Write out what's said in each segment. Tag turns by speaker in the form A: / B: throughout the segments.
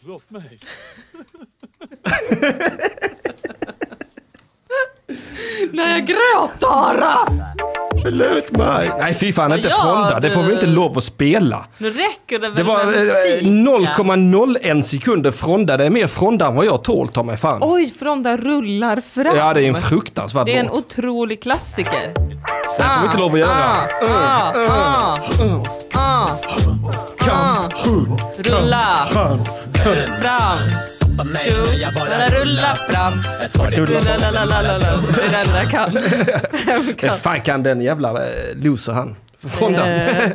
A: Förlåt mig.
B: När jag grät Ara!
C: Förlåt mig. Nej fy fan, inte
B: Ja,
C: Fronda. Det får vi
B: du-
C: inte lov att spela.
B: Nu räcker det väl
C: Det var
B: med musik?
C: eh, 0,01 sekunder Fronda. Det är mer Fronda än vad jag tål, ta mig fan.
B: Oj, för de där rullar fram.
C: Ja, det är en fruktansvärd
B: Det är en
C: låt.
B: otrolig klassiker.
C: Det här får vi inte lov att göra. Eh,
B: Ah, ah, ah, ah, ah. Rulla fram. Tjo, bara rulla fram. Det är la, la, la, la, la. Det är det enda jag kan. Vem
C: Vem
B: kan?
C: fan kan den jävla eh, loser han? Fronda.
B: Eh,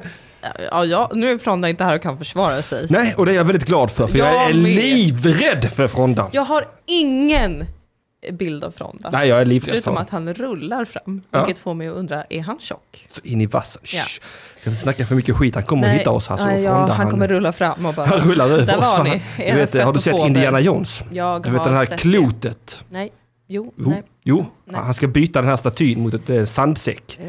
B: Ja, ja, nu är Fronda inte här och kan försvara sig.
C: Nej, och det är jag väldigt glad för, för jag,
B: Jag
C: är
B: med.
C: livrädd för Fronda.
B: Jag har ingen bild av Fronda.
C: Nej, jag är livrädd för
B: Förutom
C: honom.
B: att han rullar fram,
C: Ja.
B: vilket får mig att undra, är han tjock?
C: Så in i vassen.
B: Ja.
C: Shh. Ska inte snacka för mycket skit, han kommer hitta oss här. Så
B: nej, ja,
C: Fronda,
B: han kommer rulla fram och bara...
C: han rullar över
B: Där
C: oss.
B: var
C: va?
B: ni,
C: Du
B: era
C: vet, eh, har du sett
B: fettofober.
C: Indiana Jones?
B: Jag
C: Du vet
B: har
C: den här
B: sett
C: klotet.
B: Nej, jo,
C: Jo,
B: nej.
C: jo.
B: Nej.
C: han ska byta den här statyn mot ett eh, sandsäck.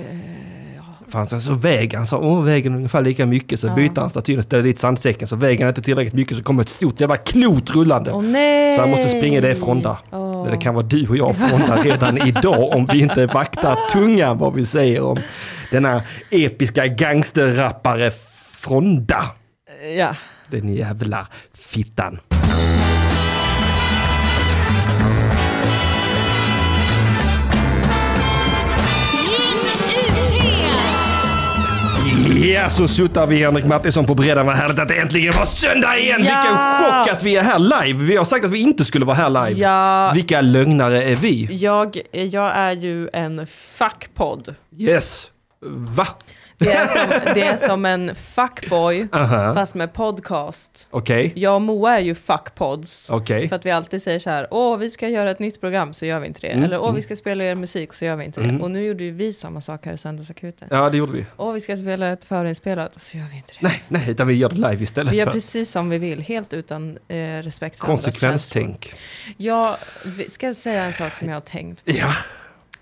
C: För han sa, så väger han, sa, åh väger ungefär lika mycket. Så
B: Eh, Ja.
C: byter han statyn och ställer dit sandsäcken. Så väger han inte tillräckligt mycket så kommer ett stort jävla klot rullande.
B: Åh nej!
C: Så han måste springa, det är Fronda.
B: Åh.
C: Det kan vara du och jag Fronda redan idag om vi inte vaktar tungan vad vi säger om denna episka gangsterrappare Fronda.
B: Ja.
C: Den jävla fittan.
D: Ring UP!
C: Ja, så suttar vi Henrik Mattisson på bredden. Vad härligt att det äntligen var söndag igen!
B: Ja!
C: Vilken chock att vi är här live! Vi har sagt att vi inte skulle vara här live.
B: Ja.
C: Vilka lögnare är vi?
B: Jag, jag är ju en fuckpodd.
C: Yes! Va?
B: Det är som, det är som en fuckboy,
C: Aha.
B: fast med podcast.
C: Okej,
B: Jag och Moa är ju fuckpods.
C: okej.
B: För att vi alltid säger så här, åh vi ska göra ett nytt program så gör vi inte det.
C: Mm,
B: Eller åh vi ska spela er musik så gör vi inte det. Och nu gjorde ju vi samma sak här i Söndagsakuten.
C: Ja, det gjorde vi.
B: Åh vi ska spela ett förinspelat så gör vi inte det.
C: Nej, nej, utan vi gör det live istället.
B: Vi gör
C: för-
B: precis som vi vill, helt utan eh, respekt för andras känslor.
C: Konsekvenstänk.
B: Jag vi- ska säga en sak som jag har tänkt
C: Ja.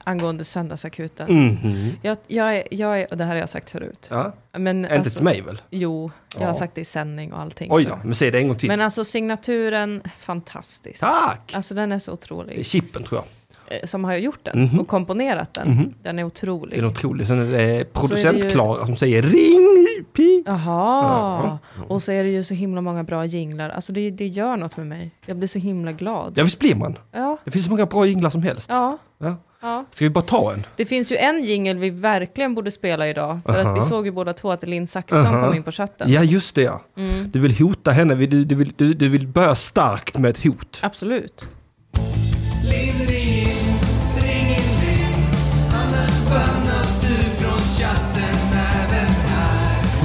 B: angående Söndagsakuten.
C: Mhm.
B: Jag, jag, är, jag är, och det här har jag sagt förut.
C: ja.
B: Men alltså,
C: Inte till mig väl?
B: Jo, jag
C: Ja.
B: har sagt det i sändning och allting.
C: Oj då, men säg det en gång till.
B: Men alltså signaturen, fantastisk.
C: Tack!
B: Alltså den är så
C: Det är
B: otrolig.
C: chippen tror jag.
B: Eh, Som har gjort den och komponerat den. Den är otrolig.
C: Mhm. Det är otroligt. Sen är det
B: ju-
C: producent-Klara som säger ring pip.
B: Jaha, och så är det ju så himla många bra jinglar. Alltså det, det gör något med mig. Jag blir så himla glad.
C: Ja visst blir man.
B: Ja,
C: Det finns så många bra jinglar som helst.
B: ja,
C: Ja.
B: ja.
C: Ska vi bara ta en?
B: Det finns ju en jingel vi verkligen borde spela idag. För
C: Aha.
B: att vi såg ju båda två att Linn Zachrisson
C: Aha.
B: kom in på chatten.
C: Ja just det ja.
B: Mm.
C: Du vill hota henne, du, du, vill, du, du vill börja starkt med ett hot.
B: Absolut.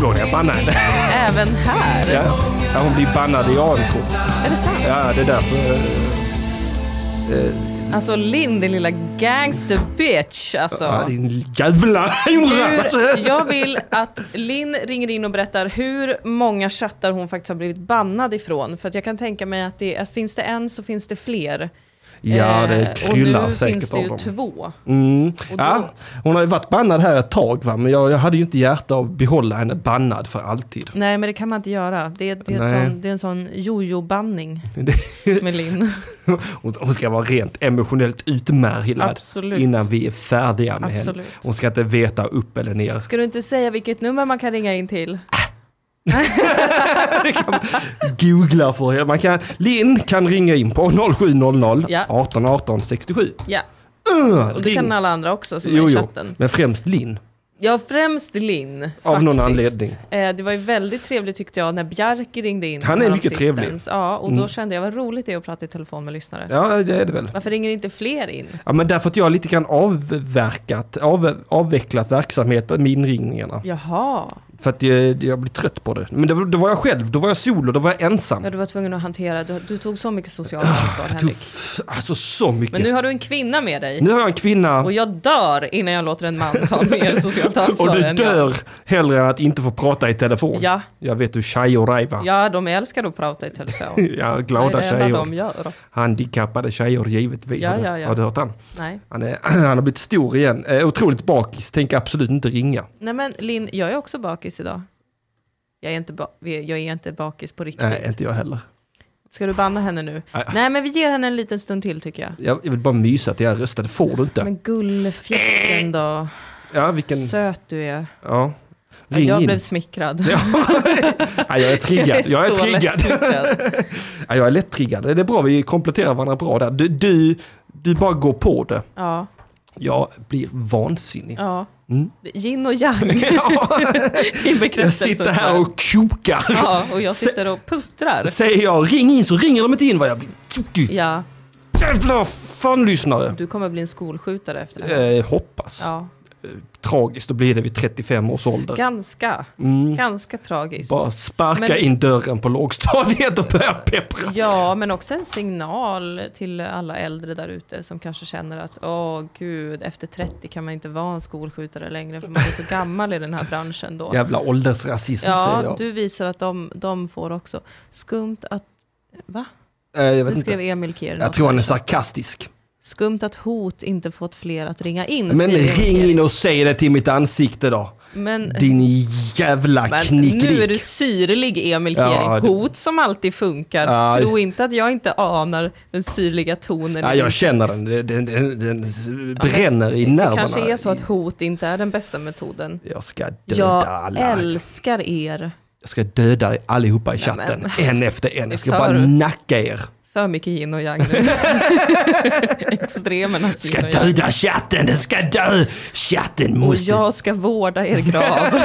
C: Hon är bannad.
B: Även här.
C: Ja. Ja, hon blir bannad i ANK.
B: Är det sant?
C: Ja det är därför. eh,
B: Alltså Linn, din lilla gangster bitch. Alltså.
C: Ja, din jävla
B: Hur,
C: hora.
B: jag vill att Linn ringer in och berättar hur många chattar hon faktiskt har blivit bannad ifrån. För att jag kan tänka mig att, det, att finns det en så finns det fler.
C: Ja det
B: Eh,
C: kryllar
B: Och nu
C: säkert
B: finns det
C: av
B: ju
C: dem.
B: två.
C: Mm.
B: Och då-
C: Ja, hon har ju varit bannad här ett tag va, men jag, jag hade ju inte hjärta att behålla henne bannad för alltid.
B: Nej men det kan man inte göra. Det, det, är, en
C: Nej.
B: sån, det är en sån jojo-banning
C: Det-
B: med Linn.
C: Hon hon ska vara rent emotionellt utmärglad
B: Absolut.
C: innan vi är färdiga med henne.
B: Absolut.
C: Hon ska inte veta upp eller ner.
B: Ska du inte säga vilket nummer man kan ringa in till?
C: Googla för henne. Man kan, Linn kan ringa in på 0700
B: Ja.
C: 18 18 67.
B: Ja,
C: Uh,
B: och det
C: ring.
B: kan alla andra också som
C: jo,
B: är i
C: jo.
B: chatten.
C: Men främst Linn.
B: Ja, främst Linn. faktiskt.
C: någon anledning.
B: Eh, det var ju väldigt trevligt tyckte jag när Bjarke ringde in.
C: Han är mycket
B: häromsistens.
C: trevlig. Mm.
B: Ja, och då kände jag vad roligt det är att prata i telefon med lyssnare.
C: Ja, det är det väl.
B: Varför ringer inte fler in?
C: Ja, men därför att jag har lite grann avverkat, av, avvecklat verksamheten med inringningarna.
B: Jaha,
C: För att eh, jag, jag blir trött på det. Men det, var- då var jag själv, då var jag solo, då var jag ensam.
B: ja, du var tvungen att hantera, du, du tog så mycket socialt ansvar
C: Ah, Jag tog
B: Henrik.
C: f- alltså så mycket.
B: Men
C: Nu,
B: nu har du en kvinna med dig.
C: har jag en kvinna
B: Och jag dör innan jag låter en man ta mer socialt ansvar
C: och du
B: än jag.
C: dör hellre än att inte få prata i telefon.
B: Ja.
C: Jag vet hur tjejer är va?
B: Ja, de älskar att prata i telefon.
C: Ja,
B: det
C: glada
B: är det enda de
C: tjejer.
B: gör.
C: Handikappade tjejer givetvis.
B: Ja,
C: Har du-
B: ja, ja.
C: Har du hört han?
B: Nej.
C: Han, är, han har blivit stor igen. Eh, otroligt bakis, tänker absolut inte ringa.
B: Nej men Linn, jag är också bakis idag. Jag är inte, ba- jag är inte bakis på riktigt.
C: Nej, inte jag heller.
B: Ska du banna henne nu?
C: Nej.
B: Nej, men vi ger henne en liten stund till tycker jag.
C: Jag jag vill bara mysa att jag röstade. Får du inte?
B: Men gullfjätten då.
C: Ja, vilken...
B: Söt du är.
C: Ja. Ring
B: Jag
C: in.
B: blev smickrad.
C: Nej, jag är triggad. Jag
B: så
C: är triggad.
B: lättriggad.
C: Ja, jag är lätt triggad. Det är bra, vi kompletterar varandra bra där. Du, du, du bara går på det.
B: Ja,
C: Jag blir vansinnig.
B: ja.
C: Mm.
B: Yin och yang
C: Ja,
B: i
C: jag
B: bekräftelsen.
C: sitter här och kokar.
B: Ja, och jag sitter och puttrar.
C: Säger jag ring in så ringer de inte in. Vad jag blir tokig.
B: Ja,
C: Jävla fanlyssnare.
B: du kommer bli en skolskjutare efter det här.
C: Eh, hoppas.
B: Ja,
C: Tragiskt att bli det vid 35 års ålder.
B: ganska,
C: Äh. Mm.
B: ganska tragiskt.
C: Bara sparka
B: Men-
C: in dörren på lågstadiet och börja peppra.
B: Ja, men också en signal till alla äldre där ute som kanske känner att åh gud, efter 30 kan man inte vara en skolskjutare längre för man är så gammal i den här branschen då.
C: Jävla åldersrasism säger
B: Ja,
C: jag.
B: du visar att de, de får också. Skumt att... Va?
C: Eh, jag vet
B: Nu skrev
C: inte.
B: Emil Kier
C: Jag
B: något
C: tror han
B: här.
C: är sarkastisk.
B: Skumt att hot inte fått fler att ringa in.
C: Men
B: skriver Emil
C: ring
B: Kier.
C: in och säg det till mitt ansikte då.
B: Men,
C: Din jävla
B: men nu är du
C: knickedick.
B: syrlig Emil Kier.
C: Ja, det-
B: Hot som alltid funkar.
C: Ja,
B: Tro
C: det-
B: inte att jag inte anar den syrliga tonen. i
C: Ja,
B: din
C: jag känner
B: text.
C: den. Den, den, den, den
B: Ja, men
C: bränner i
B: det-
C: nerverna.
B: Det kanske är så att hot inte är den bästa metoden.
C: Jag ska döda
B: Jag
C: alla.
B: älskar er.
C: Jag ska döda allihopa i chatten. En efter en. Jag ska bara
B: Förut.
C: nacka er.
B: För mycket yin och yang nu. Extremernas
C: Ska
B: yin och yang.
C: döda chatten, den ska dö! Chatten
B: Och
C: måste...
B: jag ska vårda er grav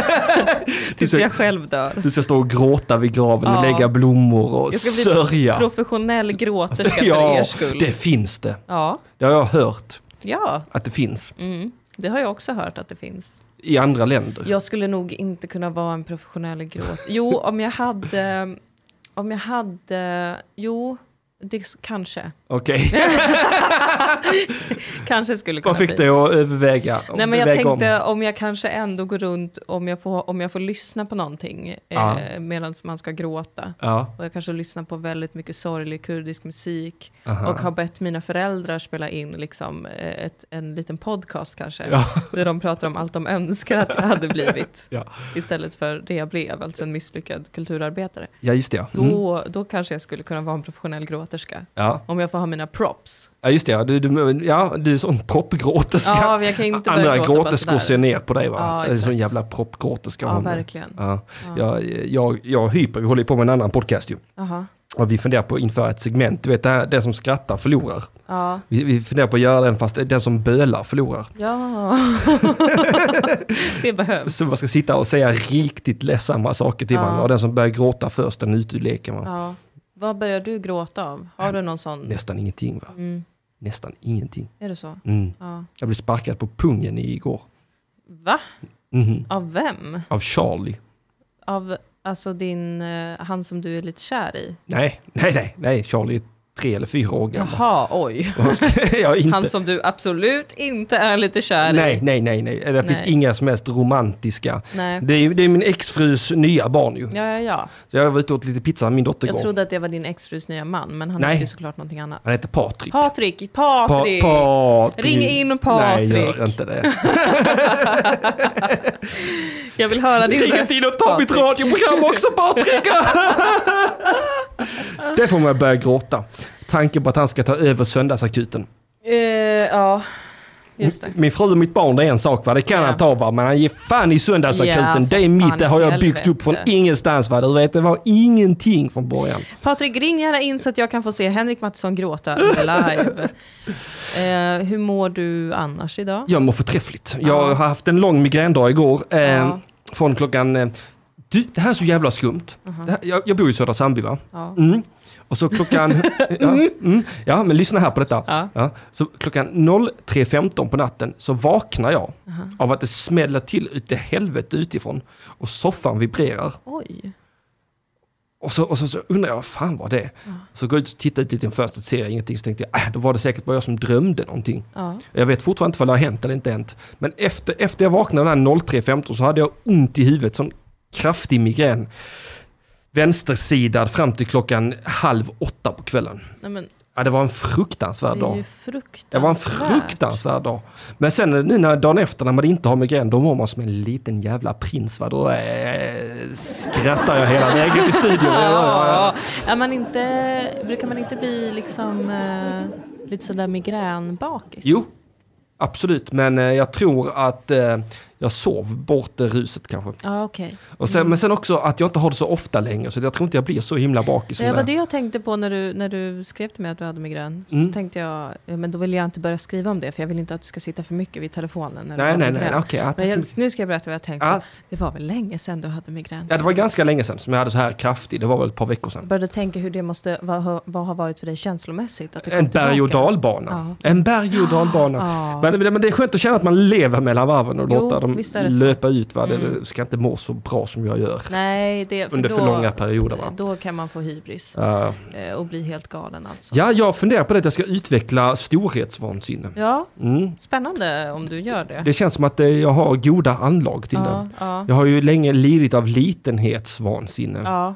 B: tills jag själv dör.
C: Du ska stå och gråta vid graven och
B: Ja.
C: lägga blommor och
B: Jag ska bli
C: sörja.
B: professionell gråterska för er
C: Ja,
B: skull.
C: det finns det.
B: Ja,
C: Det har jag hört
B: ja
C: att det finns
B: mm. det har jag också hört att det finns.
C: i andra länder.
B: Jag skulle nog inte kunna vara en professionell gråt. Jo, om jag hade... Om jag hade... Jo, det s- kanske.
C: Okej.
B: Kanske skulle kunna
C: Vad fick
B: bli.
C: dig att överväga?
B: Nej, men jag
C: Väga
B: tänkte om. jag kanske ändå går runt, om jag får, om jag får lyssna på någonting
C: Ja.
B: eh, medan man ska gråta.
C: Ja.
B: Och jag kanske lyssnar på väldigt mycket sorglig kurdisk musik.
C: Aha.
B: Och har bett mina föräldrar spela in liksom eh, ett, en liten podcast kanske.
C: Ja.
B: Där de pratar om allt de önskar att jag hade blivit.
C: Ja.
B: Istället för det jag blev, alltså en misslyckad kulturarbetare.
C: ja, just det. ja. Mm.
B: Då, då kanske jag skulle kunna vara en professionell gråterska.
C: Ja.
B: Om jag får ha mina props.
C: ja, just det. Ja. Du, du, ja, du är sån proppgråterska.
B: Ja, jag kan inte börja
C: Andra
B: gråta bara
C: gråterskor
B: sådär.
C: ser ner på dig va?
B: Ja,
C: en sån
B: exakt.
C: jävla proppgråterska.
B: Ja,
C: hon är.
B: verkligen.
C: Ja. Jag, jag, jag hyper, vi håller ju på med en annan podcast ju.
B: Aha.
C: Och vi funderar på att införa ett segment, du vet det här, den som skrattar förlorar.
B: Ja.
C: Vi, vi funderar på att göra den fast den som bölar förlorar.
B: Ja, det behövs.
C: Så man ska sitta och säga riktigt ledsamma saker till
B: Ja.
C: varandra och den som börjar gråta först den är ute ur leken. Va?
B: Ja. Vad börjar du gråta av? Har du någon sån?
C: Nästan ingenting va?
B: Mm.
C: Nästan ingenting.
B: Är det så?
C: Mm.
B: Ja.
C: Jag blev sparkad på pungen igår.
B: Va?
C: Mhm.
B: Av vem?
C: Av Charlie.
B: Av alltså din, eh, han som du är lite kär i?
C: Nej, nej, nej, nej. Charlie är tre eller fyra år gammal.
B: Jaha, oj.
C: jag är inte...
B: Han som du absolut inte är lite kär
C: Nej,
B: i?
C: nej, nej, nej. Det finns
B: Nej.
C: inga som helst romantiska.
B: Nej.
C: Det är, det är min exfrus nya barn ju.
B: Ja, ja, ja.
C: Så jag var ute och åt lite pizza med min dotter
B: Jag
C: igår.
B: trodde att det var din exfrus nya man, men han
C: Nej.
B: heter ju såklart någonting annat.
C: Han heter Patrik.
B: Patrik,
C: Pa-
B: Patrik!
C: Patrik.
B: Ring in
C: Nej,
B: Patrik.
C: gör inte det.
B: Jag vill höra din
C: Ring
B: röst,
C: inte in och ta mitt
B: Patrik.
C: radioprogram också Patrik! det får man börja gråta. Tanken på att han ska ta över söndagsakuten.
B: Eh, Ja, just det.
C: Min fru och mitt barn det är en sak va, det kan
B: Ja.
C: han ta va, men han ger fan i söndagsakuten.
B: Ja,
C: det är
B: för
C: mitt,
B: fan
C: det
B: i
C: har jag byggt upp från
B: helvete.
C: ingenstans va. Du vet, det var ingenting från början.
B: Patrik, ring gärna in så att jag kan få se Henrik Mattisson gråta live. Eh, hur mår du annars idag?
C: Jag mår förträffligt.
B: Ja.
C: Jag har haft en lång migrändag igår. Eh,
B: Ja.
C: Från klockan... Eh, du, det här är så jävla skumt.
B: Uh-huh.
C: Det här, jag, jag bor i Södra Sandby va?
B: Ja.
C: Mm. Och så klockan... ja, mm, ja, men lyssna här på detta.
B: Ja.
C: Så klockan 03.15 på natten så vaknar jag av att det smäller till ute i helvete utifrån. Och soffan vibrerar.
B: Oj.
C: Och så, och så, så undrar jag, vad fan var det? Så går jag ut och tittar ut genom fönstret, ser jag ingenting. Så tänkte jag, äh, då var det säkert bara jag som drömde någonting.
B: Ja.
C: Jag vet fortfarande inte vad det har hänt eller inte hänt. Men efter, efter jag vaknade den här 03.15 så hade jag ont i huvudet, sån kraftig migrän. Vänstersidad fram till klockan halv åtta på kvällen.
B: Nej, men,
C: Ja, det var en fruktansvärd
B: Det är
C: dag.
B: ju
C: Det var en
B: fruktansvärt.
C: fruktansvärd dag. Men sen eh, nu när dagen efter när man inte har migrän, då mår man som en liten jävla prins. Va? Då eh, skrattar jag hela vägen till studion. Ja, ja, ja.
B: Ja, är man inte, brukar man inte bli liksom eh, lite sådär migränbakis?
C: Jo, absolut. Men eh, jag tror att eh, jag sov bort det ruset kanske.
B: Ja, okej.
C: Och
B: Mm.
C: sen, Men sen också att jag inte har det så ofta längre, så jag tror inte jag blir så himla bakis. som
B: Det var
C: jag-
B: det jag tänkte på när du, när du skrev till mig att du hade migrän.
C: Mm.
B: Så tänkte jag, eh, men då vill jag inte börja skriva om det, för jag vill inte att du ska sitta för mycket vid telefonen. När du
C: Nej,
B: har
C: nej, nej.
B: migrän.
C: Okej, ja,
B: Men jag,
C: tack så-
B: nu ska jag berätta vad jag tänkte.
C: Ja.
B: Det var väl länge sedan du hade migrän?
C: ja, det var
B: senast?
C: ganska länge sedan som jag hade så här kraftig. Det var väl ett par veckor sedan.
B: Jag började tänka hur det måste, vad, har- vad har varit för dig känslomässigt? Att det kom
C: En berg och
B: tillbaka.
C: dalbana. En berg och dalbana.
B: Ja.
C: Men, men det är skönt att känna att man lever mellan varven och
B: Jo,
C: låta dem
B: visst är det så. Mm.
C: löpa ut. Va? Det ska inte må så bra som jag gör
B: Nej, det, för
C: under för
B: då-
C: långa perioder. Va?
B: Då kan man få hybris
C: Eh,
B: eh, och bli helt galen alltså.
C: ja, jag funderar på det att jag ska utveckla storhetsvansinne.
B: Ja,
C: Mm.
B: spännande om du gör det.
C: Det känns som att eh, jag har goda anlag till
B: ja,
C: det.
B: ja,
C: Jag har ju länge lidit av litenhetsvansinne.
B: ja.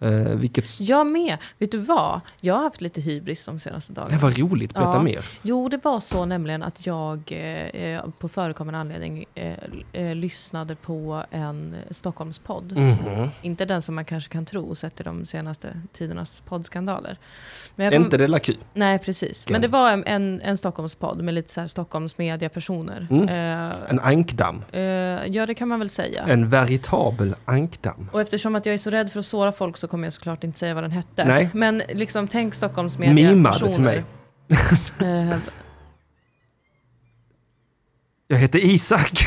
C: Eh, vilket...
B: Jag med. Vet du vad? Jag har haft lite hybris de senaste dagarna.
C: Det var roligt, berätta
B: Ja.
C: mer.
B: Jo, det var så nämligen att jag eh, eh, på förekommande anledning eh, eh, lyssnade på en Stockholmspodd.
C: Mhm.
B: Inte den som man kanske kan tro sett till de senaste tidernas poddskandaler. Men jag
C: Är
B: kom-
C: inte det la kul?
B: Nej, precis. Men det var en, en, en Stockholmspodd med lite så här Stockholmsmediapersoner. Eh,
C: En ankdamm.
B: eh, ja, det kan man väl säga.
C: En veritabel ankdamm.
B: Och eftersom att jag är så rädd för att såra folk så kommer jag såklart inte säga vad den hette.
C: Nej.
B: Men liksom tänk Stockholmsmediapersoner.
C: Mima det till mig.
B: Eh,
C: Jag heter Isak.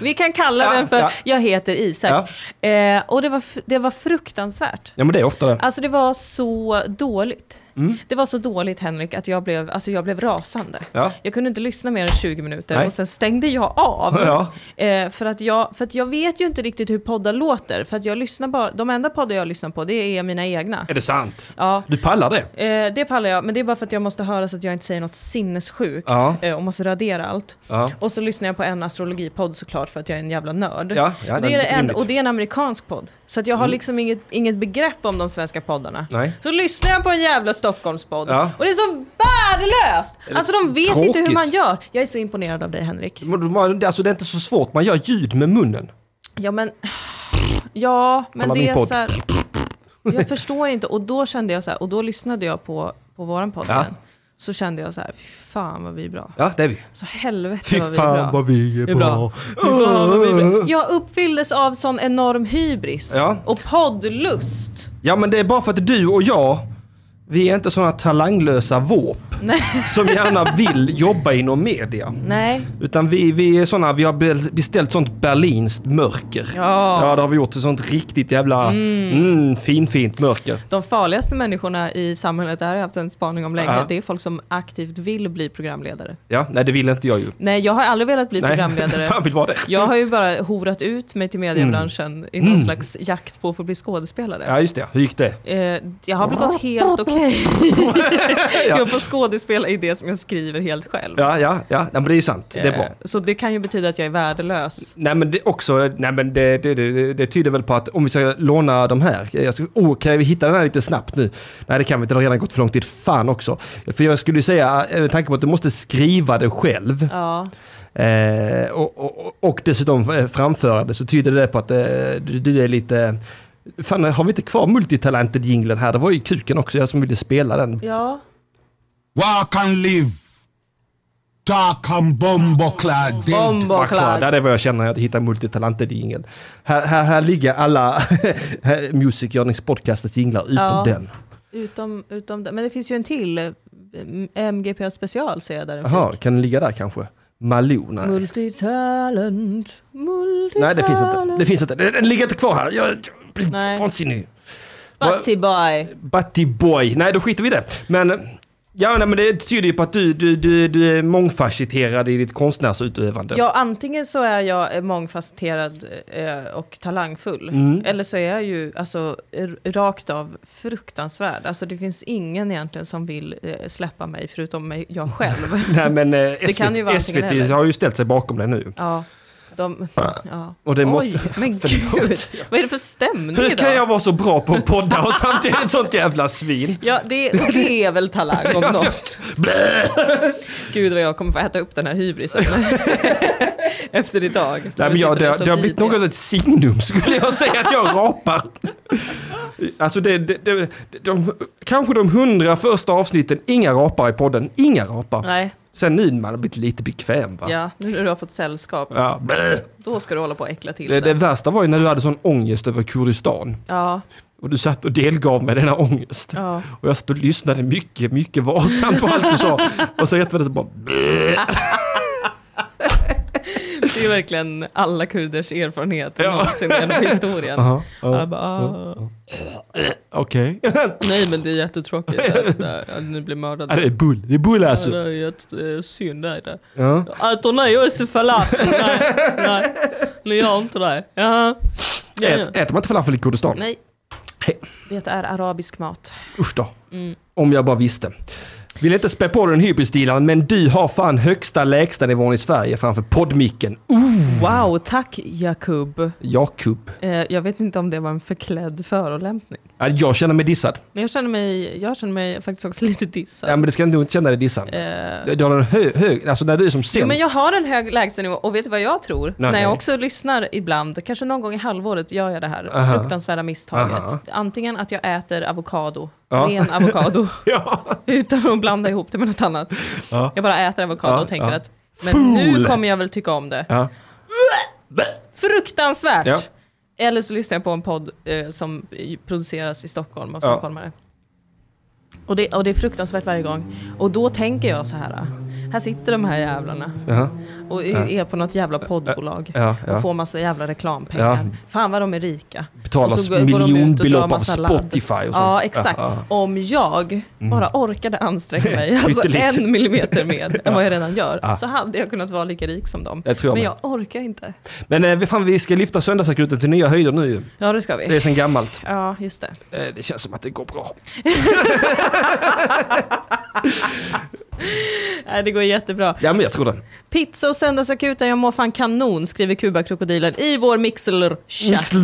B: vi kan kalla
C: Ja,
B: den för
C: ja.
B: Jag heter Isak. Eh, och det var, f- det var fruktansvärt.
C: ja men det är ofta det.
B: Alltså det var så dåligt.
C: Mm.
B: Det var så dåligt Henrik att jag blev, alltså jag blev rasande.
C: Ja.
B: Jag kunde inte lyssna mer än 20 minuter
C: Nej.
B: och sen stängde jag av.
C: Ja.
B: Eh, för, att jag, för att jag vet ju inte riktigt hur poddar låter. För att jag lyssnar bara, de enda poddar jag lyssnar på det är mina egna.
C: Är det sant?
B: Ja,
C: Du pallar det?
B: Eh, det pallar jag, men det är bara för att jag måste höra så att jag inte säger något sinnessjukt
C: Ja.
B: eh, och måste radera allt.
C: Ja.
B: Och så lyssnar jag på en astrologipodd såklart för att jag är en jävla nörd.
C: Ja, ja,
B: det
C: det
B: är
C: är
B: det enda,
C: rimligt.
B: och det är en amerikansk podd. Så att jag har liksom inget, inget begrepp om de svenska poddarna.
C: Nej.
B: Så lyssnar jag på en jävla Stockholmspodd
C: Ja.
B: och det är så värdelöst!
C: det
B: Alltså de vet inte hur
C: tråkigt?
B: man gör. Jag är så imponerad av dig Henrik.
C: Men du- man- Alltså det är inte så svårt, man gör ljud med munnen.
B: Ja men, ja, men
C: Kolla
B: det
C: min
B: är
C: podd.
B: så här, Jag förstår inte. Och då kände jag så här, och då lyssnade jag på, på våran podd
C: Ja.
B: igen. Så kände jag så här, fy fan vad vi är bra.
C: Ja, det är vi.
B: Så helvete
C: Fy
B: vad vi är bra.
C: fan vad vi är
B: Det är bra.
C: bra.
B: Fy fan vad vi är bra. Jag uppfylldes av sån enorm hybris
C: Ja.
B: och poddlust.
C: Ja men det är bara för att du och jag, vi är inte sådana talanglösa våp
B: Nej.
C: som gärna vill jobba inom media.
B: Nej.
C: Utan vi, vi är sådana, vi har be- beställt sånt berlinskt mörker.
B: Ja.
C: ja det har vi gjort, sånt riktigt jävla mm, finfint mörker.
B: De farligaste människorna i samhället, det här har jag haft en spaning om länge,
C: Ja.
B: det är folk som aktivt vill bli programledare.
C: Ja, nej det vill inte jag ju.
B: Nej, jag har aldrig velat bli programledare.
C: Fan vill vara det.
B: Jag har ju bara horat ut mig till mediebranschen i någon slags jakt på att få bli skådespelare.
C: Mm. Ja just det, hur gick det?
B: Eh, jag har väl gått helt okej. jag får skådespela i det som jag skriver helt själv.
C: Ja, ja, ja, nej, men det är ju sant. Det är bra.
B: Eh, Så det kan ju betyda att jag är värdelös.
C: Nej men det också, nej men det, det, det, det tyder väl på att om vi ska låna de här, jag ska, oh, kan vi hitta den här lite snabbt nu? Nej det kan vi inte, det har redan gått för lång tid. Fan också. För jag skulle ju säga, eh, med tanke på att du måste skriva det själv
B: Ja,
C: eh, och, och, och dessutom eh, framföra det så tyder det på att eh, du, du är lite, fan har vi inte kvar multitalentet jinglen här? Det var ju kuken också, jag som ville spela den.
B: ja.
A: Walk and live. Talk and bombo clad dead.
C: Bara klar.
B: Bomboklar.
C: Där är vad jag känner när jag hittar multitalentet i ingen. Här, här, här ligger alla här- Music Yearnings podcasters jinglar utom
B: Ja.
C: den.
B: Utom, utom det. Men det finns ju en till. eh, m- MGP special ser jag där. den
C: Jaha, kan den ligga där kanske? Malou?
B: finns.
C: Nej.
B: Multitalent, multitalent.
C: Nej, det finns inte. Det finns inte. Den den ligger inte kvar här. Jag jag
B: Nej.
C: blir vansinnig.
B: Batsy boy.
C: Batty boy. Nej, då skiter vi i det. Men, ja, nej, men det tyder ju på att du, du, du, du är mångfacetterad i ditt konstnärsutövande.
B: Ja, antingen så är jag eh, mångfacetterad eh, och talangfull.
C: Mm.
B: Eller så är jag ju alltså, r- rakt av fruktansvärd. Alltså det finns ingen egentligen som vill eh, släppa mig förutom mig, jag själv.
C: Nej, men eh, SVT,
B: kan ju vara antingen
C: SVT
B: eller.
C: har ju ställt sig bakom det nu.
B: ja. De, ja.
C: Och det måste-
B: Oj, men gud. Vad är det för stämning
C: Hur kan
B: idag?
C: jag vara så bra på att podda och samtidigt ett sånt jävla svin?
B: Ja, det, det är väl talang om något. Gud vad jag kommer få äta upp den här hybrisen efter idag.
C: Nej, men jag, det, har- det har blivit något av ett signum skulle jag säga att jag rapar. Alltså det, det, det, de, kanske de hundra första avsnitten, inga rapar i podden. Inga rapar.
B: Nej,
C: Sen nu när man har blivit lite bekväm va?
B: ja, nu när du har fått sällskap,
C: Ja, blä.
B: då ska du hålla på och äckla till
C: det,
B: det.
C: det värsta var ju när du hade sån ångest över Kurdistan.
B: Ja,
C: Och du satt och delgav mig denna ångest.
B: ja.
C: Och jag satt och lyssnade mycket, mycket varsamt på allt du sa. Och så rätt vad det så bara... blä.
B: Det är verkligen alla kurders erfarenhet
C: Ja.
B: någonsin genom historien.
C: Aha, ja,
B: Jag bara, ah.
C: Okej.
B: Nej men det är jättetråkigt att, att ni blir mördade.
C: Ja, Det är bull, det är bull
B: Ja,
C: alltså.
B: det är jättesynd det. är det.
C: Ja.
B: Äter ni också falafel? Nej, nej, ni gör inte det. Jaha. Ja, ja.
C: Ät, äter man inte falafel i Kurdistan?
B: Nej.
C: Hej.
B: Det är arabisk mat.
C: Usch då. Om jag bara visste. Vill inte spä på den hybrisdealaren, men du har fan högsta lägsta nivån i Sverige framför poddmicken. Oh,
B: Wow, tack Jakub.
C: Jakub.
B: Eh, jag vet inte om det var en förklädd förolämpning.
C: Ja, Äh, Jag känner mig dissad.
B: Men jag känner mig, jag känner mig faktiskt också lite dissad.
C: Ja, men det ska du inte känna dig dissad.
B: Eh,
C: Du har en hög, hög, alltså när du är som sämst.
B: Jo, men jag har en hög lägstanivå och vet du vad jag tror?
C: Nej.
B: När jag också lyssnar ibland, kanske någon gång i halvåret gör jag det här
C: Aha.
B: fruktansvärda misstaget.
C: Aha.
B: Antingen att jag äter avokado,
C: Ja.
B: ren avokado,
C: Ja.
B: utan att blanda ihop det med något annat.
C: Ja.
B: Jag bara äter avokado
C: Ja,
B: och tänker
C: ja.
B: att men nu
C: Fool!
B: kommer jag väl tycka om det.
C: Ja.
B: Fruktansvärt!
C: Ja.
B: Eller så lyssnar jag på en podd eh, som produceras i Stockholm av
C: Ja.
B: stockholmare. Och, det, och det är fruktansvärt varje gång. Och då tänker jag så här. "Ah, Här sitter de här jävlarna
C: Ja.
B: och är är på något jävla poddbolag
C: Ja, ja.
B: och får massa jävla reklampengar.
C: Ja.
B: Fan vad de är rika. Och
C: Betalas
B: så går- går de ut och drar
C: miljonbelopp av
B: massa ladd.
C: Spotify och sånt.
B: Ja, exakt.
C: Ja, Mm.
B: Om jag bara orkade ansträcka mig, alltså
C: Pyttelite.
B: en millimeter mer än vad jag redan gör,
C: Ja.
B: så hade jag kunnat vara lika rik som dem.
C: Det tror jag
B: Men
C: med.
B: jag orkar inte.
C: Men eh, vi- fan, vi ska lyfta söndagsakuten till nya höjder nu ju.
B: Ja, det ska
C: Det
B: vi.
C: är sen gammalt.
B: Ja, just det.
C: Eh, Det känns som att det går bra.
B: Nej, det går jättebra.
C: Ja, men jag tror det.
B: Pizza och söndagsakuten, jag mår fan kanon, skriver Kubakrokodilen i vår mixler-chatt.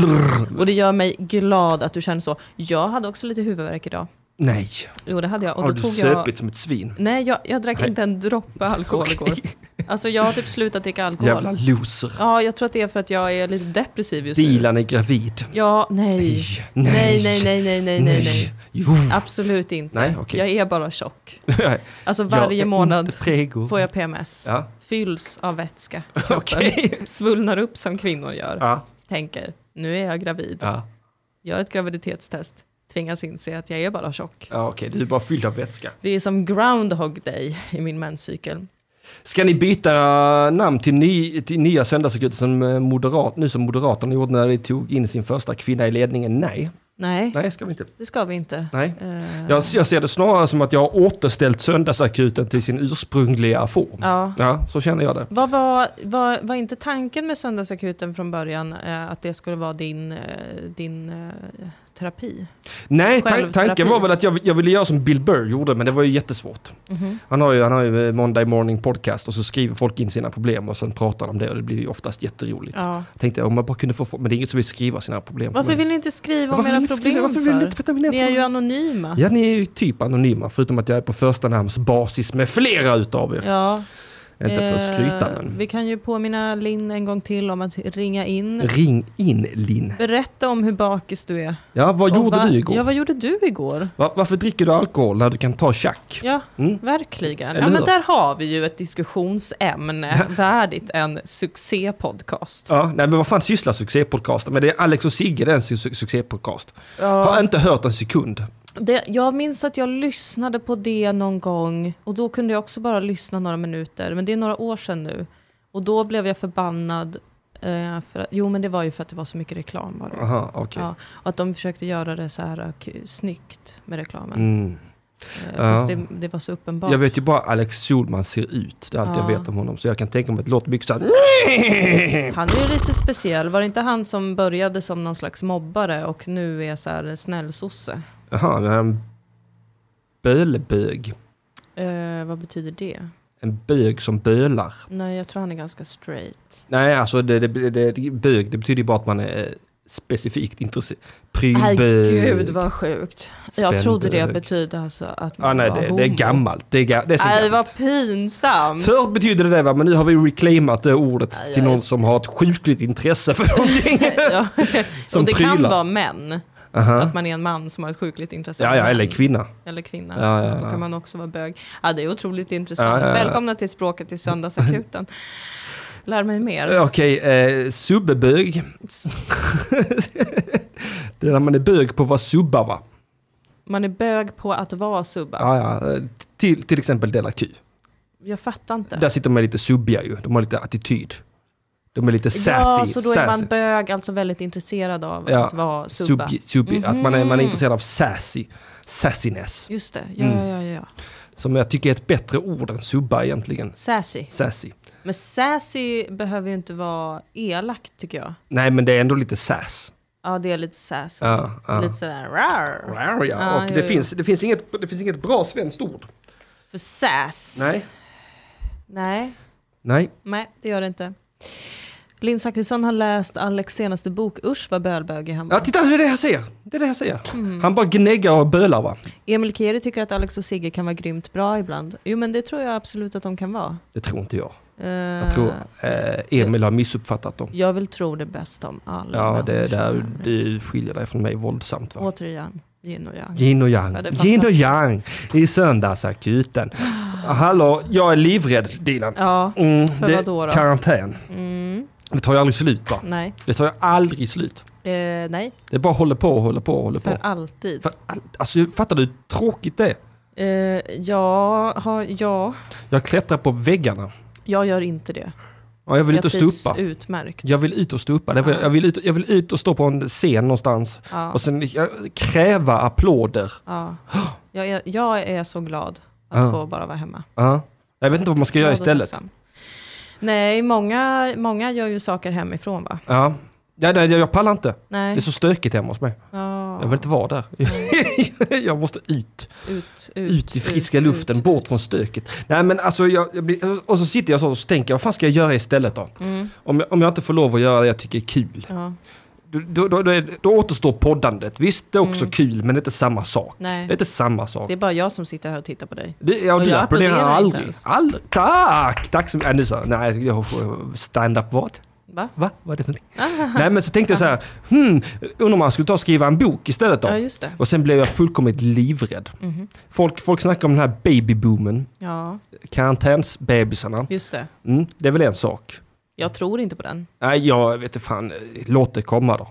B: Och det gör mig glad att du känner så. Jag hade också lite huvudvärk idag.
C: Nej.
B: Jo, det hade jag. Och
C: Har
B: då
C: du
B: tog jag...
C: supit som ett svin?
B: Nej, jag, jag drack
C: Nej.
B: inte en droppe alkohol
C: Okej.
B: igår. Alltså jag har typ slutat dricka alkohol.
C: Jävla loser.
B: Ja, jag tror att det är för att jag är lite depressiv just nu.
C: Dilan är gravid.
B: Ja, nej. Nej, nej, nej, nej, nej, nej, nej.
C: Jo.
B: Absolut inte.
C: Nej, okej.
B: Jag är bara tjock. Alltså varje månad
C: prego.
B: får jag PMS.
C: Ja,
B: Fylls av vätska.
C: okej.
B: Svullnar upp som kvinnor gör.
C: Ja,
B: Tänker, nu är jag gravid.
C: ja,
B: Gör ett graviditetstest. Tvingas inse att jag är bara tjock.
C: ja okej. Du är bara fylld av vätska.
B: Det är som Groundhog Day i min menscykel.
C: Ska ni byta namn till, ny, till nya söndagsakuten som eh, moderat, nu som Moderaterna gjorde när de tog in sin första kvinna i ledningen? Nej,
B: Nej,
C: nej ska vi inte.
B: det ska vi inte.
C: Nej.
B: Eh,
C: Jag, jag ser det snarare som att jag har återställt söndagsakuten till sin ursprungliga form.
B: Ja.
C: ja så känner jag det.
B: Vad var, var, var inte tanken med Söndagsakuten från början eh, att det skulle vara din, eh, din eh, terapi?
C: Nej, tan-
B: Självterapi.
C: tanken var väl att jag, jag ville göra som Bill Burr gjorde, men det var ju jättesvårt. Han, har ju, han har ju eh, Monday Morning Podcast och så skriver folk in sina problem och sen pratar de om det och det blir ju oftast jätteroligt.
B: Ja.
C: Jag tänkte om man bara kunde få, fo- men det är inget som vill skriva sina problem.
B: Varför
C: men,
B: vill ni inte skriva om
C: Varför vill
B: era
C: ni inte skriva-
B: problem
C: varför vill ni
B: för?
C: inte berätta om mina
B: Ni är ju
C: problem?
B: anonyma.
C: Ja, ni är ju typ anonyma, förutom att jag är på första namns basis med flera utav er.
B: Ja,
C: Inte för
B: eh,
C: att skryta, men
B: Vi kan ju påminna Linn en gång till om att ringa in.
C: ring in Linn.
B: Berätta om hur bakis du är.
C: Ja, vad
B: Och
C: gjorde
B: va-
C: du igår?
B: Ja, vad gjorde du igår?
C: Va- varför dricker du alkohol när du kan ta tjack?
B: Ja,
C: Mm.
B: verkligen. Ja,
C: Eller
B: men
C: hur?
B: där har vi ju ett diskussionsämne värdigt en succépodcast.
C: Ja, nej men vad fan sysslar succépodcasten med? Det är Alex och Sigge, det är en su- su- succépodcast.
B: Ja.
C: Har inte hört en sekund.
B: Det, jag minns att jag lyssnade på det någon gång och då kunde jag också bara lyssna några minuter, men det är några år sedan nu. Och då blev jag förbannad. Eh, för att, jo, men det var ju för att det var så mycket reklam. Var det.
C: Aha, okej.
B: Ja, och att de försökte göra det så här eh, k- snyggt med reklamen.
C: Mm.
B: Eh,
C: ja.
B: Fast det, det var så uppenbart.
C: Jag vet ju bara Alex Solman ser ut. Det är allt
B: Ja.
C: jag vet om honom. Så jag kan tänka mig att det låter mycket såhär...
B: Han är ju lite speciell. Var det inte han som började som någon slags mobbare och nu är så här snällsosse?
C: Jaha, men... Bölbög.
B: Eh, vad betyder det?
C: en bög som bölar.
B: Nej, jag tror han är ganska straight.
C: Nej, alltså det, det, det, det, bög, det betyder ju bara att man är specifikt intresserad. Prylbög.
B: Herregud vad sjukt. Jag
C: Spänd
B: trodde det
C: bög.
B: betydde alltså att man
C: Ja, nej,
B: var
C: det,
B: homo.
C: det är gammalt. Det är, ga, det är så
B: Nej,
C: gammalt.
B: vad pinsamt.
C: Förr betydde det det va, men nu har vi reclaimat det ordet
B: Aj,
C: till
B: aj.
C: någon som har ett sjukligt intresse för någonting.
B: Ja.
C: Som
B: Och det kan
C: prylar.
B: vara män.
C: Aha.
B: Att man är en man som har ett sjukligt intresse.
C: Ja,
B: av
C: ja, eller
B: män.
C: kvinna.
B: Eller kvinna.
C: Ja, ja,
B: Så då
C: ja.
B: kan man också vara bög. Ja, det är otroligt intressant.
C: Ja, ja, ja.
B: Välkomna till språket i söndagsakuten. Lär mig mer.
C: Okej, eh, subbög. det är när man är bög på att vara subba va?
B: Man är bög på att vara subba.
C: Ja, ja. eh, Till, till exempel Della Q.
B: Jag fattar inte.
C: Där sitter de lite subbiga ju, de har lite attityd. De är lite sassy.
B: ja, så då är
C: sassy.
B: man bög, alltså väldigt intresserad av
C: Ja,
B: att vara subba. Mhm.
C: Subbi, subbi. Att man är, man är intresserad av sassy. Sassiness.
B: Just det, ja,
C: Mm.
B: ja, ja, ja.
C: Som jag tycker är ett bättre ord än subba egentligen.
B: Sassy.
C: Sassy.
B: Men sassy behöver ju inte vara elakt tycker jag.
C: Nej, men det är ändå lite sass.
B: Ja, det är lite sassy.
C: Ja, ja.
B: Lite sådär rar.
C: Rar, ja.
B: Ja,
C: och
B: jo,
C: det,
B: jo.
C: Finns, det, finns inget, det finns inget bra svenskt ord.
B: För sass.
C: Nej.
B: Nej,
C: Nej.
B: nej, det gör det inte. Linn Zachrisson har läst Alex senaste bok, usch vad bölbögig han var.
C: Ja, titta det är det jag säger. Det är det jag säger.
B: Mm.
C: Han bara gnäggar och bölar va?
B: Emil Kieri tycker att Alex och Sigge kan vara grymt bra ibland. Jo men det tror jag absolut att de kan vara.
C: Det tror inte jag.
B: Eh,
C: Jag tror eh, Emil har missuppfattat dem.
B: jag vill tro det bästa om alla
C: Ja, det,
B: människor.
C: där, du skiljer dig från mig våldsamt va?
B: Återigen, yin och yang.
C: Yin och
B: Ja,
C: yang.
B: det fattas.
C: Yin och yang i söndagsakuten. Hallå, jag är livrädd Dilan.
B: Ja,
C: Mm,
B: Ah. För vad då då?
C: Karantän. Det tar ju aldrig slut va?
B: nej,
C: Det tar ju aldrig slut.
B: eh, nej,
C: Det bara håller på och håller på och håller på.
B: för alltid.
C: För all- alltså fattar du hur tråkigt det är?
B: Eh, ja, ha, ja,
C: Jag klättrar på väggarna.
B: jag gör inte det.
C: Ja, jag vill
B: jag
C: ut och stupa.
B: utmärkt.
C: Jag vill ut och stupa. Därför Jag jag vill ut, jag vill ut och stå på en scen någonstans
B: Ja,
C: och sen jag, kräva applåder.
B: ja. Jag, är, jag är så glad att
C: Ja.
B: få bara vara hemma.
C: Ja. Jag vet inte vad man ska göra
B: Glad och
C: istället.
B: tacksam. Nej, många, många gör ju saker hemifrån va?
C: Ja. Ja, nej, jag pallar inte. Det
B: Nej,
C: är så stökigt hemma hos mig. Jag
B: ja.
C: vill inte vara där. jag måste ut.
B: ut, ut,
C: Ut i friska
B: ut,
C: luften,
B: ut.
C: bort från stöket. Nej men alltså, jag, jag blir, och så sitter jag så och så tänker jag, vad fan ska jag göra istället då?
B: Mm.
C: Om, jag, om jag inte får lov att göra det jag tycker är kul.
B: Ja.
C: Då, då, då, då, är- då återstår poddandet. Visst, det är också kul, men det är inte samma sak.
B: Mm. Nej,
C: Det är inte samma sak.
B: det är bara jag som sitter här och tittar på dig.
C: Det, ja,
B: Och
C: du
B: jag
C: applåderar
B: applåderar inte
C: aldrig.
B: ens.
C: aldrig. Tack! Tack så mycket. Ja, nu så, nej, jag får stand-up vad?
B: Va?
C: Va? Vad är det för någonting? Nej men så tänkte jag så här, hmm, undrar om man skulle ta och skriva en bok istället då?
B: Ja, just det. Mhm.
C: och sen blev jag fullkomligt livrädd. Folk, folk snackar om den här babyboomen,
B: Ja,
C: karantänsbebisarna.
B: just det.
C: Mm, det är väl en sak.
B: Jag tror inte på den.
C: Nej, jag vet inte fan, låt det komma då.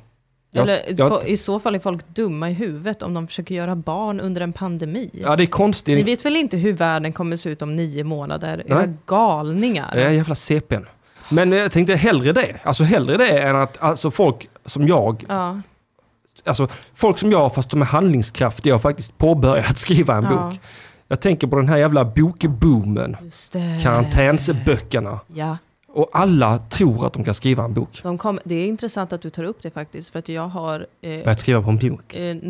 C: Jag,
B: Eller
C: jag,
B: fo- i så fall är folk dumma i huvudet om de försöker göra barn under en pandemi.
C: ja, det är konstigt.
B: Ni vet väl inte hur världen kommer se ut om nio månader?
C: Nej.
B: Era galningar.
C: Ja, jävla CPn. Men jag tänkte hellre det. Alltså hellre det än att alltså, folk som jag
B: Ja,
C: alltså, folk som jag, fast som är handlingskraftiga, har faktiskt påbörjat skriva en
B: Ja. Eh.
C: bok. Jag tänker på den här jävla bokboomen,
B: just det.
C: karantänsböckerna.
B: Ja,
C: Och alla tror att de kan skriva en bok.
B: de kom, det är intressant att du tar upp det faktiskt, för att jag har... Eh,
C: Börjat skriva på en bok.
B: eh,
C: Ska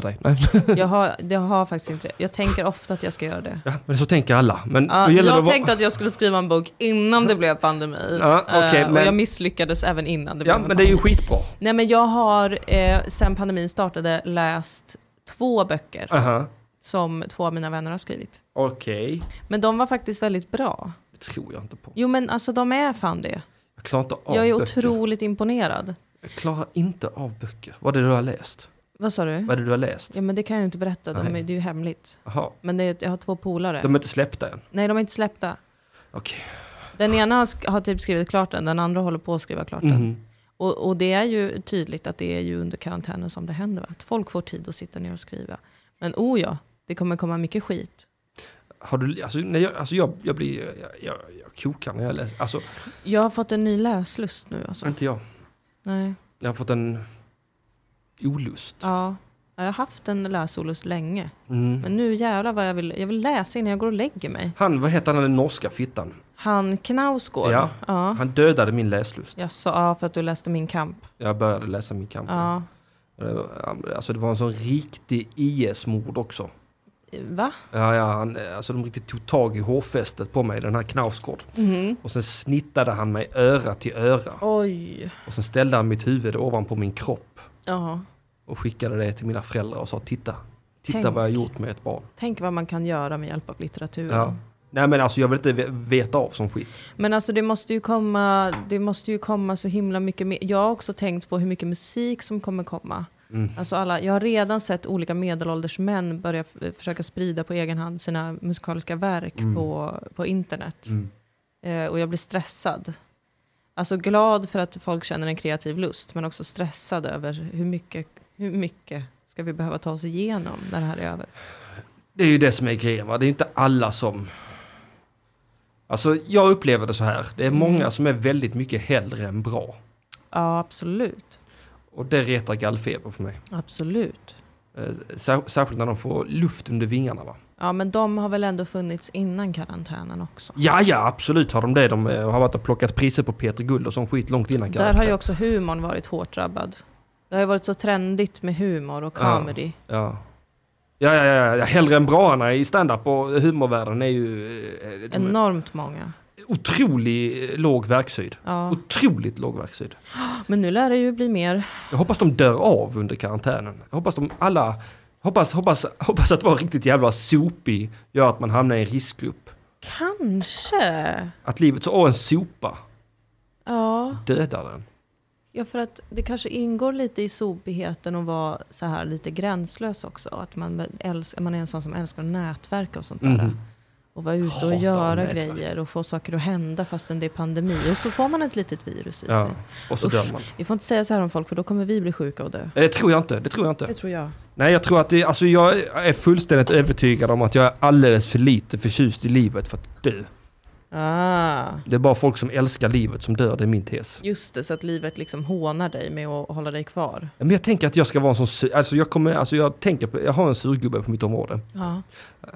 B: nej,
C: dig. Nej.
B: jag har, det har faktiskt inte det. Jag tänker ofta att jag ska göra det.
C: Ja, men så tänker alla. Men
B: Ja,
C: då gäller det
B: jag
C: att vara-
B: tänkte att jag skulle skriva en bok innan det blev pandemi.
C: Ja, okej,
B: Eh, Och
C: men-
B: jag misslyckades även innan det
C: Ja,
B: blev
C: men det är ju skitbra.
B: Nej men jag har eh, sen pandemin startade läst två böcker
C: Aha.
B: som två av mina vänner har skrivit.
C: Okej.
B: Men de var faktiskt väldigt bra.
C: Det tror jag inte på.
B: Jo men alltså de är fan det.
C: Jag klarar inte av
B: Jag är
C: böcker.
B: otroligt imponerad.
C: Jag klarar inte av böcker. Vad är det du har läst?
B: Vad sa du?
C: Vad är det du har läst?
B: Ja men det kan jag ju inte berätta, de
C: Nej.
B: är, det är ju hemligt.
C: Jaha,
B: Men det, är- jag har två polare.
C: de är inte släppta än.
B: Nej de är inte släppta.
C: Okej.
B: Den ena har, sk- har typ skrivit klart den, den andra håller på att skriva klart den.
C: Mhm.
B: Och, och det är ju tydligt att det är ju under karantänen som det händer. Va? Att folk får tid att sitta ner och skriva. Men oh ja, det kommer komma mycket skit.
C: Har du, alltså, nej, jag, alltså jag, jag blir, jag, jag, jag kokar när jag läser. Alltså,
B: Jag har fått en ny läslust nu alltså.
C: inte jag.
B: Nej.
C: Jag har fått en olust.
B: Ja. Jag har haft en läsolust länge.
C: Mm.
B: Men nu jävlar vad jag vill, jag vill läsa innan jag går och lägger mig.
C: Han, vad heter han den norska fittan?
B: Han Knausgård.
C: Ja.
B: ja.
C: Han dödade min läslust.
B: Jag sa ja, för att du läste Min Kamp.
C: Jag började läsa min kamp.
B: Ja.
C: Och det var- Alltså det var en sån riktig IS-mord också.
B: Va?
C: Ja, ja, han, alltså de riktigt tog tag i hårfästet på mig, den här Knausgård.
B: Mhm.
C: Och sen snittade han mig öra till öra.
B: Oj.
C: Och sen ställde han mitt huvud ovanpå min kropp
B: Ja.
C: och skickade det till mina föräldrar och sa titta. Titta
B: Tänk.
C: vad jag gjort med ett barn.
B: Tänk vad man kan göra med hjälp av litteraturen.
C: Ja. Nej men alltså jag vill inte ve- veta av sån skit.
B: Men alltså det måste, ju komma, det måste ju komma så himla mycket mer. Jag har också tänkt på hur mycket musik som kommer komma.
C: Mm.
B: Alltså alla, jag har redan sett olika medelålders män börja f- försöka sprida på egen hand sina musikaliska verk
C: Mm.
B: på, på internet. Eh, och jag blir stressad. Alltså glad för att folk känner en kreativ lust, men också stressad över hur mycket, hur mycket ska vi behöva ta oss igenom när det här är över.
C: Det är ju det som är grejen va. Det är ju inte alla som... Alltså jag upplever det så här. Det är
B: Mm.
C: många som är väldigt mycket hellre än bra.
B: Ja, absolut.
C: Och det retar gallfeber på mig.
B: Absolut.
C: Eh, sär- Särskilt när de får luft under vingarna va.
B: Ja, men de har väl ändå funnits innan karantänen också.
C: Ja, ja absolut har de det. De eh, har varit och plockat priser på Peter Guld och sån skit långt innan
B: Där har
C: karaktären.
B: ju också humorn varit hårt drabbad. Det har ju varit så trendigt med humor och
C: Ja.
B: comedy.
C: Ja. Ja, ja, ja, ja, hellre än braarna i stand-up och humorvärlden är ju eh, de är
B: Enormt många.
C: otrolig eh, låg verkshöjd.
B: Ja.
C: Otroligt låg verkshöjd.
B: Men nu lär det ju bli mer.
C: Jag hoppas de dör av under karantänen. Jag hoppas de alla, hoppas, hoppas, hoppas att vara riktigt jävla sopig gör att man hamnar i en riskgrupp.
B: Kanske.
C: Att livet så, åh en sopa,
B: Ja.
C: dödar den.
B: ja, för att det kanske ingår lite i sopigheten att vara så här lite gränslös också. Att man, älsk- man är en sån som älskar att nätverka och sånt där.
C: Mhm.
B: Och vara ute och
C: Hatar
B: göra
C: nätverk.
B: grejer och få saker att hända fastän det är pandemi. Och så får man ett litet virus i
C: Ja,
B: sig.
C: och så
B: Usch.
C: dör man.
B: Vi får inte säga så här om folk för då kommer vi bli sjuka och dö.
C: Eh, Det tror jag inte, det tror jag inte.
B: Det tror jag.
C: Nej, jag tror att det, alltså jag är fullständigt övertygad om att jag är alldeles för lite förtjust i livet för att dö.
B: Ah.
C: Det är bara folk som älskar livet som dör, det är min tes.
B: Just det, så att livet liksom hånar dig med att hålla dig kvar.
C: Men jag tänker att jag ska vara en sån sur, alltså jag kommer, alltså jag tänker på, jag har en surgubbe på mitt område.
B: Ja.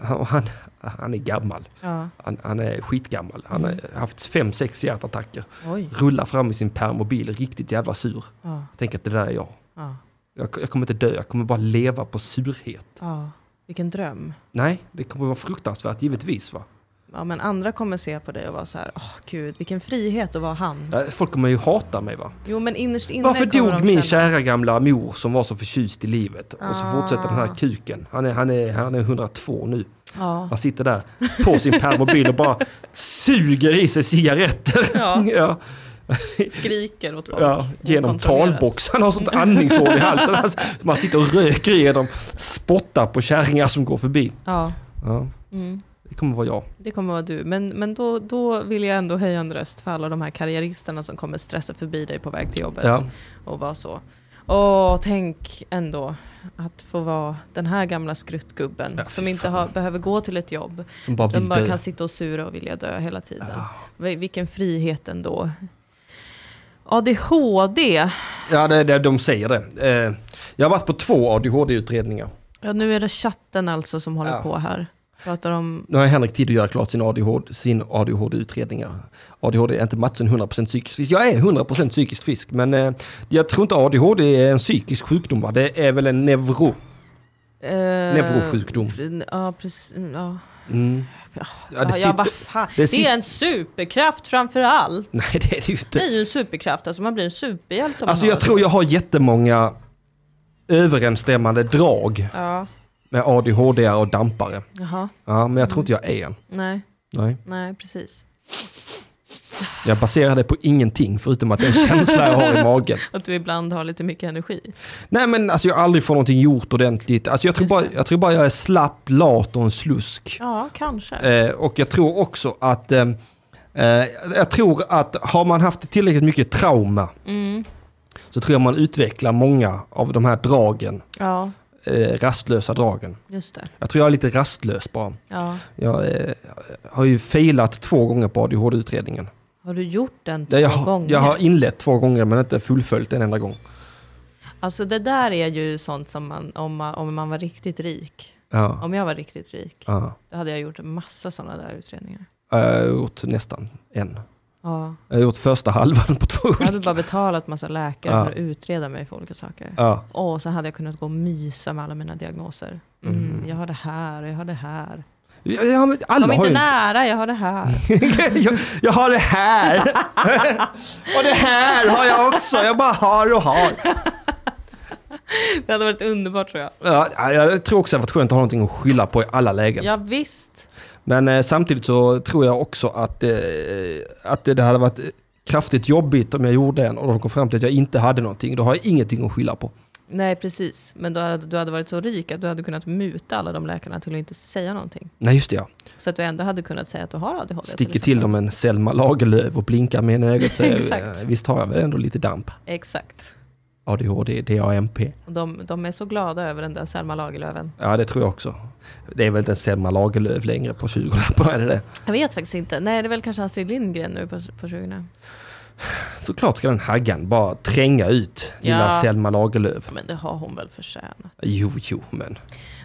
C: Han, han, han är gammal,
B: ja.
C: han, han är skitgammal. Han har
B: Mm.
C: haft fem, sex hjärtattacker.
B: Oj.
C: Rullar fram i sin permobil, riktigt jävla sur.
B: Ja.
C: Jag tänker att det där är jag.
B: Ja.
C: jag. Jag kommer inte dö, jag kommer bara leva på surhet.
B: ja. Vilken dröm.
C: Nej, det kommer vara fruktansvärt givetvis va.
B: Ja, men andra kommer se på dig och vara så här, åh gud, vilken frihet att vara han.
C: Eh, Folk kommer ju hata mig va.
B: Jo, men innerst inne
C: Varför
B: kommer
C: dog
B: de
C: min
B: känna-
C: kära gamla mor som var så förtjust i livet? Och så fortsätter den här
B: Ah.
C: kuken. Han är, han är, han är 102 nu.
B: Ja.
C: Han sitter där på sin permobil och bara suger i sig cigaretter.
B: ja,
C: Ja,
B: skriker åt folk.
C: ja, genom
B: Okontrollerat.
C: talbox. Han har sånt andningshål i halsen. Han, man sitter och röker igenom, spottar på kärringar som går förbi.
B: Ja,
C: Ja,
B: mm.
C: det kommer vara jag.
B: det kommer vara du. Men, men då, då vill jag ändå höja en röst för alla de här karriäristerna som kommer stressa förbi dig på väg till jobbet.
C: Ja.
B: och vara så. Åh, tänk ändå att få vara den här gamla skruttgubben
C: Ja, fy
B: som inte
C: fan.
B: har, behöver gå till ett jobb.
C: Som bara
B: Som
C: vill
B: bara
C: dö.
B: kan sitta och sura och vilja dö hela tiden.
C: Ja.
B: Vi- Vilken frihet ändå. ADHD,
C: Ja, det, det, de säger det. Eh, Jag har varit på två ADHD-utredningar.
B: ja, nu är det chatten alltså som håller
C: Ja.
B: på här. Pratar om,
C: Nu har Henrik tid att göra klart sin ADHD, sin ADHD-utredningar. ADHD är inte matchen 100% psykiskt frisk. Jag är 100% psykiskt frisk, men eh, jag tror inte ADHD är en psykisk sjukdom. Va? Det är väl en neuro,
B: eh,
C: neurosjukdom.
B: Ja, precis. Ja.
C: Mm.
B: Ja,
C: Ja,
B: det,
C: det
B: ja, vad
C: sitter,
B: fan.
C: det
B: det
C: sitter-
B: är en superkraft framför allt.
C: nej, det är det ju
B: Det
C: inte.
B: är ju en superkraft, alltså man blir en superhjälte om
C: Alltså
B: man
C: jag tror jag har jättemånga överensstämmande drag
B: Ja,
C: med ADHD och dampare.
B: jaha,
C: Ja, men jag tror inte jag är en.
B: nej,
C: Nej.
B: nej precis.
C: Jag baserar det på ingenting förutom att det är en känsla jag har i magen.
B: Att du ibland har lite mycket energi.
C: Nej men alltså jag har aldrig fått någonting gjort ordentligt. Alltså jag tror,
B: Just
C: bara,
B: det.
C: jag tror bara jag är slapp, lat och en slusk.
B: Ja, kanske.
C: Eh, och jag tror också att, eh, eh, jag tror att har man haft tillräckligt mycket trauma
B: Mm.
C: så tror jag man utvecklar många av de här dragen,
B: Ja,
C: eh, rastlösa dragen.
B: just det.
C: Jag tror jag är lite rastlös bara.
B: Ja.
C: Jag eh, har ju failat två gånger på ADHD-utredningen.
B: Har du gjort den två
C: Jag, har-
B: gånger?
C: jag har inlett två gånger men inte fullföljt en enda gång.
B: Alltså det där är ju sånt som man om, man, om man var riktigt rik.
C: Ja,
B: Om jag var riktigt rik,
C: ja.
B: då hade jag gjort en massa sådana där utredningar.
C: Jag har gjort nästan en.
B: Ja.
C: Jag har gjort första halvan på två
B: Jag
C: olika.
B: hade bara betalat massa läkare
C: Ja.
B: för att utreda mig för olika saker.
C: Ja.
B: Och så hade jag kunnat gå och mysa med alla mina diagnoser. Mm, Jag har det här och jag har det här.
C: Ja, ja, men alla
B: Kom
C: har
B: inte
C: ju...
B: nära, jag har det här.
C: jag, jag har det här. och det här har jag också. Jag bara har och har.
B: Det hade varit underbart tror jag.
C: Ja, jag tror också att det hade varit skönt att ha någonting att skylla på i alla lägen.
B: Ja, visst.
C: Men eh, samtidigt så tror jag också att, eh, att det hade varit kraftigt jobbigt om jag gjorde en och de kom fram till att jag inte hade någonting. Då har jag ingenting att skylla på.
B: Nej, precis. Men du hade, du hade varit så rik att du hade kunnat muta alla de läkarna till att inte säga någonting.
C: Nej, just det ja.
B: Så att du ändå hade kunnat säga att du har ADHD.
C: Sticker
B: exempel.
C: till dem en Selma Lagerlöf och blinkar med ena ögat och säger
B: Exakt.
C: eh, visst har jag väl ändå lite damp?
B: Exakt.
C: ADHD, DAMP.
B: Och de, de är så glada över den där Selma Lagerlöfen.
C: Ja, det tror jag också. Det är väl inte en Selma Lagerlöf längre på 20-lapparna, är det det?
B: Jag vet faktiskt inte. Nej, det är väl kanske Astrid Lindgren nu på, på 20
C: Såklart ska den haggan bara tränga ut lilla
B: Ja.
C: Selma Lagerlöf.
B: Men det har hon väl förtjänat.
C: Jo, jo, men...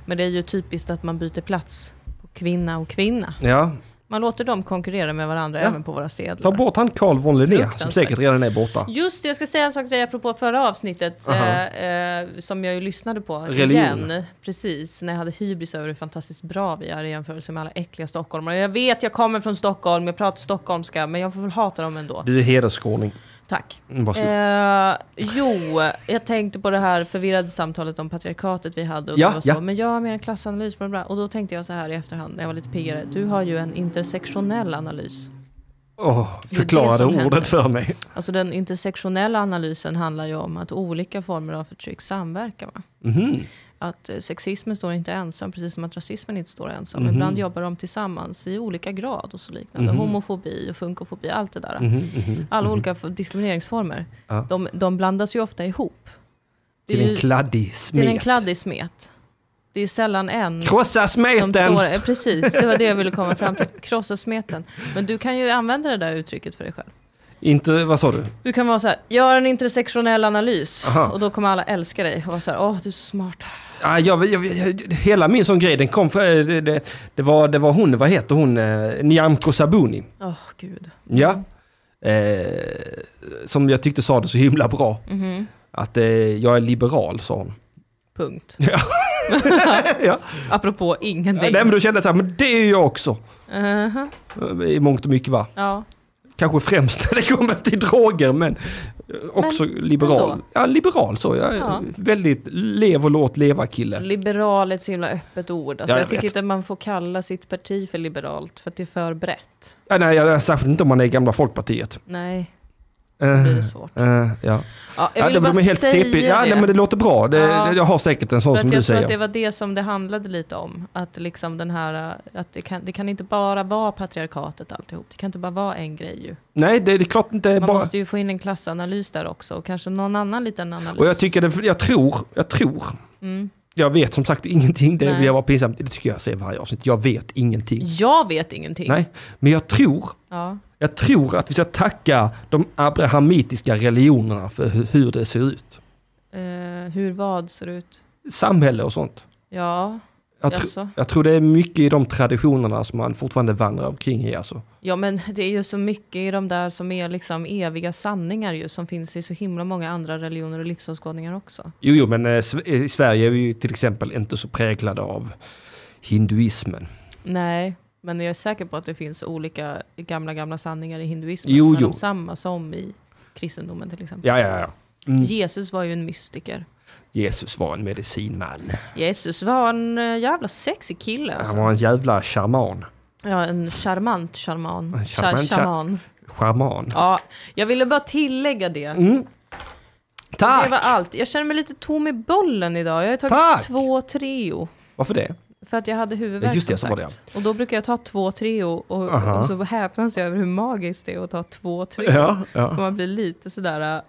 B: Men det är ju typiskt att man byter plats på kvinna och kvinna.
C: Ja,
B: Man låter dem konkurrera med varandra
C: Ja.
B: även på våra sedlar.
C: ta bort han Carl von Linné, som
B: Fruktansvärt.
C: säkert redan är borta.
B: Just det, jag ska säga en sak till dig apropå förra avsnittet eh, eh, som jag ju lyssnade på
C: Religion.
B: igen. Precis, när jag hade hybris över hur fantastiskt bra vi är i jämförelse med alla äckliga stockholmare. Jag vet, jag kommer från Stockholm, jag pratar stockholmska, men jag får väl hata dem ändå.
C: Du är hederskåning.
B: Tack.
C: Mm, varsågod.
B: Eh, jo, jag tänkte på det här förvirrade samtalet om patriarkatet vi hade. Och
C: Ja,
B: det var så,
C: ja.
B: Men jag har mer en klassanalys. Bla bla. bla. Och då tänkte jag så här i efterhand, när jag var lite piggare. Du har ju en intersektionell analys.
C: Åh,
B: det
C: förklara det
B: som
C: ordet
B: händer.
C: för mig.
B: Alltså den intersektionella analysen handlar ju om att olika former av förtryck samverkar. Va?
C: Mhm.
B: Att eh, sexismen står inte ensam, precis som att rasismen inte står ensam.
C: Mhm.
B: Ibland jobbar de tillsammans i olika grad och så liknande. Homofobi och funkofobi, allt det
C: Mhm.
B: där.
C: Mm,
B: Alla olika f- diskrimineringsformer,
C: Ja.
B: de, de blandas ju ofta ihop. Det är
C: Till en
B: ju-
C: kladdig smet.
B: till en kladdig smet. Det är sällan en
C: Krossa
B: som
C: smeten!
B: står... eh, Precis, det var det jag ville komma fram till. Krossa smeten. Men du kan ju använda det där uttrycket för dig själv.
C: Inte, vad sa du?
B: Du kan vara så här, gör en intersektionell analys
C: Aha.
B: och då kommer alla älska dig och vara så här, åh du är så smart.
C: Ah, jag, jag, jag, hela min sån grej, den kom från... eh, Det, det, det, var, det var hon, vad heter hon? Eh, Nyamko Sabuni.
B: Åh gud.
C: Ja. Eh, som jag tyckte sa det så himla bra.
B: Mm-hmm.
C: Att eh, jag är liberal, sa hon.
B: Punkt.
C: ja.
B: Apropå
C: Nej,
B: ingenting.
C: men då kände jag så här, men det är ju jag också.
B: Mhm.
C: Eh, I mångt och mycket va.
B: Ja,
C: Kanske främst när det kommer till droger, men eh, också liberal.
B: ändå.
C: Ja, liberal så. Jag är
B: Ja.
C: väldigt lev och låt leva-kille.
B: liberal är ett så himla öppet ord. Alltså,
C: Ja, jag
B: jag tycker
C: vet.
B: inte man får kalla sitt parti för liberalt för att det är för brett.
C: Ja, nej, jag, särskilt inte om man är i gamla Folkpartiet.
B: Nej,
C: Eh,
B: det är svårt.
C: eh, ja.
B: Ja, Mm. jag
C: Ja,
B: ville
C: det,
B: bara
C: de är helt
B: säga
C: CP. Ja,
B: det.
C: nej, men det låter bra. Det,
B: Ja.
C: Jag har säkert en sån
B: För
C: som
B: att
C: du
B: jag tror
C: säger.
B: att det var det som det handlade lite om. Att liksom den här, äh, att det kan, det kan inte bara vara patriarkatet alltihop. Det kan inte bara vara en grej ju.
C: Nej, det, det är klart inte
B: Man
C: bara...
B: måste ju få in en klassanalys där också och kanske någon annan liten analys.
C: Och jag tycker, det, jag tror, jag tror.
B: Mm.
C: Jag vet som sagt ingenting, det
B: Nej.
C: vill jag vara pinsam. Det tycker jag säger varje avsnitt. Jag vet ingenting.
B: Jag vet ingenting.
C: Nej, men jag tror,
B: Ja.
C: jag tror att vi ska tacka de abrahamitiska religionerna för hur, hur det ser ut.
B: Eh, hur vad ser ut?
C: Samhälle och sånt.
B: Ja,
C: Jag, tr
B: alltså.
C: jag tror det är mycket i de traditionerna som man fortfarande vandrar omkring i alltså.
B: Ja men det är ju så mycket i de där som är liksom eviga sanningar ju som finns i så himla många andra religioner och livsåskådningar också.
C: Jo, jo, men eh, Sve- i Sverige är vi ju till exempel inte så präglade av hinduismen.
B: Nej, men jag är säker på att det finns olika gamla, gamla sanningar i hinduismen
C: Jo,
B: som är
C: jo.
B: de samma som i kristendomen till exempel.
C: Ja, ja, ja. Mm.
B: Jesus var ju en mystiker.
C: Jesus var en medicinman.
B: Jesus var en eh, jävla sexig kille alltså.
C: Han var en jävla shaman.
B: Ja, en charmant charman.
C: En
B: Char-
C: charmant char-
B: shaman.
C: Shaman.
B: Ja, jag ville bara tillägga det.
C: Mm. Tack!
B: Det var allt. Jag känner mig lite tom i bollen idag. Jag har tagit
C: Tack!
B: två Treo.
C: Varför det?
B: För att jag hade huvudvärk
C: Ja, just det,
B: som
C: så var
B: sagt. Och då brukar jag ta två Treo och,
C: Aha.
B: och så häpnas jag över hur magiskt det är att ta två Treo.
C: Ja, ja.
B: Och man blir lite sådär... äh,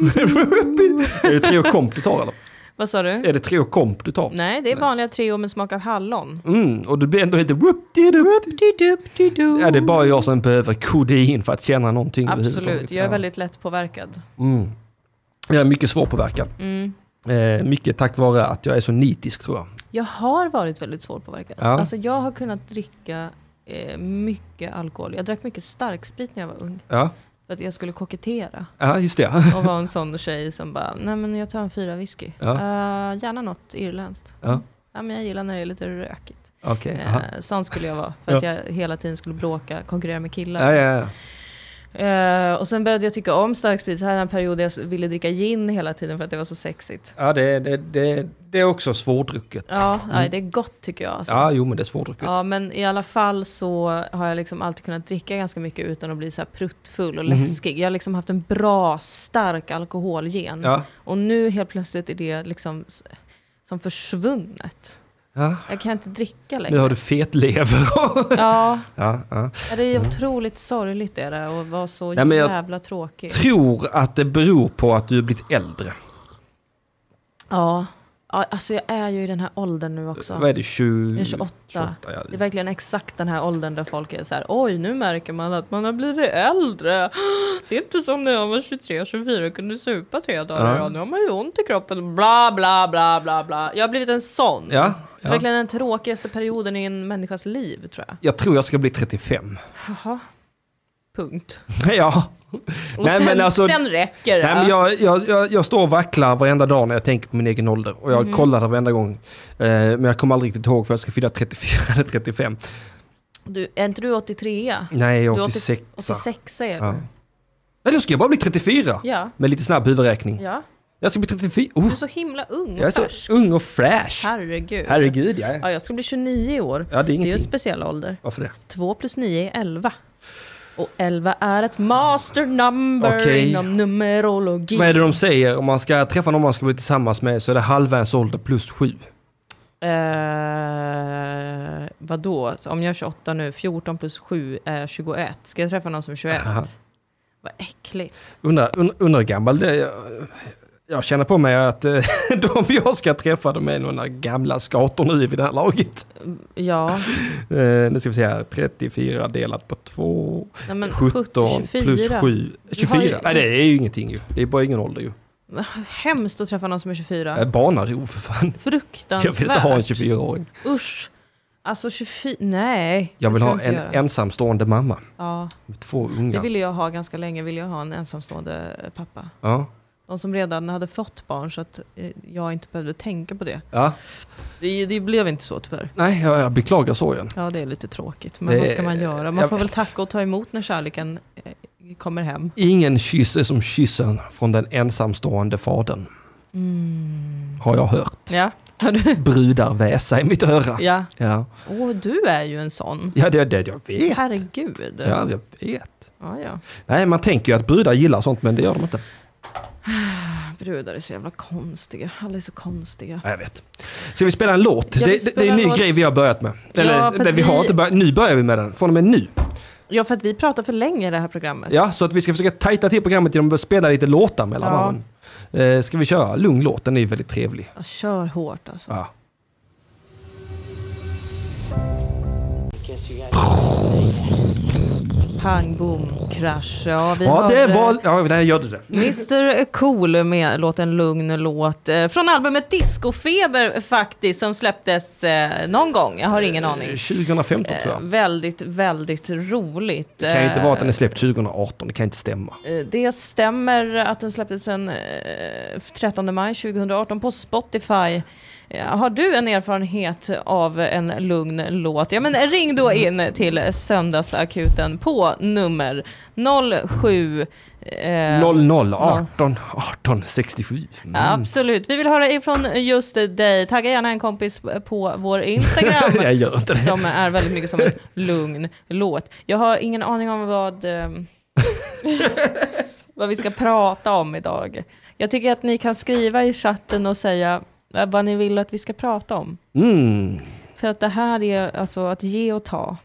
C: är det Treo Komp du tar eller?
B: Vad sa du?
C: Är det Treo Komp du tar?
B: Nej, det är vanliga Treo med smak av hallon.
C: Mm, och du blir ändå lite whoop di du
B: Di-dup-di-du.
C: Ja, det är bara jag som behöver kodein för att känna någonting
B: Absolut,
C: överhuvudtaget.
B: jag är
C: Ja.
B: väldigt lättpåverkad.
C: Mm. Jag är mycket svårpåverkad.
B: Mm.
C: Eh, mycket tack vare att jag är så nitisk tror jag.
B: Jag har varit väldigt svårpåverkad.
C: Ja.
B: Alltså jag har kunnat dricka eh, mycket alkohol. Jag drack mycket starksprit när jag var ung.
C: Ja,
B: För att jag skulle kokettera.
C: ja just det.
B: Och vara en sån tjej som bara, nej men jag tar en fyra whisky.
C: Ja.
B: Eh, gärna något irländskt.
C: Ja.
B: Ja, men jag gillar när det är lite rökigt.
C: Okej.
B: Eh,
C: aha.
B: sån skulle jag vara. För att jag hela tiden skulle bråka, konkurrera med killar.
C: Ja, ja, ja.
B: Eh, och sen började jag tycka om starksprit. Så här är en period där jag ville dricka gin hela tiden för att det var så sexigt.
C: ja det, det, det, det är också svårdrucket.
B: Ja, nej, det är gott tycker jag. Alltså.
C: Mm. Ja, jo men det är svårdrucket.
B: Ja, men i alla fall så har jag liksom alltid kunnat dricka ganska mycket utan att bli så här pruttfull
C: Mm.
B: och läskig. Jag har liksom haft en bra, stark alkoholgen.
C: Ja.
B: Och nu helt plötsligt är det liksom s- som försvunnet.
C: Ja.
B: Jag kan inte dricka längre.
C: Nu har du fetlever.
B: Ja,
C: ja, ja.
B: det är otroligt sorgligt är det och var så
C: Nej, men jag-
B: jävla tråkig.
C: Tror att det beror på att du har blivit äldre.
B: Ja. ja, alltså jag är ju i den här åldern nu också.
C: Vad är det? 20...
B: Jag är 28.
C: ja.
B: Det är verkligen exakt den här åldern där folk är så här, oj nu märker man att man har blivit äldre. Det är inte som när jag var 23, 24 och kunde supa tre dagar i
C: Ja.
B: rad. Nu har man ju ont i kroppen. Bla bla bla bla bla. Jag har blivit en sån.
C: Ja,
B: Det är
C: ja.
B: Verkligen den tråkigaste perioden i en människas liv tror jag.
C: Jag tror jag ska bli 35.
B: Jaha. Punkt.
C: ja.
B: Och
C: Nej,
B: sen,
C: men alltså-
B: sen räcker det.
C: Nej, men jag, jag, jag, jag står och vacklar varenda dag när jag tänker på min egen ålder. Och jag
B: Mhm.
C: kollar det varenda gång. Eh, men jag kommer aldrig riktigt ihåg för jag ska fylla 34 eller 35.
B: du, är inte du 83?
C: Nej, jag
B: Du
C: är
B: är
C: 86.
B: 86 är du.
C: Ja.
B: Ja.
C: Nej, då ska jag bara bli 34.
B: ja.
C: Med lite snabb huvudräkning. Jag ska bli 34. Oh,
B: Du är så himla ung
C: jag är
B: och
C: så
B: färsk.
C: ung och fräsch.
B: Herregud.
C: Herregud, jag är.
B: Ja, jag ska bli 29 i år.
C: Ja, det är
B: Det är ju en
C: ingenting.
B: speciell ålder.
C: Varför det?
B: 2 plus 9 är 11. Och 11 är ett master number
C: Okej.
B: inom numerologi.
C: Vad är det de säger? Om man ska träffa någon man ska bli tillsammans med så är det halva ens ålder plus sju.
B: Eh, vadå? Så om jag är 28 nu, 14 plus 7 är 21. Ska jag träffa någon som är 21?
C: Aha.
B: Vad äckligt.
C: Undrar und, undrar hur gammal det är. Jag- Jag känner på mig att eh, de jag ska träffa de är några gamla skator nu vid det här laget.
B: Ja,
C: Eh, nu ska vi se här, 34 delat på 2.
B: nej men
C: 17 plus 7.
B: Du har ju-
C: 24. Nej det är ju ingenting ju. Det är bara ingen ålder ju. Eh,
B: Hemskt att träffa någon som är 24.
C: Ja. Barnarov för fan.
B: Fruktansvärt.
C: Jag vill inte ha en 24-åring.
B: Usch. Alltså 24, nej.
C: Jag
B: det
C: vill
B: ska
C: ha
B: du inte
C: en
B: göra.
C: ensamstående mamma.
B: Ja,
C: Med två
B: det
C: unga.
B: ville jag ha ganska länge, ville jag ha en ensamstående pappa.
C: Ja.
B: De som redan hade fått barn så att eh, jag inte behövde tänka på det.
C: ja.
B: Det, det blev inte så tyvärr.
C: Nej, jag, jag beklagar sorgen.
B: Ja, det är lite tråkigt. Men
C: Det-
B: vad ska man göra? Man
C: jag
B: får väl
C: vet.
B: tacka och ta emot när kärleken eh, kommer hem.
C: Ingen kyss är som kyssen från den ensamstående fadern.
B: Mm.
C: Har jag hört.
B: Ja, Har du-
C: Brudar väsa i mitt öra.
B: ja.
C: Ja,
B: Åh, du är ju en sån.
C: ja det är det jag vet.
B: Herregud.
C: Ja, jag vet.
B: ja, ja.
C: Nej, man tänker ju att brudar gillar sånt, men det gör de inte.
B: Brudar är så jävla konstiga. Alla är så konstiga.
C: Ja, jag vet. Ska vi spela en låt?
B: Ja, vi
C: det, det, det är en
B: spelar
C: ny
B: en låt.
C: grej vi har börjat med. Eller,
B: Ja, för
C: nej,
B: att
C: vi har
B: vi-
C: inte börjat. Nu börjar vi med den. Från och med nu.
B: Ja, för att vi pratar för länge i det här programmet.
C: Ja, så att vi ska försöka tajta till programmet genom att spela lite låtar mellan
B: Ja.
C: varven. Eh, ska vi köra lugn låt? Den är ju väldigt trevlig.
B: Ja, Kör hårt alltså.
C: Ja.
B: Pang, boom, krasch. Ja, vi
C: Ja,
B: har,
C: det
B: eh,
C: var... Ja, där gjorde det.
B: Mr Cool med låten Lugn låt eh, från albumet Discofeber faktiskt som släpptes eh, någon gång, jag har ingen aning.
C: 2015 tror
B: Eh,
C: jag.
B: väldigt, väldigt roligt.
C: Det kan ju inte
B: Eh,
C: vara att den är släppt 2018, det kan inte stämma.
B: eh, Det stämmer att den släpptes den eh, 13 maj 2018 på Spotify. Eh, Har du en erfarenhet av en lugn låt? Ja, men ring då
C: Mm.
B: in till Söndagsakuten på nummer 07... eh,
C: 00 18 18 67.
B: Absolut. Vi vill höra ifrån just dig. Tagga gärna en kompis på vår Instagram
C: Jag gör inte det.
B: som är väldigt mycket som en lugn låt. Jag har ingen aning om vad, ehm, vad vi ska prata om idag. Jag tycker att ni kan skriva i chatten och säga eh, vad ni vill att vi ska prata om.
C: Mm.
B: För att det här är alltså att ge och ta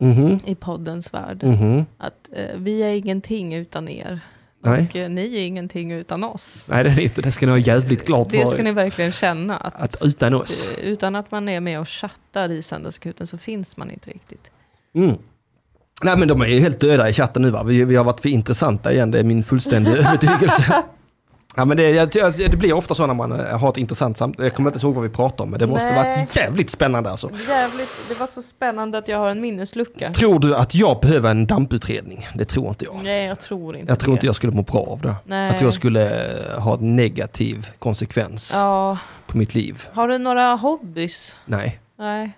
C: Mhm.
B: i poddens värld.
C: Mhm.
B: Att eh, vi är ingenting utan er.
C: Nej.
B: Och eh, ni är ingenting utan oss.
C: Nej, det är det inte. Det ska ni ha jävligt klart
B: Det
C: för
B: ska ni
C: er.
B: verkligen känna. Att
C: Att utan oss.
B: Eh, Utan att man är med och chattar i Söndagsakuten så finns man inte riktigt.
C: Mm. Nej men de är ju helt döda i chatten nu va. Vi, vi har varit för intressanta igen, det är min fullständiga övertygelse. Ja, men det, jag, jag- det blir ofta så när man eh, har ett intressant samtal. Jag kommer inte ens ihåg vad vi pratade om, men det måste
B: Nej.
C: varit jävligt spännande alltså.
B: Jävligt, det var så spännande att jag har en minneslucka.
C: Tror du att jag behöver en damputredning? Det tror inte jag.
B: Nej, jag tror inte
C: Jag tror
B: det.
C: inte jag skulle må bra av det.
B: Nej.
C: Jag tror jag skulle eh, ha en negativ konsekvens
B: Ja.
C: på mitt liv.
B: Har du några hobbys?
C: Nej.
B: Nej.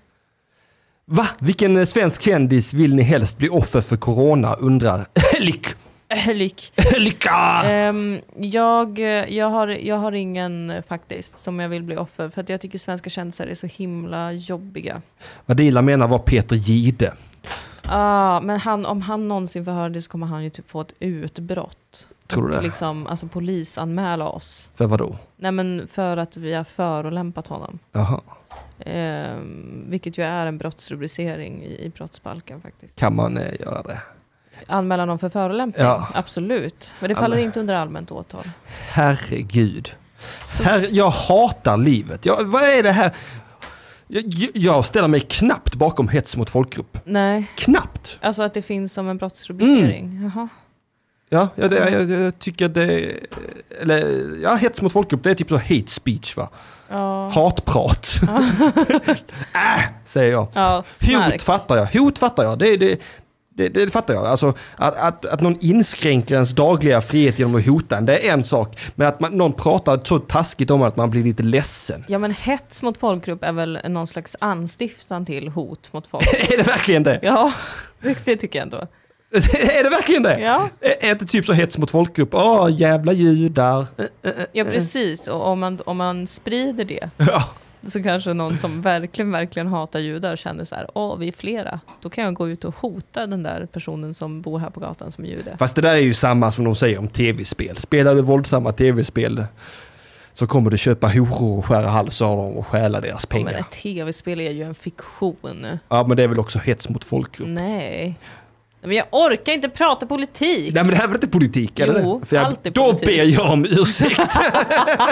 C: Va? Vilken eh, svensk kändis vill ni helst bli offer för corona? Undrar Lick.
B: Lik.
C: Lycka!
B: Ehm, jag, eh, jag, har, jag har ingen eh, faktiskt som jag vill bli offer för att jag tycker svenska kändisar är så himla jobbiga.
C: Vad Dila menar var Peter Gide.
B: Ah, men han, om han någonsin får höra det så kommer han ju typ få ett utbrott.
C: Tror du det?
B: Liksom, alltså polisanmäla oss.
C: För vadå?
B: Nej men för att vi har förolämpat honom.
C: Jaha.
B: Ehm, vilket ju är en brottsrubricering i, i brottsbalken faktiskt.
C: Kan man eh, göra det?
B: Anmäla någon för förolämpning?
C: Ja.
B: Absolut. Men det
C: Ja,
B: faller
C: men-
B: inte under allmänt åtal.
C: Herregud.
B: Så-
C: Herre, jag hatar livet. Jag, vad är det här? Jag, jag ställer mig knappt bakom hets mot folkgrupp.
B: Nej,
C: Knappt!
B: alltså att det finns som en brottsrubricering.
C: Mm.
B: Jaha.
C: Ja, jag, det, jag, jag tycker det... eh, Eller, ja, hets mot folkgrupp, det är typ så hate speech va?
B: Ja.
C: Hatprat. äh, säger jag.
B: Ja,
C: Hot
B: snark.
C: fattar jag. Hot fattar jag. Det, det, det, det fattar jag. Alltså, att, att, att någon inskränker ens dagliga frihet genom att hota en, det är en sak. Men att man, någon pratar så taskigt om att man blir lite ledsen.
B: Ja men hets mot folkgrupp är väl någon slags anstiftan till hot mot folk.
C: är det verkligen det?
B: ja, det det tycker jag ändå.
C: är det verkligen det?
B: Ja,
C: Är är inte typ så hets mot folkgrupp? Åh, jävla judar. Eh,
B: ja precis. Och om man, om man sprider det
C: Ja.
B: så kanske någon som verkligen, verkligen hatar judar känner så här, åh vi är flera, då kan jag gå ut och hota den där personen som bor här på gatan som är jude.
C: Fast det där är ju samma som de säger om tv-spel. Spelar du våldsamma tv-spel så kommer du köpa horor och skära halsar av dem och stjäla deras
B: Ja, Men
C: pengar.
B: ett tv-spel är ju en fiktion.
C: Ja, men det är väl också hets mot folkgrupp.
B: Nej. Men jag orkar inte prata politik.
C: Nej men det här är väl inte politik? Eller?
B: Jo,
C: det? För jag,
B: allt är
C: då
B: politik.
C: ber jag om ursäkt.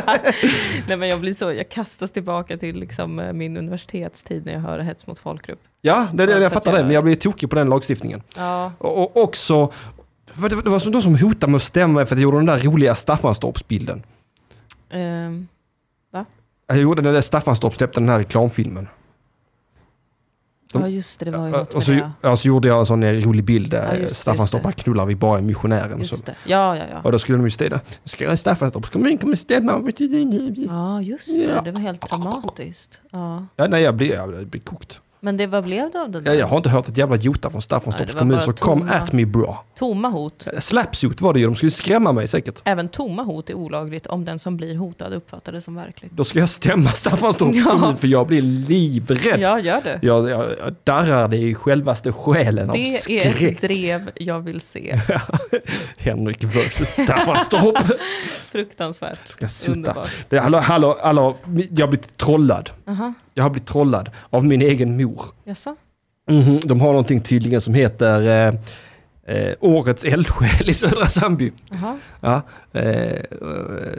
B: Nej men jag blir så, jag kastas tillbaka till liksom eh, min universitetstid när jag hör hets mot folkgrupp.
C: ja, det, det,
B: Ja, för
C: jag
B: att
C: fattar det.
B: jag-
C: Men jag blir tokig på den lagstiftningen.
B: Ja.
C: Och, och också, för det, det var som de som hotade med att stämma mig för att jag gjorde den där roliga Staffanstorps-bilden.
B: Ehm,
C: Jag gjorde den där Staffanstorp släppte den här reklamfilmen. De-
B: ja just det, det var ju något
C: Och
B: med
C: så,
B: det.
C: ja, så gjorde jag en sån där rolig bild
B: Ja,
C: där
B: just det,
C: Staffanstorp
B: just
C: bara knullar vid bara missionären. och Så.
B: Just det. Ja, ja, ja.
C: Och då skulle de ju städa. Ska Staffanstorps kommun kommer stämma?
B: Ja, just det. Det var helt dramatiskt. Ja.
C: Ja, nej, jag blir, jag blir kokt.
B: Men det, vad blev det av den där?
C: Jag, jag har inte hört ett jävla jota från
B: Nej,
C: Staffanstorps
B: det var
C: kommun,
B: bara
C: så kom
B: tomma.
C: at me bra.
B: Tomma hot.
C: Slapsuit var det ju, de skulle skrämma mig säkert.
B: Även tomma hot är olagligt om den som blir hotad uppfattar det som verkligt.
C: Då ska jag stämma Staffanstorps
B: Ja.
C: kommun för jag blir livrädd.
B: Ja, gör det.
C: Jag, jag, jag darrade i självaste själen av
B: Det är ett
C: skräck.
B: drev jag vill se.
C: Henrik versus Staffanstorp.
B: Fruktansvärt.
C: Jag sluta.
B: Underbart.
C: Det, hallå, hallå, hallå, jag har blivit trollad.
B: Aha.
C: Jag har blivit trollad av min egen mor.
B: Jaså?
C: Mhm, De har någonting tydligen som heter eh, eh, Årets eldsjäl i Södra Sandby.
B: Jaha.
C: Ja, eh, eh,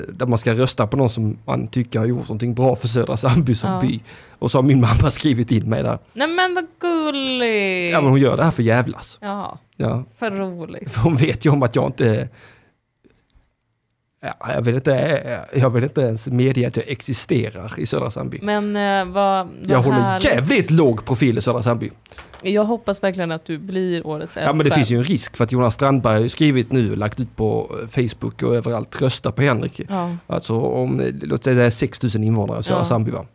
C: där man ska rösta på någon som man tycker har gjort någonting bra för Södra Sandby som
B: Ja.
C: by. Och så har min mamma skrivit in mig där.
B: Nej men vad gulligt!
C: Ja men hon gör det här för jävlas.
B: Ja,
C: Ja,
B: för roligt.
C: för hon vet ju om att jag inte... Ja, jag, vill inte jag vill inte ens medge att jag existerar i Södra Sandby.
B: Men eh, vad, vad
C: Jag håller
B: härligt.
C: jävligt låg profil i Södra Sandby.
B: Jag hoppas verkligen att du blir årets
C: Ja men det
B: eldsjäl.
C: finns ju en risk för att Jonas Strandberg har ju skrivit nu och lagt ut på eh, Facebook och överallt, rösta på Henrik.
B: Ja.
C: Alltså om, eh, låt säga det är 6 000 invånare i Södra
B: Ja.
C: Sandby va.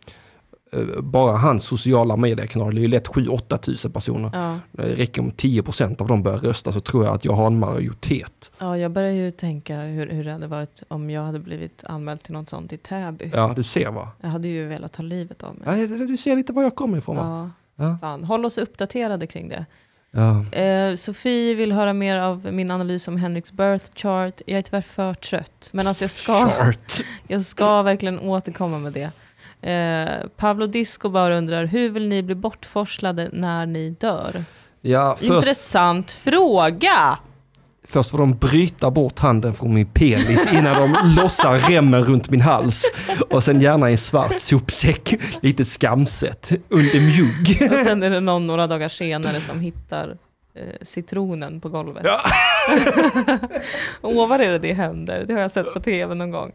C: Eh, Bara hans sociala mediekanaler är ju lätt 7-8 000 personer.
B: Ja.
C: Det räcker om 10% av dem börjar rösta så tror jag att jag har en majoritet.
B: ja, jag börjar ju tänka hur, hur det hade varit om jag hade blivit anmäld till något sånt i Täby.
C: Ja, du ser va?
B: Jag hade ju velat ta livet av mig.
C: Ja, det- det- du ser lite var jag kommer ifrån va?
B: Ja.
C: Ja.
B: Fan. Håll oss uppdaterade kring det.
C: Ja.
B: Eh, Sofie vill höra mer av min analys om Henriks birth chart. Jag är tyvärr för trött, men alltså jag ska,
C: Chart.
B: jag ska verkligen återkomma med det. Eh, Pablo Disco bara undrar, hur vill ni bli bortforslade när ni dör?
C: Ja, först,
B: Intressant fråga!
C: först får de bryta bort handen från min penis innan de lossar remmen runt min hals. Och sen gärna i en svart sopsäck, lite skamset, under mjugg.
B: Och sen är det någon några dagar senare som hittar eh, citronen på golvet.
C: Ja.
B: Ovar är det det händer. Det har jag sett på tv någon gång.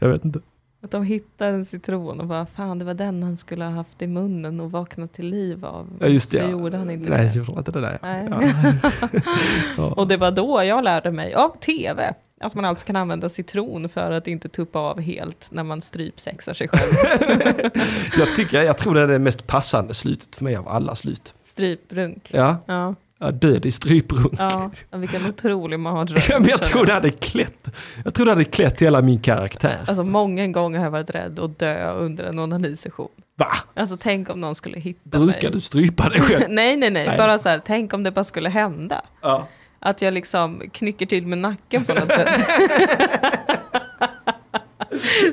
C: Jag vet inte.
B: Att de hittar en citron och bara fan det var den han skulle ha haft i munnen och vaknat till liv av.
C: Ja, just det.
B: Så
C: ja.
B: gjorde han inte
C: Nej,
B: det.
C: så gjorde han inte det där.
B: Nej.
C: Ja.
B: Och det var då jag lärde mig av tv att man alltså kan använda citron för att inte tuppa av helt när man strypsexar sig själv.
C: Jag, tycker, jag tror det är det mest passande slutet för mig av alla slut.
B: Stryprunk.
C: Ja,
B: Ja,
C: ja, död i stryprunk.
B: ja. ja vilken otrolig
C: Ja,
B: mardröm.
C: men jag tror det hade klätt. Jag tror det hade klätt hela min karaktär.
B: Alltså många gånger har jag varit rädd att dö under en onanisession.
C: Va?
B: Alltså tänk om någon skulle hitta
C: Brukar du
B: mig.
C: strypa dig själv?
B: nej, nej, nej,
C: Nej.
B: bara så här, tänk om det bara skulle hända.
C: Ja.
B: Att jag liksom knycker till med nacken på något sätt.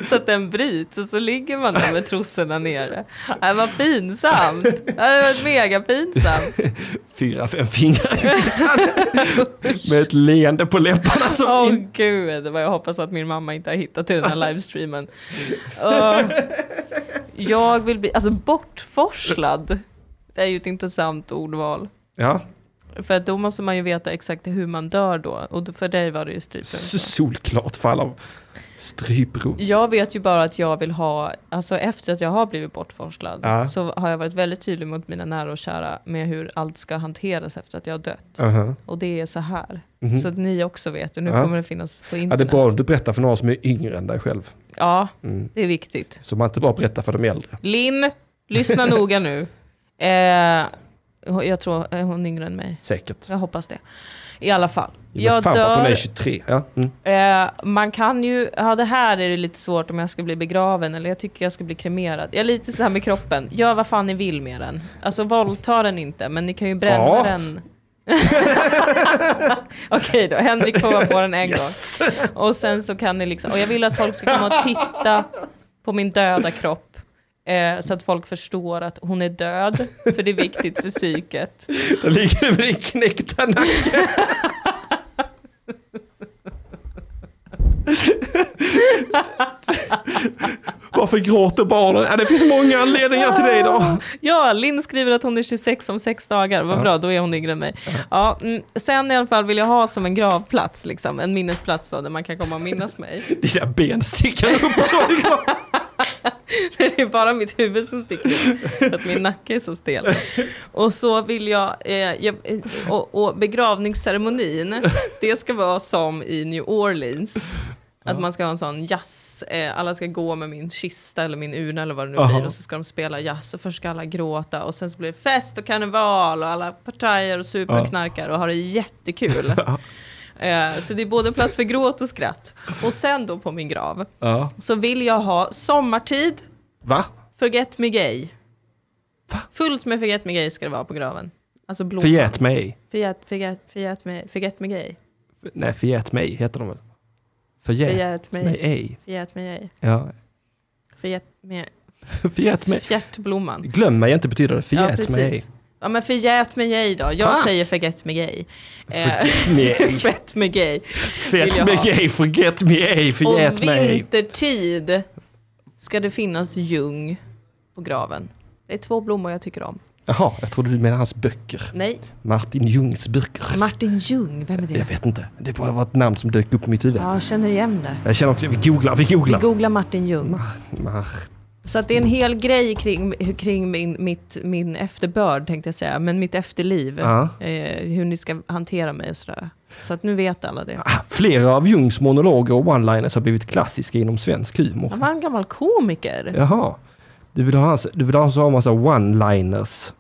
B: så att den bryts och så ligger man där med trossorna nere. Nej, vad pinsamt. Nej, Det var mega pinsamt.
C: Fyra, fem fingrar i fittan. Med ett leende på läpparna som
B: Åh
C: in...
B: gud, vad jag hoppas att min mamma inte har hittat till den här livestreamen. Åh. jag vill bli, alltså bortforslad. Det är ju ett intressant ordval.
C: Ja,
B: För att då måste man ju veta exakt hur man dör då. Och då- för dig var det ju strypen.
C: s- solklart fall av stryprunk.
B: Jag vet ju bara att jag vill ha, alltså efter att jag har blivit bortforslad
C: Ja.
B: så har jag varit väldigt tydlig mot mina nära och kära med hur allt ska hanteras efter att jag har dött.
C: Aha.
B: Och det är så här.
C: Mhm.
B: Så att ni också vet det. Nu
C: Ja.
B: kommer det finnas på
C: Ja,
B: internet.
C: det är bra att du berättar för några som är yngre än dig själv.
B: Ja,
C: Mm.
B: det är viktigt.
C: Så man inte bara berättar för de äldre.
B: Linn, lyssna noga nu. Eh, jag tror eh, hon är yngre än mig.
C: Säkert.
B: Jag hoppas det. I alla fall.
C: Jag
B: Jag
C: fan för att hon är
B: dör
C: 23. Ja. Mm.
B: Eh, man kan ju, ja det här är det lite svårt om jag ska bli begraven eller jag tycker jag ska bli kremerad. Jag är lite så här med kroppen, gör vad fan ni vill med den. Alltså våldta den inte, men ni kan ju bränna
C: Ja.
B: den. Okej då, Henrik får vara på den en
C: Yes!
B: gång. Och sen så kan ni liksom, och jag vill att folk ska komma och titta på min döda kropp. Eh, så att folk förstår att hon är död, för det är viktigt för psyket.
C: Där ligger du med din knäckta nacke. Varför gråter barnen? Ja, det finns många anledningar till det idag.
B: Ja, Linn skriver att hon är 26 om sex dagar. Vad bra, då är hon yngre än mig. Ja, mm, sen i alla fall vill jag ha som en gravplats, liksom, en minnesplats då, där man kan komma och minnas mig.
C: Dina ben sticker upp så det går.
B: Det är bara mitt huvud som sticker ut, för att min nacke är så stel. Och så vill jag, eh, jag eh, och, och begravningsceremonin, det ska vara som i New Orleans. Att man ska ha en sån jazz, eh, alla ska gå med min kista eller min urna eller vad det nu
C: Aha.
B: blir och så ska de spela jazz och först ska alla gråta och sen så blir det fest och karneval och alla partajer och super och
C: Ja.
B: knarkar och har det jättekul. eh, så det är både en plats för gråt och skratt. Och sen då på min grav
C: Ja.
B: så vill jag ha sommartid,
C: Va?
B: Forget Me Gay.
C: Va?
B: Fullt med Forget Me Gay ska det vara på graven. Alltså blå.
C: Förgät mig.
B: Forget, forget, forget, me, forget Me Gay.
C: Nej, förgät mig heter de väl? Förgät
B: Forget
C: mig
B: Me,
C: ej.
B: forget me gay.
C: Ja.
B: Forget me,
C: Förgät mig.
B: fjärtblomman.
C: Glöm mig inte betyder det. Förgät mig ej.
B: Ja men förgät me gay då. Jag
C: Fan.
B: säger Forget Me Gay. Eh,
C: Förgät mig ej.
B: Fett me gay. Vill jag
C: Fett mig
B: ha.
C: ej. Förgät mig ej. Förgät
B: Och
C: mig ej.
B: vintertid ska det finnas ljung på graven. Det är två blommor jag tycker om.
C: Jaha, jag trodde du menade hans böcker.
B: Nej,
C: Martin Ljungs böcker.
B: Martin Ljung, vem är
C: jag
B: det?
C: vet inte. Det bara var ett namn som dök upp i mitt huvud.
B: Ja, jag känner igen det.
C: Jag känner också, vi googlar, vi
B: Vi
C: googlar.
B: googlar Martin Ljung.
C: Mar-
B: Så att det är en hel grej kring, kring min, mitt, min efterbörd tänkte jag säga, men mitt efterliv.
C: Ja.
B: Eh, hur ni ska hantera mig och sådär. Så att nu vet alla det.
C: Ah, Flera av Ljungs monologer och one-liners har blivit klassiska inom svensk
B: Han
C: humor.
B: var en gammal komiker.
C: Jaha. Du vill ha, hans, du vill ha så en massa one-liners.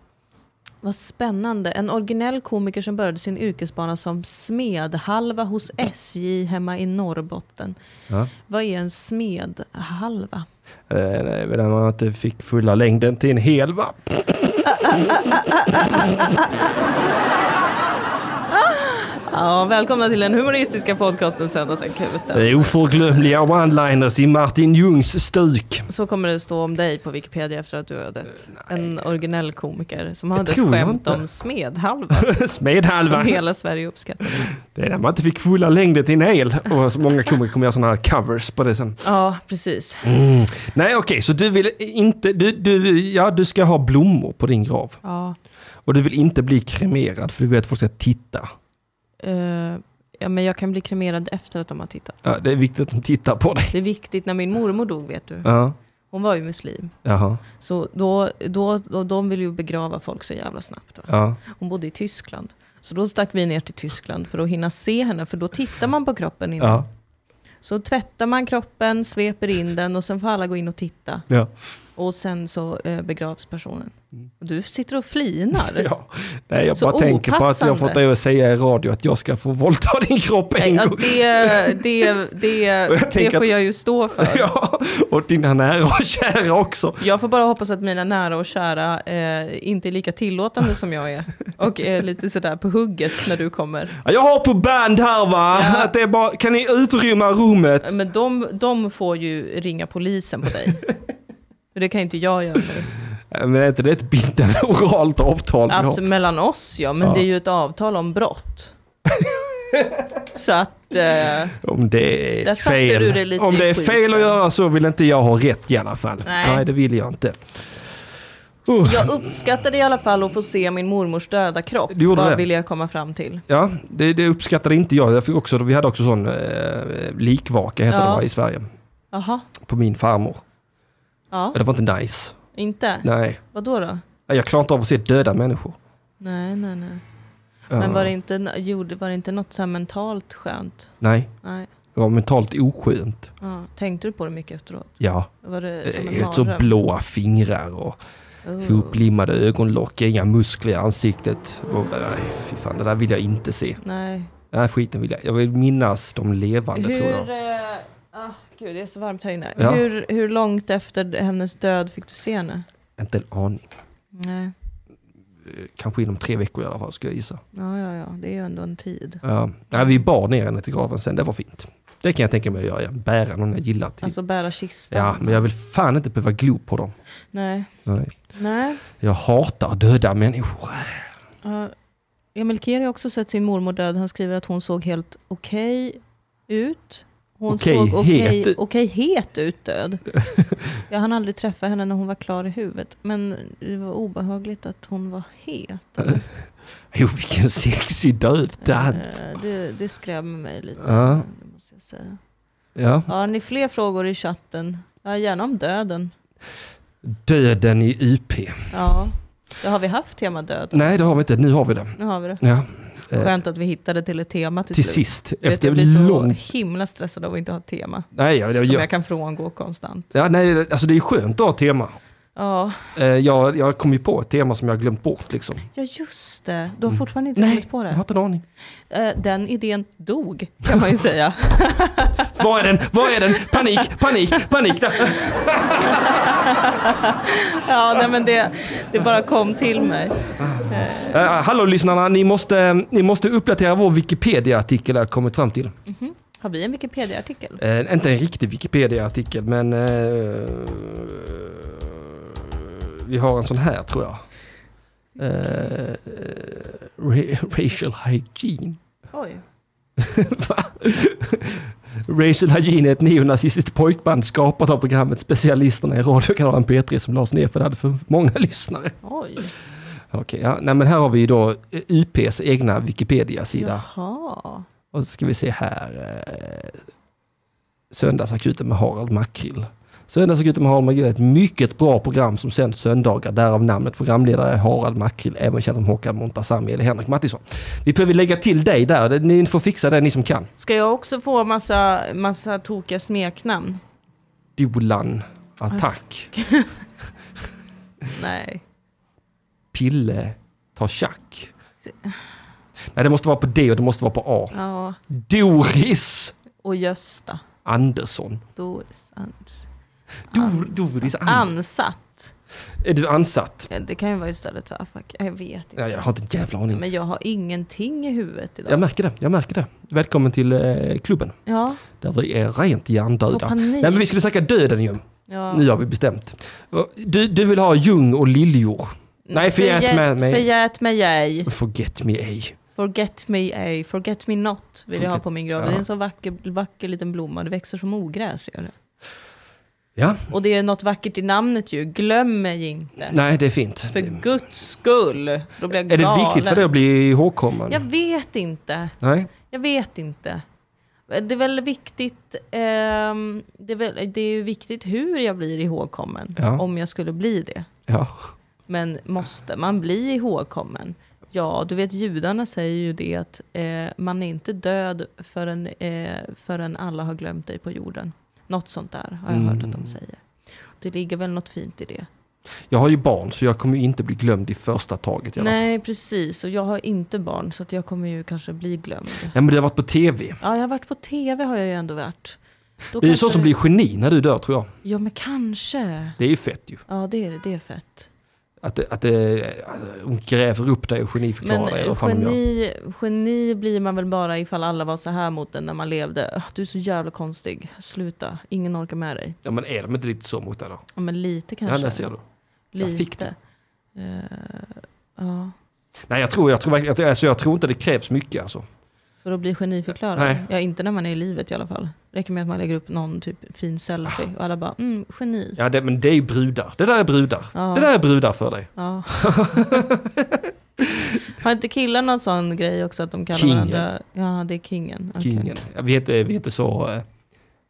B: Vad spännande. En originell komiker som började sin yrkesbana som smedhalva hos SJ hemma i Norrbotten.
C: Ja.
B: Vad är en smedhalva?
C: Eh, nej, men Där man inte fick fulla längden till en hel va?
B: Ja, Ja, välkomna till den humoristiska podcasten Söndagsakuten.
C: Oförglömliga one-liners i Martin Ljungs stuk.
B: Så kommer det stå om dig på Wikipedia efter att du har dött. En originell komiker som hade ett
C: tror Eh, jag
B: skämt
C: inte.
B: om smedhalva som
C: Smedhalvan.
B: hela Sverige uppskattar.
C: Det är när man inte fick fulla längder till en el. Och så många komiker kommer göra sådana här covers på det sen.
B: Ja, precis.
C: Nej, okej, så du vill inte... Du, du, ja, du ska ha blommor på din grav.
B: Ja,
C: Och du vill inte bli kremerad för du vill att folk ska titta.
B: eh, ja, men jag kan bli kremerad efter att de har tittat.
C: Ja, det är viktigt att de tittar på dig.
B: Det är viktigt när min mormor dog, vet du.
C: Ja,
B: Hon var ju muslim.
C: jaha,
B: Så då, då, då, de vill ju begrava folk så jävla snabbt. Va?
C: ja.
B: Hon bodde i Tyskland. Så då stack vi ner till Tyskland för att hinna se henne, för då tittar man på kroppen innan.
C: Ja,
B: Så tvättar man kroppen, sveper in den och sen får alla gå in och titta.
C: ja.
B: Och sen så eh, begravs personen. Och du sitter och flinar.
C: Mm. ja. Nej, jag
B: Så
C: bara tänker på att jag
B: opassande.
C: fått dig att säga i radio att jag ska få våldta din kropp en
B: Nej, ja,
C: gång.
B: det, det, det,
C: Och jag
B: det
C: tänker
B: får
C: att-
B: jag ju stå för.
C: Ja, och dina nära och kära också.
B: Jag får bara hoppas att mina nära och kära eh, inte är lika tillåtande som jag är. Och är lite sådär på hugget när du kommer.
C: Ja, Jag har på band här va,
B: Ja. Mm.
C: att det är bara, kan ni utrymma rummet?
B: Men de, de får ju ringa polisen på dig. Men det kan ju inte jag göra nu.
C: Nej, Men är inte det ett bindande oralt avtal vi
B: Abs-
C: har?
B: mellan oss ja, men
C: Ja.
B: det är ju ett avtal om brott. Så att, eh,
C: Om det är
B: Där satte du det
C: fel.
B: lite
C: Om det
B: i
C: är fel att
B: skiten.
C: göra så vill inte jag ha rätt i alla fall.
B: Nej.
C: Nej, det vill jag inte. Uh,
B: jag uppskattade i alla fall att få se min mormors döda kropp.
C: Du gjorde
B: Vad
C: det.
B: vill jag komma fram till?
C: Ja, det, det uppskattade inte jag. jag fick också, vi hade också sån eh, likvaka heter
B: Ja.
C: det va, i Sverige.
B: Jaha,
C: På min farmor.
B: ja,
C: Det var inte nice.
B: inte?
C: Nej.
B: Vad då då?
C: Jag klarar inte av att se döda människor. Eh,
B: Nej, nej, nej.
C: Ja.
B: Men var det inte, gjorde, var det inte något så här mentalt skönt?
C: Nej,
B: Nej.
C: det var mentalt oskönt.
B: Ja. Tänkte du på det mycket efteråt?
C: Ja,
B: Var det som en
C: helt så
B: mardröm?
C: blåa fingrar och
B: Oh.
C: Hoplimmade ögonlock, inga muskler i ansiktet. Och, nej, fy fan, det där vill jag inte se.
B: Nej.
C: Den här skiten vill jag. Jag vill minnas de levande tror
B: Hur...
C: jag.
B: eh, ah, gud, det är så varmt här inne.
C: Ja.
B: Hur, hur långt efter hennes död fick du se henne?
C: Inte en aning.
B: Nej.
C: Eh, Kanske inom tre veckor i alla fall, ska jag gissa.
B: Ja, ja, ja, det är ju ändå en tid.
C: Ja. nej, vi bar ner henne till graven sen, det var fint. Det kan jag tänka mig att göra, ja. bära någon jag gillar till.
B: Alltså bära kistan.
C: ja, men jag vill fan inte behöva glo på dem.
B: Nej.
C: Nej.
B: Nej.
C: Jag hatar döda människor.
B: Ja. Emil Keri har också sett sin mormor död. Han skriver att hon såg helt okej ut. Hon
C: Okej,
B: såg okej
C: het.
B: okay, het ut död. Jag hann aldrig träffa henne när hon var klar i huvudet. Men det var obehagligt att hon var het.
C: Jo, vilken sexig död. Det-
B: Eh, Det, det skrämmer mig lite.
C: Ja.
B: Det måste jag säga.
C: Ja.
B: Ja, har ni fler frågor i chatten? Ja, gärna om döden.
C: Döden i UP.
B: Ja. Det har vi haft tema döden.
C: Nej, det har vi inte. Nu har vi det.
B: Nu har vi det.
C: Ja. Eh,
B: Skönt att vi hittade till ett tema till,
C: Till
B: slut.
C: sist,
B: Du vet,
C: efter
B: jag blir
C: lång
B: så himla stressad av att inte ha ett tema.
C: Nej, jag, jag,
B: som
C: jag,
B: jag kan frångå konstant.
C: ja, nej, alltså det är skönt att ha ett tema.
B: Ja,
C: Eh, jag, jag kom ju på ett tema som jag glömt bort liksom.
B: ja just det. Du har fortfarande inte
C: Mm. Nej,
B: kommit på
C: jag har
B: det.
C: inte en aning.
B: Eh, Den idén dog, kan man ju säga.
C: Var är den? Var är den? Panik, panik, panik! Där.
B: Ja, nej, men det, det bara kom till mig.
C: Eh, hallå lyssnarna, ni måste, eh, ni måste uppdatera vår Wikipedia-artikel jag har kommit fram till.
B: Har vi en Wikipedia-artikel?
C: Eh, inte en riktig Wikipedia-artikel, men eh, vi har en sån här tror jag. Eh, eh, ra- racial hygiene.
B: Oj.
C: Va? Racial Hygiene är ett neonazistiskt pojkband skapat av programmet Specialisterna i radiokanalen P3 som lades ner för det hade för många lyssnare.
B: Oj.
C: Okej, ja. Nej, men här har vi ju då eh, UPs egna Wikipedia-sida.
B: Jaha.
C: Och så ska vi se här. Eh, Söndagsakuten med Harald Makrill. Söndagsakuten med Harald Makrill är ett mycket bra program som sänds söndagar, därav namnet programledare är Harald Makrill, även känd som Håkan Montazami eller Henrik Mattisson. Vi behöver lägga till dig där, Det- ni får fixa det ni som kan.
B: Ska jag också få massa, massa tokiga smeknamn?
C: Dolan, attack,
B: Nej.
C: pille, ta tjack.
B: Se-
C: Nej, det måste vara på D och det måste vara på A.
B: Ja.
C: Doris
B: Och Gösta.
C: Andersson.
B: Doris Anders.
C: Dor, Doris Andersson.
B: Ansatt.
C: Är du ansatt?
B: Ja, Det kan ju vara istället för afak. Jag vet inte.
C: Ja, jag har inte en jävla aning.
B: Men jag har ingenting i huvudet idag.
C: Jag märker det, jag märker det. Välkommen till eh, klubben.
B: Ja,
C: Där vi är rent
B: Åh,
C: hjärndöda.
B: panik.
C: Nej men vi skulle snacka döden ju.
B: ja.
C: Nu har vi bestämt. Och Du, du vill ha Jung och liljor. Nej, förgät med mig.
B: Förgät mig ej.
C: Forget me ej.
B: Forget me ej. Forget me not vill jag ha
C: Forget-
B: på min grav.
C: ja.
B: Det är en så vacker, vacker liten blomma. Det växer som ogräs. Gör det.
C: Ja,
B: Och det är något vackert i namnet ju. Glöm mig inte.
C: nej det är fint.
B: För guds skull. För Då blir jag
C: Är det
B: galen.
C: viktigt för dig att bli ihågkommen?
B: Jag vet inte.
C: Nej.
B: Jag vet inte. Det är väl viktigt, ehm, det, är väl, det är ju viktigt hur jag blir ihågkommen.
C: Ja.
B: Om jag skulle bli det.
C: Ja.
B: Men måste man bli ihågkommen? Ja, du vet judarna säger ju det att eh, man är inte död förrän, eh, förrän alla har glömt dig på jorden. Något sånt där har jag hört att
C: Mm.
B: de säger. Det ligger väl något fint i det.
C: Jag har ju barn så jag kommer ju inte bli glömd i första taget i alla fall.
B: Nej, precis. Och jag har inte barn så att jag kommer ju kanske bli glömd.
C: Nej men du har varit på TV.
B: Ja, jag har varit på tv har jag ju ändå varit. Då
C: Det är ju
B: kanske
C: så som blir geni när du dör tror jag.
B: Ja, men kanske.
C: Det är ju fett ju.
B: Ja, det är det. Det är fett.
C: Att, det- att, det- att de gräver upp dig och geniförklarar
B: Men
C: dig. eller vad fan de gör.
B: geni, geni blir man väl bara ifall alla var så här mot en när man levde. "Öh, Du är så jävla konstig. Sluta. Ingen orkar med dig.
C: Ja, men är de inte lite så mot dig då?
B: Ja, men lite
C: Ja,
B: kanske.
C: där ser du.
B: lite.
C: jag fick det.
B: Eh, ja,
C: Nej jag tror, jag tror, verkligen- jag, tror- alltså, jag tror inte det krävs mycket alltså.
B: för att bli geniförklarad.
C: Nej.
B: Ja, inte när man är i livet i alla fall. Räcker med att man lägger upp någon typ fin selfie och alla bara mm, geni.
C: Ja, det, men det är ju brudar. Det där är brudar.
B: Ja.
C: Det där är brudar för dig.
B: Ja. Har inte killar någon sån grej också att de kallar
C: Kingen.
B: varandra? Ja, det är kingen. Okej.
C: Kingen. Ja, Vi, är inte, vi är inte så... eh,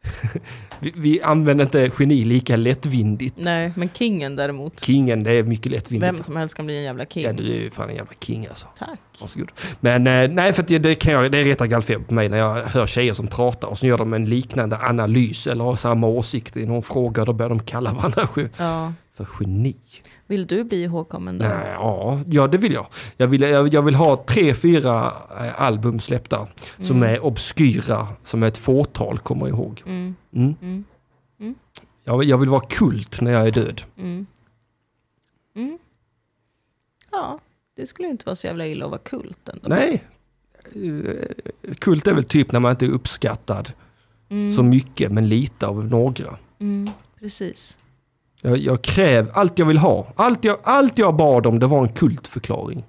C: vi, vi använder inte geni lika lättvindigt.
B: Nej, men kingen däremot.
C: Kingen, det är mycket
B: Vem
C: lättvindigt.
B: som helst kan bli en jävla king.
C: Ja, du är ju fan en jävla king alltså.
B: Tack.
C: Varsågod. Men eh, nej, för att det, det, kan jag, det retar gallfeber på mig när jag hör tjejer som pratar och så gör de en liknande analys eller har samma åsikt i någon fråga. Då börjar de kalla varandra ge-
B: Ja.
C: för geni.
B: Vill du bli ihågkommen då?
C: Nej, ja, ja, det vill jag. Jag vill, jag, jag vill ha tre, fyra eh, album släppta som är obskyra, som ett fåtal kommer ihåg.
B: Mm,
C: Mm.
B: Mm. Mm.
C: Jag, vill- jag vill vara kult när jag är död.
B: mm. Mm. Ja, det skulle ju inte vara så jävla illa att vara kult ändå.
C: Nej, Eh, kult är väl typ när man inte är uppskattad
B: Mm,
C: så mycket men lite av några.
B: mm, precis.
C: Jag, jag kräver allt jag vill ha. Allt jag, allt jag bad om det var en kultförklaring.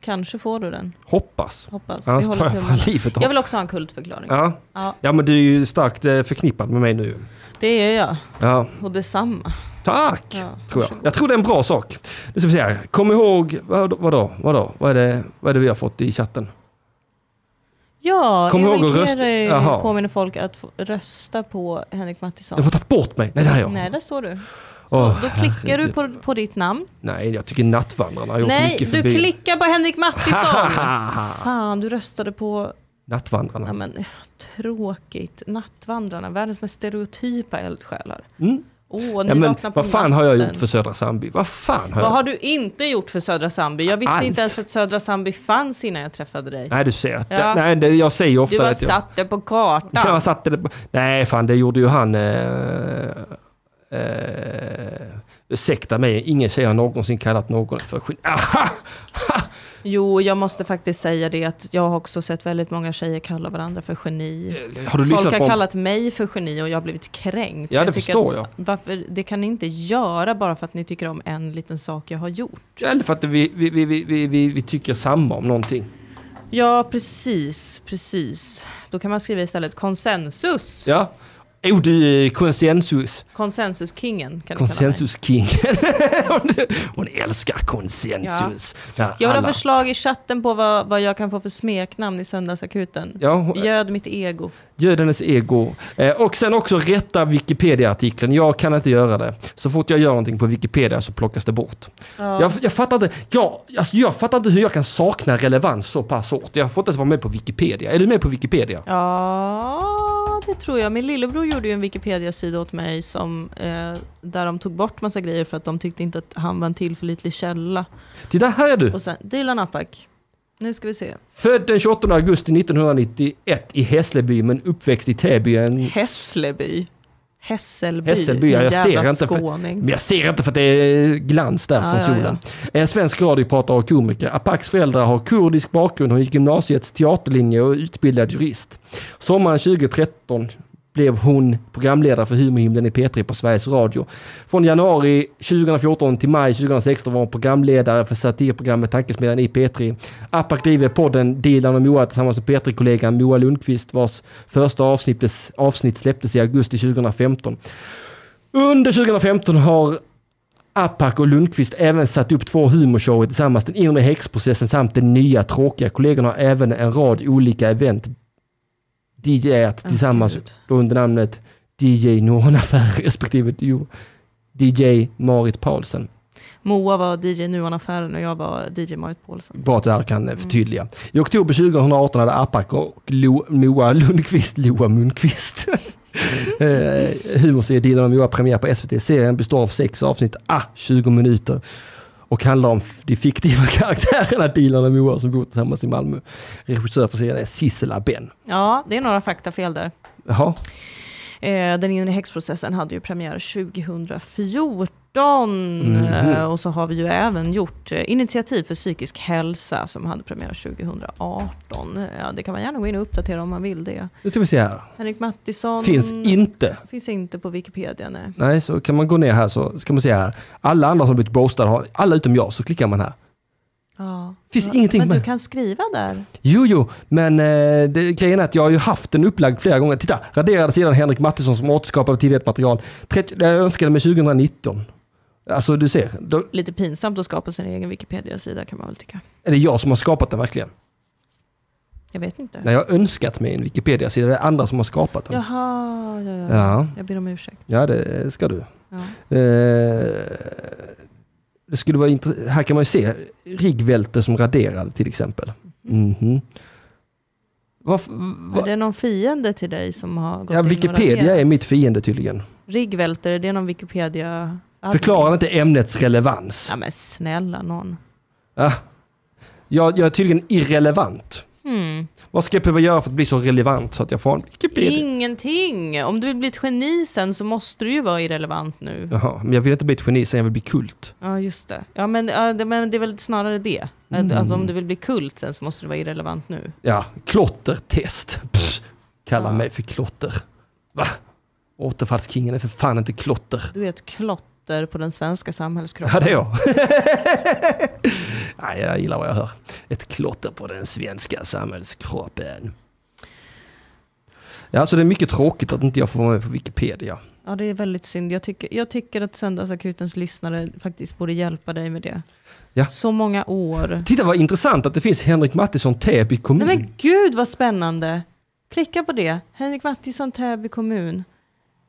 B: Kanske får du den,
C: Hoppas.
B: hoppas.
C: Annars
B: håller
C: tar jag
B: tummarna.
C: fan livet
B: jag
C: av
B: vill också ha en kultförklaring. Ja.
C: ja. ja, men du är ju starkt eh, förknippad med mig nu.
B: det är jag.
C: Ja.
B: Och detsamma.
C: Tack!
B: Ja,
C: tror jag.
B: varsågod.
C: jag tror det är en bra sak. Nu ska vi se här. Kom ihåg, vadå, vadå, vadå? Vad, är det, vad är det vi har fått i chatten?
B: Ja,
C: Kom
B: Emil
C: ihåg att rösta-
B: Keri
C: Jaha.
B: påminner folk att få rösta på Henrik Mattisson.
C: De har tagit bort mig. Nej, där är jag.
B: Nej,
C: Nej,
B: där står du. Så,
C: Åh,
B: då klickar du
C: herregud.
B: på, på ditt namn.
C: jag tycker Nattvandrarna har gjort
B: Nej,
C: mycket
B: du
C: förbi.
B: klickar på Henrik Mattisson!
C: Ah.
B: Fan, du röstade på...
C: Nattvandrarna.
B: Nej, men, tråkigt. Nattvandrarna, världens mest stereotypa eldsjälar.
C: Mm.
B: Åh,
C: Ja,
B: ni
C: men,
B: vaknar på
C: vad fan har jag
B: natten.
C: gjort för Södra Sandby? Vad fan har
B: Vad
C: jag
B: har du inte gjort för Södra Sandby? Jag visste
C: Allt.
B: inte ens att Södra Sandby fanns innan jag träffade dig.
C: Nej, du ser.
B: Ja.
C: Nej, det, jag säger ofta
B: du har
C: att jag...
B: satt det på kartan.
C: Jag satte det på... Nej, fan det gjorde ju han... Eh, eh, ursäkta mig, ingen tjej har någonsin kallat någon för skit. Aha!
B: Jo, jag måste faktiskt säga det att jag har också sett väldigt många tjejer kalla varandra för geni.
C: Har du
B: Folk
C: lyssnat på...
B: har kallat mig för geni och jag har blivit kränkt.
C: Ja,
B: För
C: det
B: tycker
C: förstår
B: att, Varför, det kan ni inte göra bara för att ni tycker om en liten sak jag har gjort.
C: Ja, Eller för att vi, vi, vi, vi, vi, vi, vi tycker samma om någonting.
B: Ja, precis, precis. Då kan man skriva istället konsensus.
C: Ja. Jo, du är konsensus.
B: Konsensuskingen kan du kalla mig.
C: Konsensuskingen. Hon älskar konsensus. Ja.
B: Jag vill
C: alla-
B: ha förslag i chatten på vad, vad jag kan få för smeknamn i Söndagsakuten.
C: Ja, hon-
B: Göd mitt ego.
C: Göd hennes ego. Eh, och sen också rätta Wikipedia-artikeln. Jag kan inte göra det. Så fort jag gör någonting på Wikipedia så plockas det bort. Jag, jag, fattar inte, jag, alltså, jag fattar inte hur jag kan sakna relevans så pass hårt. Jag får inte ens vara med på Wikipedia. Är du med på Wikipedia?
B: Ja, det tror jag. Min lillebror gjorde ju en Wikipedia-sida åt mig som, eh, där de tog bort massa grejer för att de tyckte inte att han var en tillförlitlig källa.
C: Titta, här är du!
B: Och sen, Dilan Apak. Nu ska vi se.
C: Född den 28 augusti 1991 i Hässleby men uppväxt i Täby. En...
B: Hässleby. Hässelby.
C: Hässelby,
B: din
C: ja, jag
B: jävla
C: ser inte för-
B: skåning.
C: Men jag ser inte för att det är glans där
B: Ja,
C: från
B: ja,
C: solen. En svensk radiopratar och komiker. Apaks föräldrar har kurdisk bakgrund. Hon gick gymnasiets teaterlinje och är utbildad jurist. Sommaren 2013 blev hon programledare för Humorhimlen i P3 på Sveriges Radio. Från januari 2014 till maj 2016 var hon programledare för satirprogrammet Tankesmedjan i P3. Apak driver podden Dilan och Moa tillsammans med P3-kollegan Moa Lundqvist vars första avsnitt, avsnitt släpptes i augusti 2015. Under 2015 har Apak och Lundqvist även satt upp två humorshower tillsammans. Den inre häxprocessen samt den nya tråkiga. Kollegorna har även en rad olika event DJat tillsammans
B: gud.
C: då under namnet DJ Noran Affär respektive jo, DJ Marit Paulsen.
B: Moa var DJ Nuon-affären och jag var DJ Marit Paulsen.
C: Bra att jag kan eh, förtydliga. I oktober 2018 hade Apak och Lo, Moa Lundqvist, Loa Munkvist, eh, humorserien Dilan och Moa premiär på SVT. Serien består av sex avsnitt, ah, 20 minuter och handlar om de fiktiva karaktärerna Dilan och Moa som bor tillsammans i Malmö. Regissör för serien är Sissela Benn.
B: Ja, det är några faktafel där.
C: Jaha,
B: Eh, den inre häxprocessen hade ju premiär 2014.
C: Mhm.
B: Eh, och så har vi ju även gjort eh, initiativ för psykisk hälsa som hade premiär 2018. Eh, Ja, det kan man gärna gå in och uppdatera om man vill det.
C: nu ska vi se här.
B: Henrik Mattisson
C: Finns inte.
B: finns inte på Wikipedia, nej.
C: Nej, så kan man gå ner här så ska man se här. Alla andra som blivit boastade har, alla utom jag, så klickar man här.
B: Ja.
C: Finns ingenting
B: Men
C: med.
B: du kan skriva där.
C: Jo, jo, men eh, det, grejen är att jag har ju haft den upplagd flera gånger. Titta, raderade sidan Henrik Mattisson som återskapade tidigare material. 30, jag önskade mig 2019. Alltså du ser, då
B: Lite pinsamt att skapa sin egen Wikipedia-sida kan man väl tycka.
C: är det jag som har skapat den verkligen.
B: Jag vet inte.
C: När jag har önskat mig en Wikipedia-sida, det är andra som har skapat den.
B: Jaha, ja, ja, ja.
C: Ja,
B: Jag ber om ursäkt.
C: ja det ska du.
B: Ja.
C: Eh, det skulle vara intressant. Här kan man ju se Rigvelte som raderade till exempel. Mhm. Varför,
B: Är
C: va?
B: det någon fiende till dig som har gått
C: Ja,
B: in och
C: Wikipedia
B: raderat?
C: är mitt fiende tydligen.
B: Riggvälter, är det någon Wikipedia?
C: Förklarar inte ämnets relevans.
B: Ja, men snälla någon.
C: Ah. Jag, jag är tydligen irrelevant.
B: Hmm.
C: Vad ska jag behöva göra för att bli så relevant så att jag får en Wikipedia?
B: Ingenting! Om du vill bli ett geni sen så måste du ju vara irrelevant nu. Ja,
C: Jaha, men jag vill inte bli ett geni, sen jag vill bli kult.
B: just det. Ja, men, ja, det, men det är väl snarare det. Att,
C: Mm.
B: att om du vill bli kult sen så måste du vara irrelevant nu.
C: Ja, klottertest. Pff, kalla
B: Ja.
C: mig för klotter. Va? Återfallskingen är för fan inte klotter.
B: Du är ett klotter på den svenska samhällskroppen.
C: Ja, det är jag. Nej, jag gillar vad jag hör. Ett klotter på den svenska samhällskroppen. Ja, alltså det är mycket tråkigt att inte jag får vara med på Wikipedia.
B: Ja, det är väldigt synd. Jag tycker, jag tycker att Söndagsakutens lyssnare faktiskt borde hjälpa dig med det.
C: Ja.
B: Så många år.
C: Titta vad intressant att det finns Henrik Mattisson, Täby kommun.
B: Nej men gud vad spännande! Klicka på det. Henrik Mattisson, Täby kommun.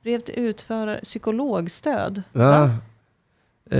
B: Brev till utförare, psykologstöd.
C: Ja.
B: Va?
C: Eh,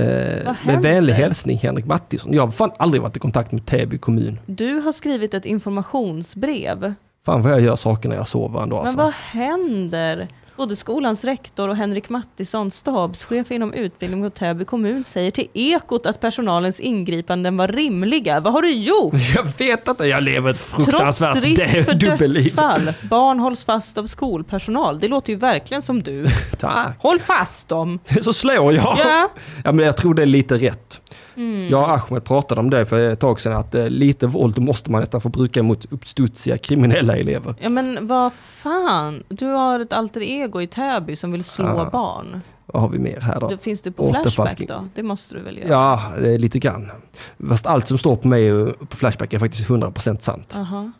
B: Vad
C: med
B: händer?
C: vänlig hälsning Henrik Mattisson. Jag har fan aldrig varit i kontakt med Täby kommun.
B: Du har skrivit ett informationsbrev.
C: Fan vad jag gör saker när jag sover ändå alltså.
B: Men vad händer? Både skolans rektor och Henrik Mattisson, stabschef inom utbildning på Täby kommun, säger till Ekot att personalens ingripanden var rimliga. Vad har du gjort?
C: Jag vet inte, jag lever ett
B: Trots
C: fruktansvärt
B: risk
C: dä-
B: för
C: dubbelliv.
B: dödsfall. Barn hålls fast av skolpersonal. Det låter ju verkligen som du.
C: Tack.
B: Håll fast dem!
C: Så slår jag.
B: Ja. Mm.
C: Ja, men jag tror det är lite rätt. Jag och Ahmed pratade om det för ett tag sedan att eh, lite våld måste man nästan få bruka mot uppstudsiga kriminella elever.
B: Ja men vad fan, du har ett alter ego i Täby som vill slå
C: Ja.
B: barn.
C: Vad har vi mer här då?
B: Då finns du på
C: Återfalsk-
B: Flashback då? Det måste du väl göra?
C: Ja, det är lite grann. Fast allt som står på mig eh, på Flashback är faktiskt 100% sant.
B: Aha.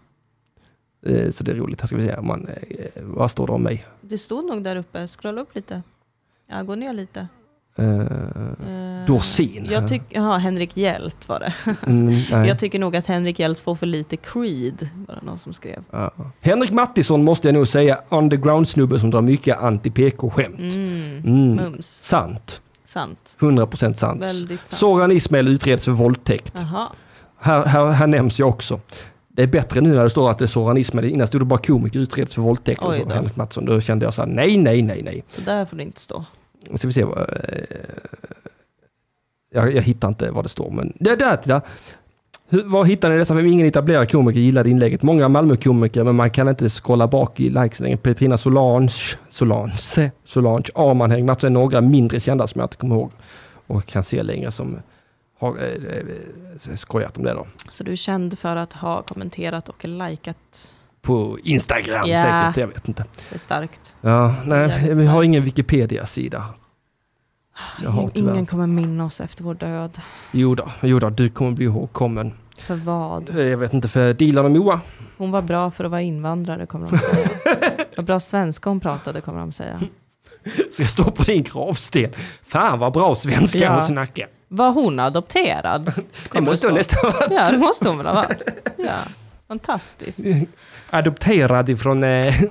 C: Eh, Så det är roligt. Här ska vi se. om Man, eh, vad står det om mig?
B: Det stod nog där uppe, scrolla upp lite. Ja, gå ner lite.
C: Eh,
B: Eh,
C: Dorsin.
B: Jag tycker, ja Henrik Hjält var det.
C: Mm, nej.
B: Jag tycker nog att Henrik Hjält får för lite creed, var det någon som skrev.
C: Ja. Henrik Mattisson måste jag nog säga. Underground-snubbe som drar mycket anti-PK-skämt.
B: Mm.
C: Mm.
B: Mums,
C: Sant.
B: sant.
C: 100% sant.
B: Väldigt sant.
C: Soran Ismail utreds för våldtäkt.
B: Jaha.
C: Här, här, här nämns jag också. Det är bättre nu när det står att det är Soran Ismail. Innan stod det bara komiker utreds för våldtäkt. och
B: Oj
C: så
B: då.
C: Henrik Mattisson. Då kände jag så här, nej, nej, nej, nej.
B: Så där får det inte stå.
C: Nu ska vi se. vad, eh, Jag, jag hittar inte vad det står, men det där, titta. Hur, var hittar ni dessa? Ingen etablerad komiker gillade inlägget. Många Malmö-komiker, men man kan inte scrolla bak i likeslängden. Petrina Solange, Solange, Solange, Arman Hängmattsson är några mindre kända som jag inte kommer ihåg och kan se längre som har eh, eh, skojat om det då.
B: Så du är känd för att ha kommenterat och likat.
C: På Instagram
B: Ja.
C: säkert, jag vet inte.
B: Det är starkt.
C: Ja, nej,
B: Jävligt
C: vi har
B: starkt.
C: ingen Wikipedia-sida. Jag har
B: Ingen
C: tyvärr.
B: kommer minna oss efter vår död.
C: Jo då, jo då, du kommer bli ihågkommen.
B: För vad?
C: Eh, Jag vet inte, för Dilan och Moa.
B: Hon var bra för att vara invandrare, kommer de säga. Vad bra svenska hon pratade, kommer de säga.
C: Ska jag stå på din gravsten? Fan vad bra svenska
B: Ja.
C: hon snackar.
B: Var hon adopterad?
C: Det
B: Kommer
C: måste hon
B: stå.
C: nästan vara.
B: Ja, det måste hon väl ha varit. Ja. Fantastiskt.
C: Adopterad ifrån... Eh,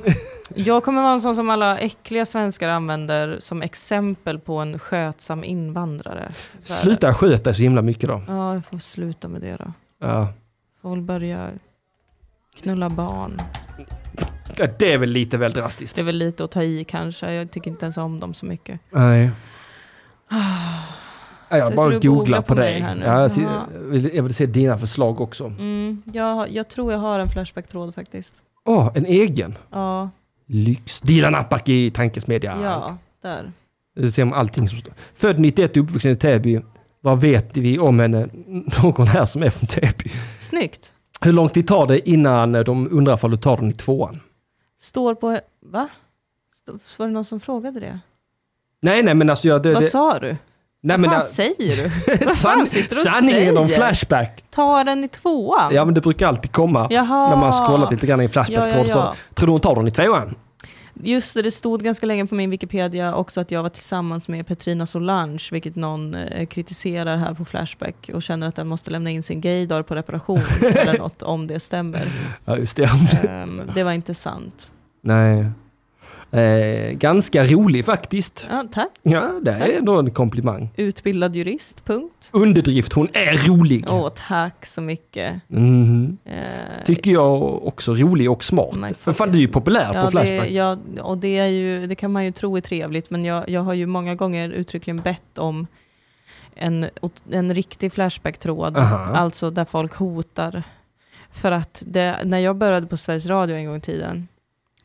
B: Jag kommer vara en sån som alla äckliga svenskar använder som exempel på en skötsam invandrare. Så här.
C: sluta sköta så himla mycket då.
B: Ja, jag får sluta med det då.
C: Ja.
B: Får väl börja knulla barn.
C: Ja, det är väl lite väl drastiskt.
B: Det är väl lite att ta i kanske. Jag tycker inte ens om dem så mycket.
C: Nej. Ja,
B: Ah. Så
C: jag
B: du
C: bara
B: googlar
C: googlar på,
B: på mig
C: dig.
B: här nu.
C: Ja, jag, ser-
B: Jaha.
C: jag vill, jag vill se dina förslag också.
B: Mm, jag, jag tror jag har en Flashback-tråd faktiskt.
C: Åh, en egen.
B: Ja,
C: Lyx. Dilan Apak i Tankesmedja.
B: ja, där.
C: Du ser om allting som står. Född 91, uppvuxen i Täby. Vad vet vi om henne? Någon här som är från Täby.
B: Snyggt.
C: Hur lång tid tar det innan de undrar ifall du tar den i tvåan?
B: Står på... Va? Stå- Var det någon som frågade det?
C: Nej, nej, men alltså jag... Det,
B: Vad
C: det,
B: sa du?
C: nej,
B: Vad
C: men,
B: fan
C: äh,
B: säger du? Vad
C: san-
B: fan sitter du och
C: sanningen
B: säger?
C: om Flashback.
B: Ta den i tvåan.
C: Ja, men det brukar alltid komma
B: Jaha.
C: när man scrollat lite grann i en flashback
B: Ja, ja, ja.
C: Tror du hon tar den i tvåan?
B: Just det, det stod ganska länge på min Wikipedia också att jag var tillsammans med Petrina Solange, vilket någon eh, kritiserar här på Flashback och känner att den måste lämna in sin gaydar på reparation eller något om det stämmer.
C: Ja, just det.
B: Ehm, det var inte sant.
C: nej. Eh, ganska rolig faktiskt.
B: Ja, tack.
C: Ja, det är ändå en komplimang.
B: Utbildad jurist, punkt.
C: Underdrift, hon är rolig.
B: Åh, tack så mycket.
C: Mhm.
B: Eh,
C: Tycker jag också rolig och smart.
B: Nej,
C: Men fan, du är ju populär på
B: Ja, det,
C: Flashback.
B: ja, och det, är ju, det kan man ju tro är trevligt, men jag, jag har ju många gånger uttryckligen bett om en, ot- en riktig Flashback-tråd,
C: Aha.
B: alltså där folk hotar. För att det, när jag började på Sveriges Radio en gång i tiden,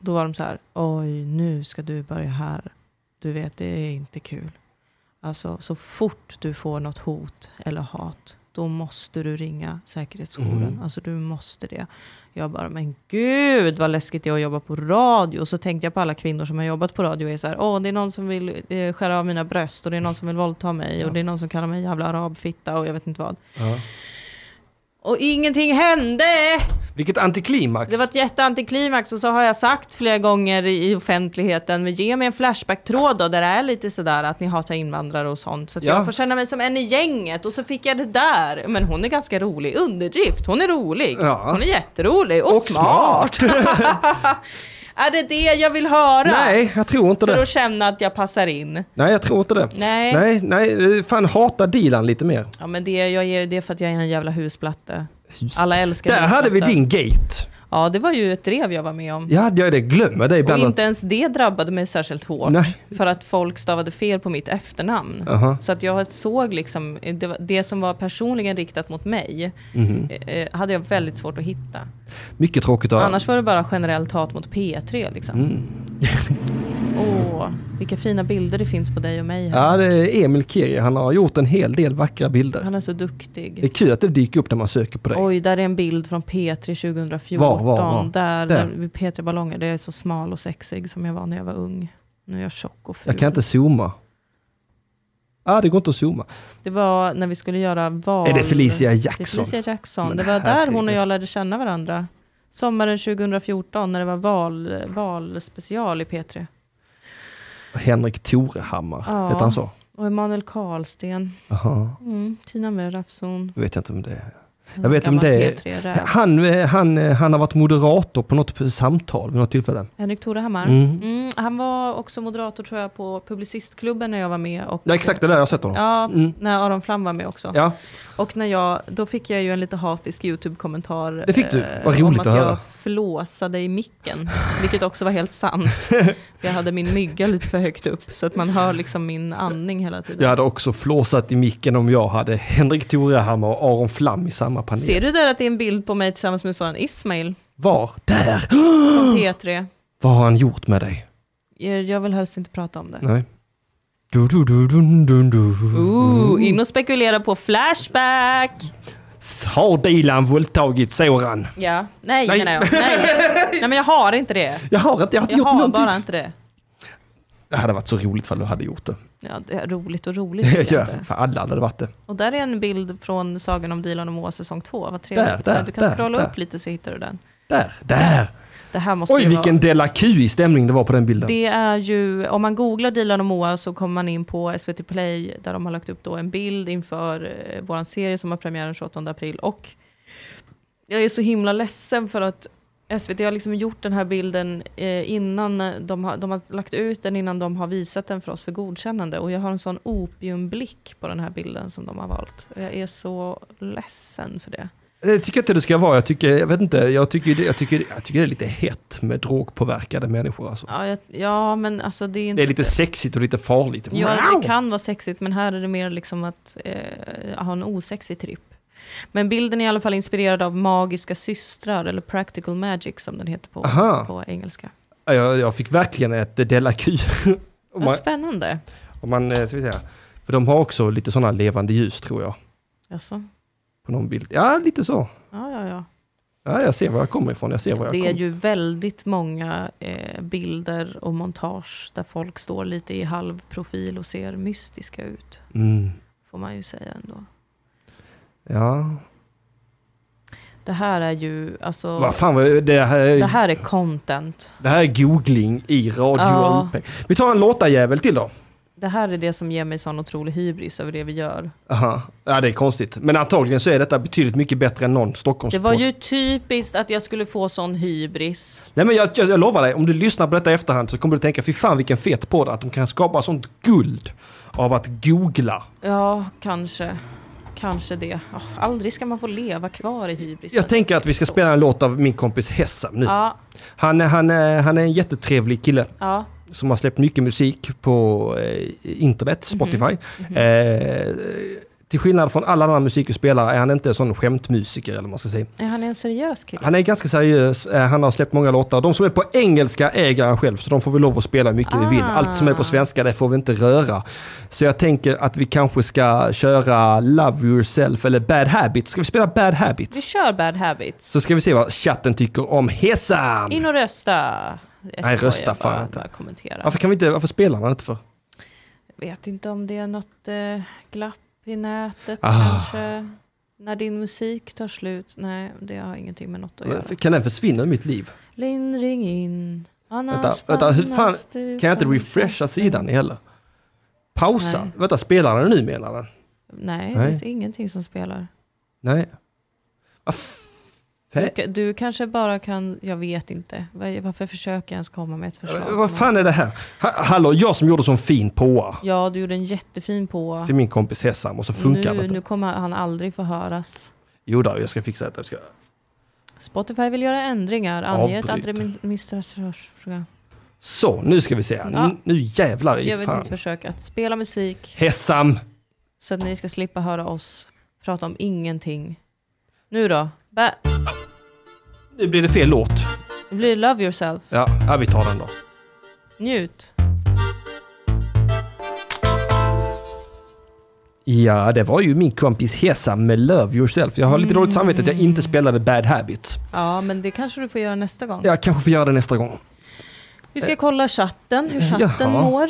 B: då var de så här, oj, nu ska du börja här. Du vet, det är inte kul. Alltså, så fort du får något hot eller hat, då måste du ringa säkerhetsskolan. Alltså, du måste det. Jag bara, men gud vad läskigt det är att jobba på radio. Och så tänkte jag på alla kvinnor som har jobbat på radio och är så här, åh det är någon som vill eh, skära av mina bröst och det är någon som vill våldta mig och det är någon som kallar mig jävla arabfitta och jag vet inte vad.
C: Ja.
B: Och ingenting hände!
C: Vilket antiklimax.
B: Det var ett jätteantiklimax och så har jag sagt flera gånger i i offentligheten, men ge mig en flashback-tråd då där det är lite sådär att ni hatar invandrare och sånt. Så att
C: Ja.
B: jag får känna mig som en i gänget och så fick jag det där. Men hon är ganska rolig, underdrift, hon är rolig.
C: Ja.
B: Hon är jätterolig och,
C: Och
B: smart. är det det jag vill höra?
C: Nej, jag tror inte
B: För
C: det.
B: att känna att jag passar in.
C: Nej, jag tror inte det.
B: Nej.
C: nej, nej eh, fan hata Dilan lite mer.
B: Ja men det, jag är, det är för att jag är en jävla husplatte. Alla älskar
C: Där hade vi
B: husplatte.
C: din gate.
B: Ja det var ju ett drev jag var med om.
C: Ja, jag det glömmer det
B: Och
C: ibland.
B: inte ens det drabbade mig särskilt hårt.
C: Nej.
B: För att folk stavade fel på mitt efternamn.
C: Aha.
B: Så att jag såg liksom, det, var- det som var personligen riktat mot mig,
C: Mhm.
B: eh, eh, hade jag väldigt svårt att hitta.
C: Mycket tråkigt att
B: Annars var det bara generellt hat mot P3 liksom.
C: Mm.
B: Åh, vilka fina bilder det finns på dig och mig här.
C: Ja, det är Emil Kirja. Han har gjort en hel del vackra bilder.
B: Han är så
C: Det är
B: duktig.
C: kul att det dyker upp när man söker på dig.
B: Oj, där är en bild från P3 2014.
C: Var, var, var?
B: Där,
C: Där.
B: där. vid P3 Ballonger. Det är så smal och sexig som jag var när jag var ung. Nu är jag tjock och ful.
C: jag kan inte zooma. Ah, det går inte att zooma.
B: Det var när vi skulle göra val.
C: Är det Felicia
B: Det är
C: Jackson?
B: Felicia Jackson.
C: Men
B: Det var där hon och
C: herregud.
B: jag lärde känna varandra. Sommaren 2014 när det var val, valspecial i P3.
C: Henrik Torehammar,
B: Ja.
C: heter han så?
B: Och Emanuel Karlsten.
C: Aha.
B: Mm, Tina Mer Rafson.
C: Jag vet inte om det är. Jag vet om det är. Han, eh, han, eh, han har varit moderator på något samtal vid något tillfälle.
B: Henrik Torehammar.
C: Mm.
B: Mm. han var också moderator tror jag på Publicistklubben när jag var med. Och,
C: Ja, exakt det där jag har sett honom.
B: Ja,
C: Mm.
B: när Aron Flam var med också.
C: Ja,
B: Och när jag, då fick jag ju en lite hatisk YouTube-kommentar.
C: Det fick du.
B: eh,
C: Vad roligt
B: om att,
C: att höra.
B: jag flåsade i micken, vilket också var helt sant. För jag hade min mygga lite för högt upp, så att man hör liksom min andning hela tiden.
C: jag hade också flåsat i micken om jag hade Henrik Torehammar och Aron Flam i samma samma panel.
B: Ser du där att det är en bild på mig tillsammans med sådan Ismail
C: Var? Där!
B: från P3?
C: Vad har han gjort med dig?
B: Jag jag vill helst inte prata om det.
C: Nej. Du, du, du, dun, dun, du. Mm.
B: Ooh, in och spekulera på Flashback!
C: Har Dilan våldtagit Soran?
B: Ja, nej,
C: Nej.
B: menar jag. Nej. nej men jag har inte det.
C: Jag har inte, jag har inte
B: Jag
C: gjort
B: har
C: någonting.
B: bara inte det.
C: Det hade varit så roligt ifall du hade gjort det.
B: Ja, det är roligt och roligt.
C: Ja,
B: vet jag inte.
C: för alla hade varit det.
B: Och där är en bild från Sagan om Dilan och Moa säsong 2. Vad
C: Där,
B: trevligt.
C: där,
B: du kan
C: där,
B: scrolla
C: där.
B: upp lite så hittar du den.
C: Där, där!
B: Det här måste
C: Oj,
B: ju
C: vilken
B: vara...
C: Dela Q stämning det var på den bilden.
B: Det är ju, om man googlar Dilan och Moa så kommer man in på SVT Play där de har lagt upp då en bild inför eh, vår serie som har premiär den 28 april. Och jag är så himla ledsen för att SVT har liksom gjort den här bilden eh, innan de har, de har lagt ut den innan de har visat den för oss för godkännande. Och jag har en sån opiumblick på den här bilden som de har valt. Jag är så ledsen för det.
C: Det tycker jag inte det ska vara. Jag tycker, jag vet inte, jag tycker, det- jag tycker, jag tycker det är lite hett med drogpåverkade människor alltså.
B: Ja, jag, ja men alltså det är inte...
C: Det är lite sexigt och lite farligt.
B: Ja, det kan vara sexigt, men här är det mer liksom att eh, ha en osexig tripp. Men bilden är i alla fall inspirerad av Magiska systrar, eller Practical Magic som den heter på,
C: Aha.
B: på engelska.
C: Ja, Jag, jag fick verkligen ett Dela Q. om man,
B: Vad spännande.
C: om man, eh, ska vi säga. För de har också lite sådana levande ljus tror jag.
B: Jaså?
C: På någon bild. Ja, lite så.
B: Ja, ja, ja.
C: Ja, jag ser var jag kommer ifrån. Jag ser var jag
B: Det är
C: kommer
B: ju väldigt många eh, bilder och montage där folk står lite i halvprofil och ser mystiska ut.
C: mm.
B: Får man ju säga ändå.
C: Ja,
B: Det här är ju, alltså,
C: vad fan var det? Det här,
B: det här är content.
C: det här är googling i radio
B: Ja.
C: LP. Vi tar en låtarjävel till då.
B: Det här är det som ger mig sån otrolig hybris över det vi gör.
C: Aha. Ja, det är konstigt. Men antagligen så är detta betydligt mycket bättre än någon Stockholms
B: Det var ju typiskt att jag skulle få sån hybris.
C: Nej men jag, jag, jag lovar dig, om du lyssnar på detta i efterhand så kommer du tänka fy fan vilken fet podd att de kan skapa sånt guld av att googla.
B: Ja, kanske. Kanske det. Åh, aldrig ska man få leva kvar i hybris.
C: Jag tänker att vi ska spela en låt av min kompis Hessam nu.
B: Ja,
C: Han, är- han, är- han är en jättetrevlig kille
B: ja.
C: som har släppt mycket musik på eh, internet,
B: Mhm.
C: Spotify. Eh, till skillnad från alla andra musikerspelare är han inte en sån skämtmusiker eller vad man ska säga.
B: Nej, Han är en seriös kille.
C: Han är ganska seriös, eh, han har släppt många låtar. De som är på engelska äger han själv, så de får vi lov att spela hur mycket vi vill.
B: Ah.
C: Allt som är på svenska, det får vi inte röra. Så jag tänker att vi kanske ska köra Love Yourself eller Bad Habits. Ska vi spela Bad
B: Vi
C: Habits?
B: kör Bad Habits.
C: Så ska vi se vad chatten tycker om Hesam!
B: In och rösta. Jag skojar
C: rösta fan
B: bara,
C: inte.
B: Bara kommentera.
C: Varför, kan vi inte, varför spelar man inte för?
B: Jag vet inte om det är något eh, glapp i nätet
C: Ah.
B: kanske. När din musik tar slut. Nej, det har ingenting med något att göra.
C: Kan den försvinna ur mitt liv?
B: Lindring in. Annars
C: Vänta, vänta, hur fan
B: famnas du
C: kan jag inte
B: fram-
C: refresha sidan heller? Pausa?
B: Mm. Nej.
C: Vänta, spelar den nu menar den?
B: Nej,
C: Nej.
B: det är ingenting som spelar.
C: Nej. Vad
B: Du,
C: fan?
B: ka- du kanske bara kan, jag vet inte. Var- Varför försöker jag ens komma med ett förslag?
C: Vad fan är det här? Ha- Hallå, jag som gjorde sån fin påa
B: Ja, du gjorde en jättefin på.
C: till min kompis Hesam och så funkar det
B: Nu,
C: inte.
B: nu kommer han aldrig få höras.
C: Jo då, jag ska fixa detta. Jag ska...
B: Spotify vill göra ändringar. Ange ett
C: Avbryt.
B: administratörsprogram.
C: Så, nu ska vi se. här.
B: Ja.
C: N- Nu jävlar
B: Gör
C: i
B: vi ett
C: fan.
B: nytt försök att spela musik
C: Hesam!
B: så att ni ska slippa höra oss prata om ingenting. Nu då? Ba-
C: Nu blir det fel låt.
B: nu blir det Love Yourself.
C: Ja, ja vi tar den då.
B: Njut.
C: Ja, det var ju min kompis Hesam med Love Yourself. Jag har lite dåligt samvete att jag inte
B: Mm.
C: spelade Bad Habits.
B: Ja, men det kanske du får göra nästa gång.
C: Jag kanske får göra det nästa gång.
B: Vi ska kolla chatten, hur chatten
C: Jaha.
B: mår.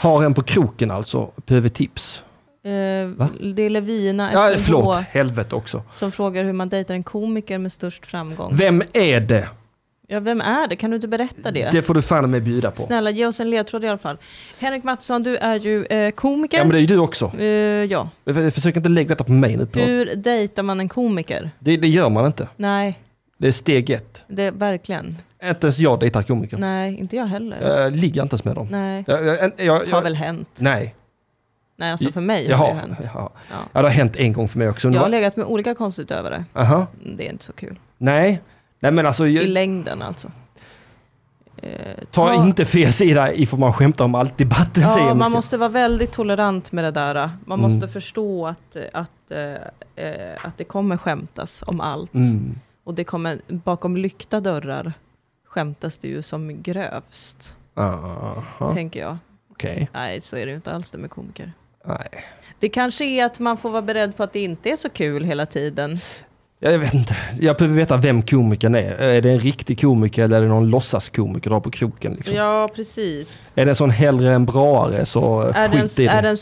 C: Har en på kroken alltså, behöver tips.
B: Eh,
C: Va?
B: det är Levina
C: Ja,
B: SMH
C: förlåt, helvete också.
B: som frågar hur man dejtar en komiker med störst framgång.
C: Vem är det?
B: Ja, vem är det? Kan du inte berätta det?
C: Det får du fan mig bjuda på.
B: Snälla, ge oss en ledtråd i alla fall. Henrik Mattsson, du är ju eh, komiker.
C: Ja, men det är ju du också.
B: Eh, ja.
C: Försök inte lägga detta på mig nu. På
B: Hur dejtar man en komiker?
C: det, det gör man inte.
B: Nej,
C: Det är steg ett.
B: det, verkligen.
C: Inte ens jag dejtar komiker.
B: Nej, inte jag heller.
C: Jag ligger inte ens med dem.
B: Nej,
C: Jag, jag, Eh, jag,
B: har
C: jag,
B: väl hänt.
C: nej.
B: Nej, alltså för mig har
C: Jaha.
B: det hänt.
C: Ja.
B: Ja.
C: ja, det har hänt en gång för mig också.
B: Jag har
C: Var,
B: legat med olika konstutövare.
C: aha.
B: Det är inte så kul.
C: Nej. Nej men alltså,
B: I
C: jag,
B: längden alltså.
C: Ta
B: Ja.
C: inte fel sida i får man skämta om allt debatten säger
B: Ja, man
C: mycket. Mm.
B: måste vara väldigt tolerant med det där. äh. Man måste förstå att, äh, att, eh, eh, att det kommer skämtas om allt.
C: Mm.
B: Och det kommer, bakom lyckta dörrar skämtas det ju som grövst,
C: Aha,
B: tänker jag.
C: Okej.
B: Nej, så är det ju inte alls det med komiker.
C: Nej.
B: Det kanske är att man får vara beredd på att det inte är så kul hela tiden.
C: Jag vet inte. Jag behöver veta vem komikern är. Är det en riktig komiker eller är det någon låtsaskomiker du har på kroken? Liksom?
B: Ja, precis.
C: Är det en sån hellre än braare så eh,
B: Är
C: skit i
B: den,
C: det.
B: är den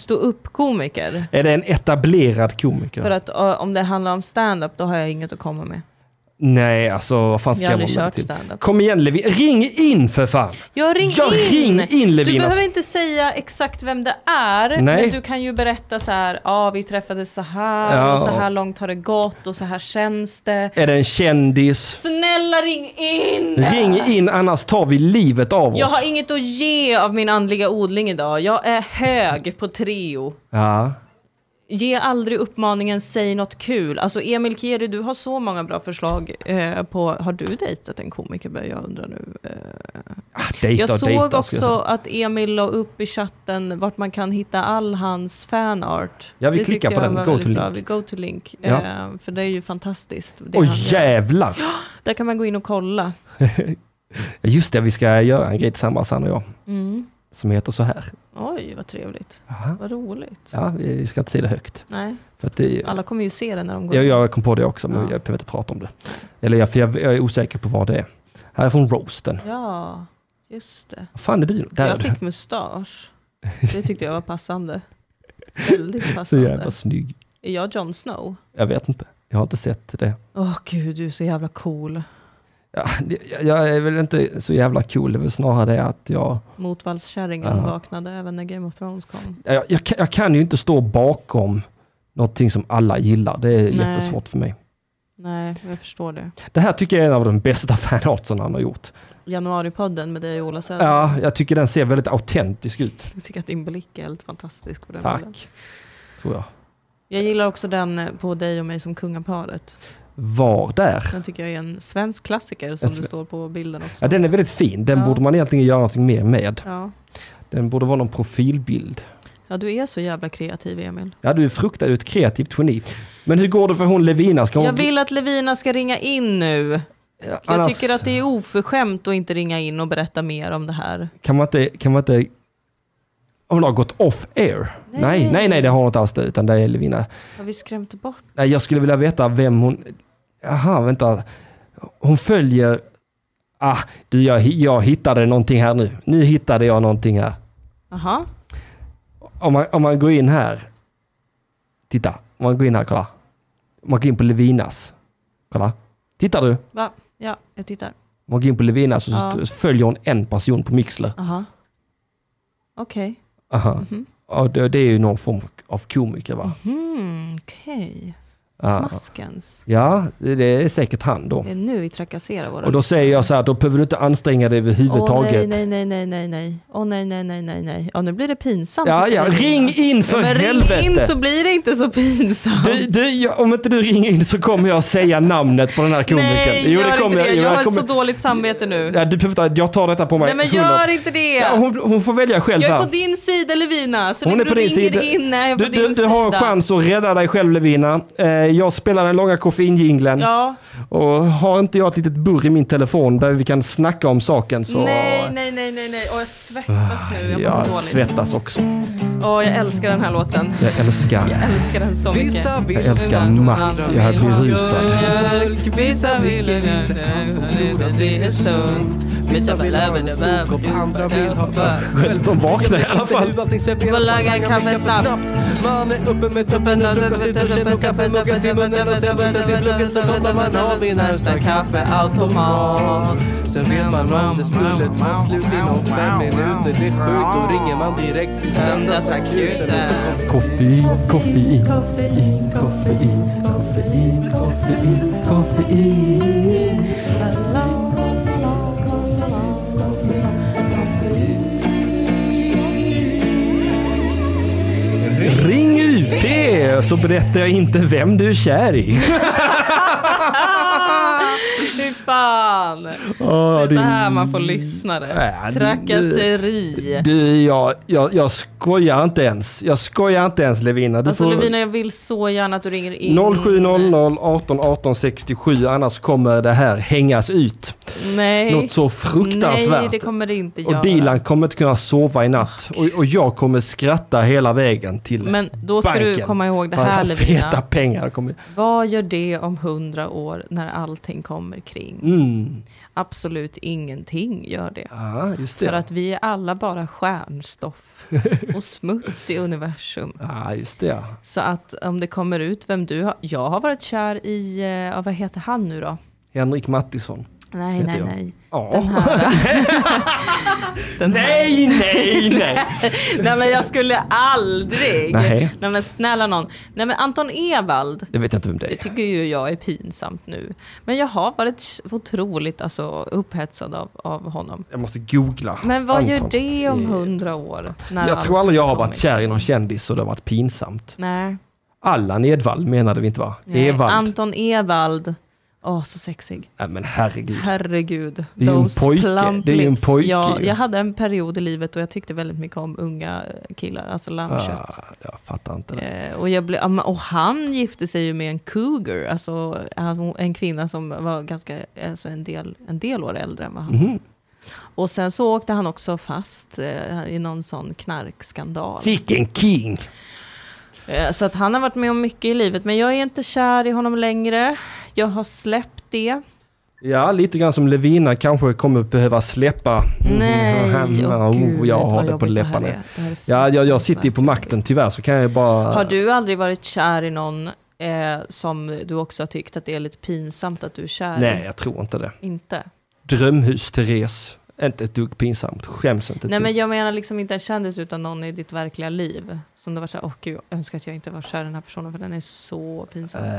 B: ståuppkomiker?
C: Är det en etablerad komiker?
B: För att ö, om det handlar om stand-up, då har jag inget att komma med.
C: Nej, alltså vad fan ska
B: Jag har
C: jag
B: aldrig
C: vara med
B: kört
C: till?
B: stand-up.
C: Kom igen Levin, ring in för fan!
B: Jag ring
C: Ja,
B: in!
C: ring in,
B: du
C: Levinas.
B: behöver inte säga exakt vem det är,
C: Nej.
B: men du kan ju berätta så här, ja vi träffades så här,
C: Ja.
B: och så här långt har det gått och så här känns det.
C: Är det en kändis?
B: Snälla ring in!
C: Ring in annars tar vi livet av oss.
B: Jag har inget att ge av min andliga odling idag. Jag är hög på Treo.
C: Ja.
B: Ge aldrig uppmaningen säg något kul. Alltså Emil Kieri, du har så många bra förslag eh, på... Har du dejtat en komiker? börjar Jag undrar nu. Eh,
C: Ah, dejta,
B: jag såg
C: dejta, skulle
B: också
C: jag säga.
B: att Emil la upp i chatten vart man kan hitta all hans fanart.
C: Ja, vi
B: Det
C: klickar
B: tyckte
C: på
B: jag
C: den.
B: var
C: Go
B: väldigt
C: to
B: bra.
C: link.
B: Vi go to link.
C: Ja.
B: Eh, för det är ju fantastiskt. Det han
C: Oj
B: gör.
C: jävlar!
B: Där kan man gå in och kolla.
C: Just det, vi ska göra en grej tillsammans han och jag. Som heter så här.
B: Oj, vad trevligt.
C: Aha.
B: Vad roligt.
C: Ja, vi ska inte säga det högt.
B: Nej,
C: För att det,
B: alla kommer ju se det när de går
C: jag,
B: in.
C: jag kom på det också, men
B: Ja.
C: jag behöver inte prata om det. Eller jag, för jag, jag är osäker på vad det är. Här är från roasten.
B: Ja, just det.
C: Vad fan är du? Där är
B: jag
C: du.
B: fick mustasch. Det tyckte jag var passande. Väldigt
C: Så
B: passande.
C: jävla snygg.
B: Är jag Jon Snow?
C: Jag vet inte. Jag har inte sett det.
B: Åh gud, du är så jävla cool.
C: Ja, det- jag, jag är väl inte så jävla cool, det är väl snarare det att jag,
B: Motvallskärringen
C: Ja.
B: vaknade även när Game of Thrones kom.
C: jag, jag, kan- jag kan ju inte stå bakom någonting som alla gillar. Det är
B: Nej.
C: jättesvårt för mig.
B: Nej, jag förstår det.
C: Det här tycker jag är en av de bästa fanartsen han har gjort.
B: Januaripodden med dig och Ola Söder.
C: Ja, jag tycker den ser väldigt autentisk ut.
B: Jag tycker att din blick är helt fantastisk på den bilden.
C: Tack. Tror jag.
B: Jag gillar också den eh, på dig och mig som kungaparet.
C: Var där.
B: Den tycker jag är en svensk klassiker som
C: En
B: det
C: svensk-
B: står på bilden också.
C: Ja, den är väldigt fin. Den
B: Ja.
C: borde man egentligen göra någonting mer med.
B: ja.
C: Den borde vara någon profilbild.
B: ja, du är så jävla kreativ Emil.
C: Ja, du är fruktad, du är ett kreativt geni. Men hur går det för hon Levina? Ska hon...
B: Jag vill att Levina ska ringa in nu.
C: Ja,
B: Jag
C: annars
B: tycker att det är oförskämt att inte ringa in och berätta mer om det här.
C: Kan man inte... Kan man inte... Hon har gått off air.
B: Nej.
C: Nej, nej, nej, det har hon inte alls det, utan det är Levina.
B: Har vi skrämt bort?
C: Nej, jag skulle vilja veta vem hon... Jaha, vänta. Hon följer... Ah, du, jag, jag hittade någonting här nu. Nu hittade jag någonting här.
B: Aha.
C: Om man, om man går in här. Titta, om man går in här, kolla. Om man går in på Levinas. Kolla. Tittar du? Om
B: Va? Ja, jag tittar.
C: man går in på Levinas och så
B: Ja.
C: så följer hon en person på Mixler.
B: Aha. Okej.
C: Aha.
B: Mhm.
C: Ja, det, det är ju någon form av komiker va?
B: Hmm, okej.
C: Ja.
B: Smaskens.
C: Ja, det det är säkert han då.
B: Det är nu vi trakasserar våra
C: Och då säger jag så här, då behöver du inte anstränga dig
B: Åh nej,
C: överhuvudtaget.
B: nej, nej, nej, nej, nej. Åh nej, nej, nej, nej, nej. Ja, nu blir det pinsamt.
C: ja,
B: att
C: ja, ring in för
B: Men
C: helvete!
B: ring in så blir det inte så pinsamt.
C: Du, du, jag, om inte du ringer in så kommer jag säga namnet på den här komikern.
B: nej, gör
C: kommer
B: inte det.
C: Jo,
B: Jag, har
C: kommer-
B: så dåligt samvete nu.
C: Ja, du behöver inte, jag tar detta på mig.
B: nej, men
C: 100.
B: gör inte det.
C: Ja, hon, hon får välja själv
B: Jag är
C: här.
B: på din sida Levina, så
C: Hon
B: länge
C: är på
B: du
C: din
B: ringer
C: sida.
B: in är jag på
C: Du,
B: din
C: du, du har en
B: sida.
C: chans att rädda dig själv Levina. Eh, jag spelar den långa koffeinjinglen
B: Ja,
C: och har inte jag ett litet burr i min telefon där vi kan snacka om saken så...
B: nej, nej, nej, nej, nej. Åh, jag svettas nu. Jag liksom. mår
C: Jag
B: så dåligt.
C: svettas också.
B: Åh, jag älskar den här låten.
C: Jag älskar,
B: Jag älskar den så mycket.
E: Vissa vill
C: jag älskar
E: män,
C: makt. Jag är berusad.
E: mjölk. Vissa vill inte alls, de tror att det är sunt. Vissa vill ha en stor kopp, andra vill ha bär.
C: Skönt att vakna i alla
E: Inte
C: fall.
E: hur allting serveras,
B: Får laga
E: man
B: en
E: kan
B: kaffe
E: dricka för
B: snabbt.
E: Man är uppe med tuppen, när frukost i duschen och kaffemuggen till munnen och sen bussen till plugget så kopplar man av i närmsta kaffeautomat. Sen vet man om det skulle ta slut inom fem minuter. Det är sjukt, då ringer man direkt till söndagsakuten.
C: Koffein, koffein, koffein, koffein, koffein, koffein, koffein. Ring UP så berättar jag inte vem du är kär i.
B: Fy fan.
C: Åh,
B: Det är så
C: din-
B: här man får lyssnare.
C: Ja, du-
B: Trakasseri.
C: Du, jag, jag, jag skojar inte ens. Jag skojar inte ens Levina. Du
B: Alltså
C: får...
B: Lovina, jag vill så gärna att du ringer in.
C: 0700 18 18 67 annars kommer det här hängas ut.
B: Nej.
C: Något så fruktansvärt.
B: Nej, det kommer det inte göra.
C: och Dilan kommer inte kunna sova i natt. Och, och jag kommer skratta hela vägen till
B: Men då ska
C: banken.
B: du komma ihåg det
C: Fan,
B: här
C: vad Feta
B: Lovina.
C: pengar kommer...
B: Vad gör det om hundra år när allting kommer kring?
C: Mm.
B: Absolut ingenting gör det.
C: Ja, just det.
B: För att vi är alla bara stjärnstoff och smuts i universum.
C: Ja, Ah, just det. ja.
B: Så att om det kommer ut vem du har... Jag har varit kär i, eh, ja, vad heter han nu då?
C: Henrik Mattisson.
B: Nej,
C: Heter
B: nej,
C: jag.
B: nej.
C: Ja.
B: Den här. Den här.
C: Nej, nej, nej!
B: Nej men jag skulle aldrig.
C: Nej.
B: Nej men snälla någon. Nej men Anton Ewald.
C: Det vet jag inte vem det
B: Det
C: är.
B: tycker ju jag är pinsamt nu. Men jag har varit otroligt alltså, upphetsad av, av honom.
C: Jag måste googla.
B: Men vad gör
C: Anton.
B: det om
C: Eh,
B: hundra år? När
C: Jag
B: allt
C: tror aldrig jag har varit
B: kommer?
C: kär i någon kändis och det har varit pinsamt.
B: Nej.
C: Allan Edwall menade vi inte va?
B: Nej.
C: Evald.
B: Anton Ewald. Åh, så sexig.
C: Nej men herregud.
B: Herregud.
C: Det är ju en
B: Those
C: pojke.
B: plump
C: Det är ju en
B: lips.
C: pojke
B: Ja,
C: ju.
B: jag hade en period i livet då jag tyckte väldigt mycket om unga killar, alltså lammkött.
C: Ah, jag fattar inte det.
B: Eh, Och, jag blev, ja, men- och han gifte sig ju med en cougar, alltså han- en kvinna som var ganska, alltså en, del, en del år äldre än vad han
C: Mhm.
B: Och sen så åkte han också fast eh, i någon sån knarkskandal.
C: Sicken king!
B: Eh, så att han har varit med om mycket i livet, men jag är inte kär i honom längre. Jag har släppt
C: Mm,
B: det.
C: Ja, lite grann som Levina kanske kommer behöva släppa. Mm,
B: Nej,
C: ja,
B: åh
C: oh,
B: gud.
C: jag har
B: vad
C: det på
B: jobbigt här
C: läpparna.
B: är. Det här är
C: Ja, jag, jag
B: fruktansvärt
C: sitter ju på
B: jobbigt.
C: makten tyvärr så kan jag bara...
B: Har du aldrig varit kär i någon eh, som du också har tyckt att det är lite pinsamt att du är kär
C: Nej,
B: i?
C: jag tror inte det.
B: Inte?
C: Drömhus Therese. Inte ett dugg pinsamt. Skäms inte ett
B: Nej
C: dugg.
B: men jag menar liksom inte en kändis utan någon i ditt verkliga liv. Som du var såhär, åh gud jag önskar att jag inte var kär i den här personen för den är så pinsam.
C: Eh,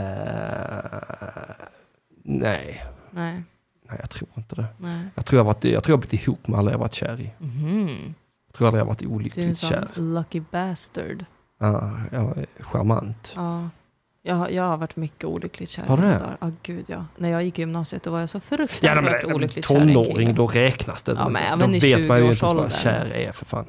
C: nej.
B: Nej,
C: nej, jag tror inte det.
B: nej.
C: Jag tror jag, har varit, jag tror jag har blivit ihop med alla jag varit kär i.
B: Mhm.
C: Jag tror aldrig jag har varit
B: Du är en
C: olyckligt
B: sån
C: kär.
B: lucky bastard.
C: Ja, jag är charmant.
B: Ja. Jag, har- jag har varit mycket olyckligt kär. i
C: Har du
B: mina
C: det?
B: dagar. Ja gud ja. När jag gick i gymnasiet då var jag så
C: Ja, nej,
B: fruktansvärt
C: men,
B: olyckligt kär i en kille.
C: tonåring, då räknas det.
B: Ja,
C: väl
B: men
C: inte.
B: även
C: då
B: i
C: vet man ju inte ens vad
B: 20-årsåldern.
C: kär är för fan.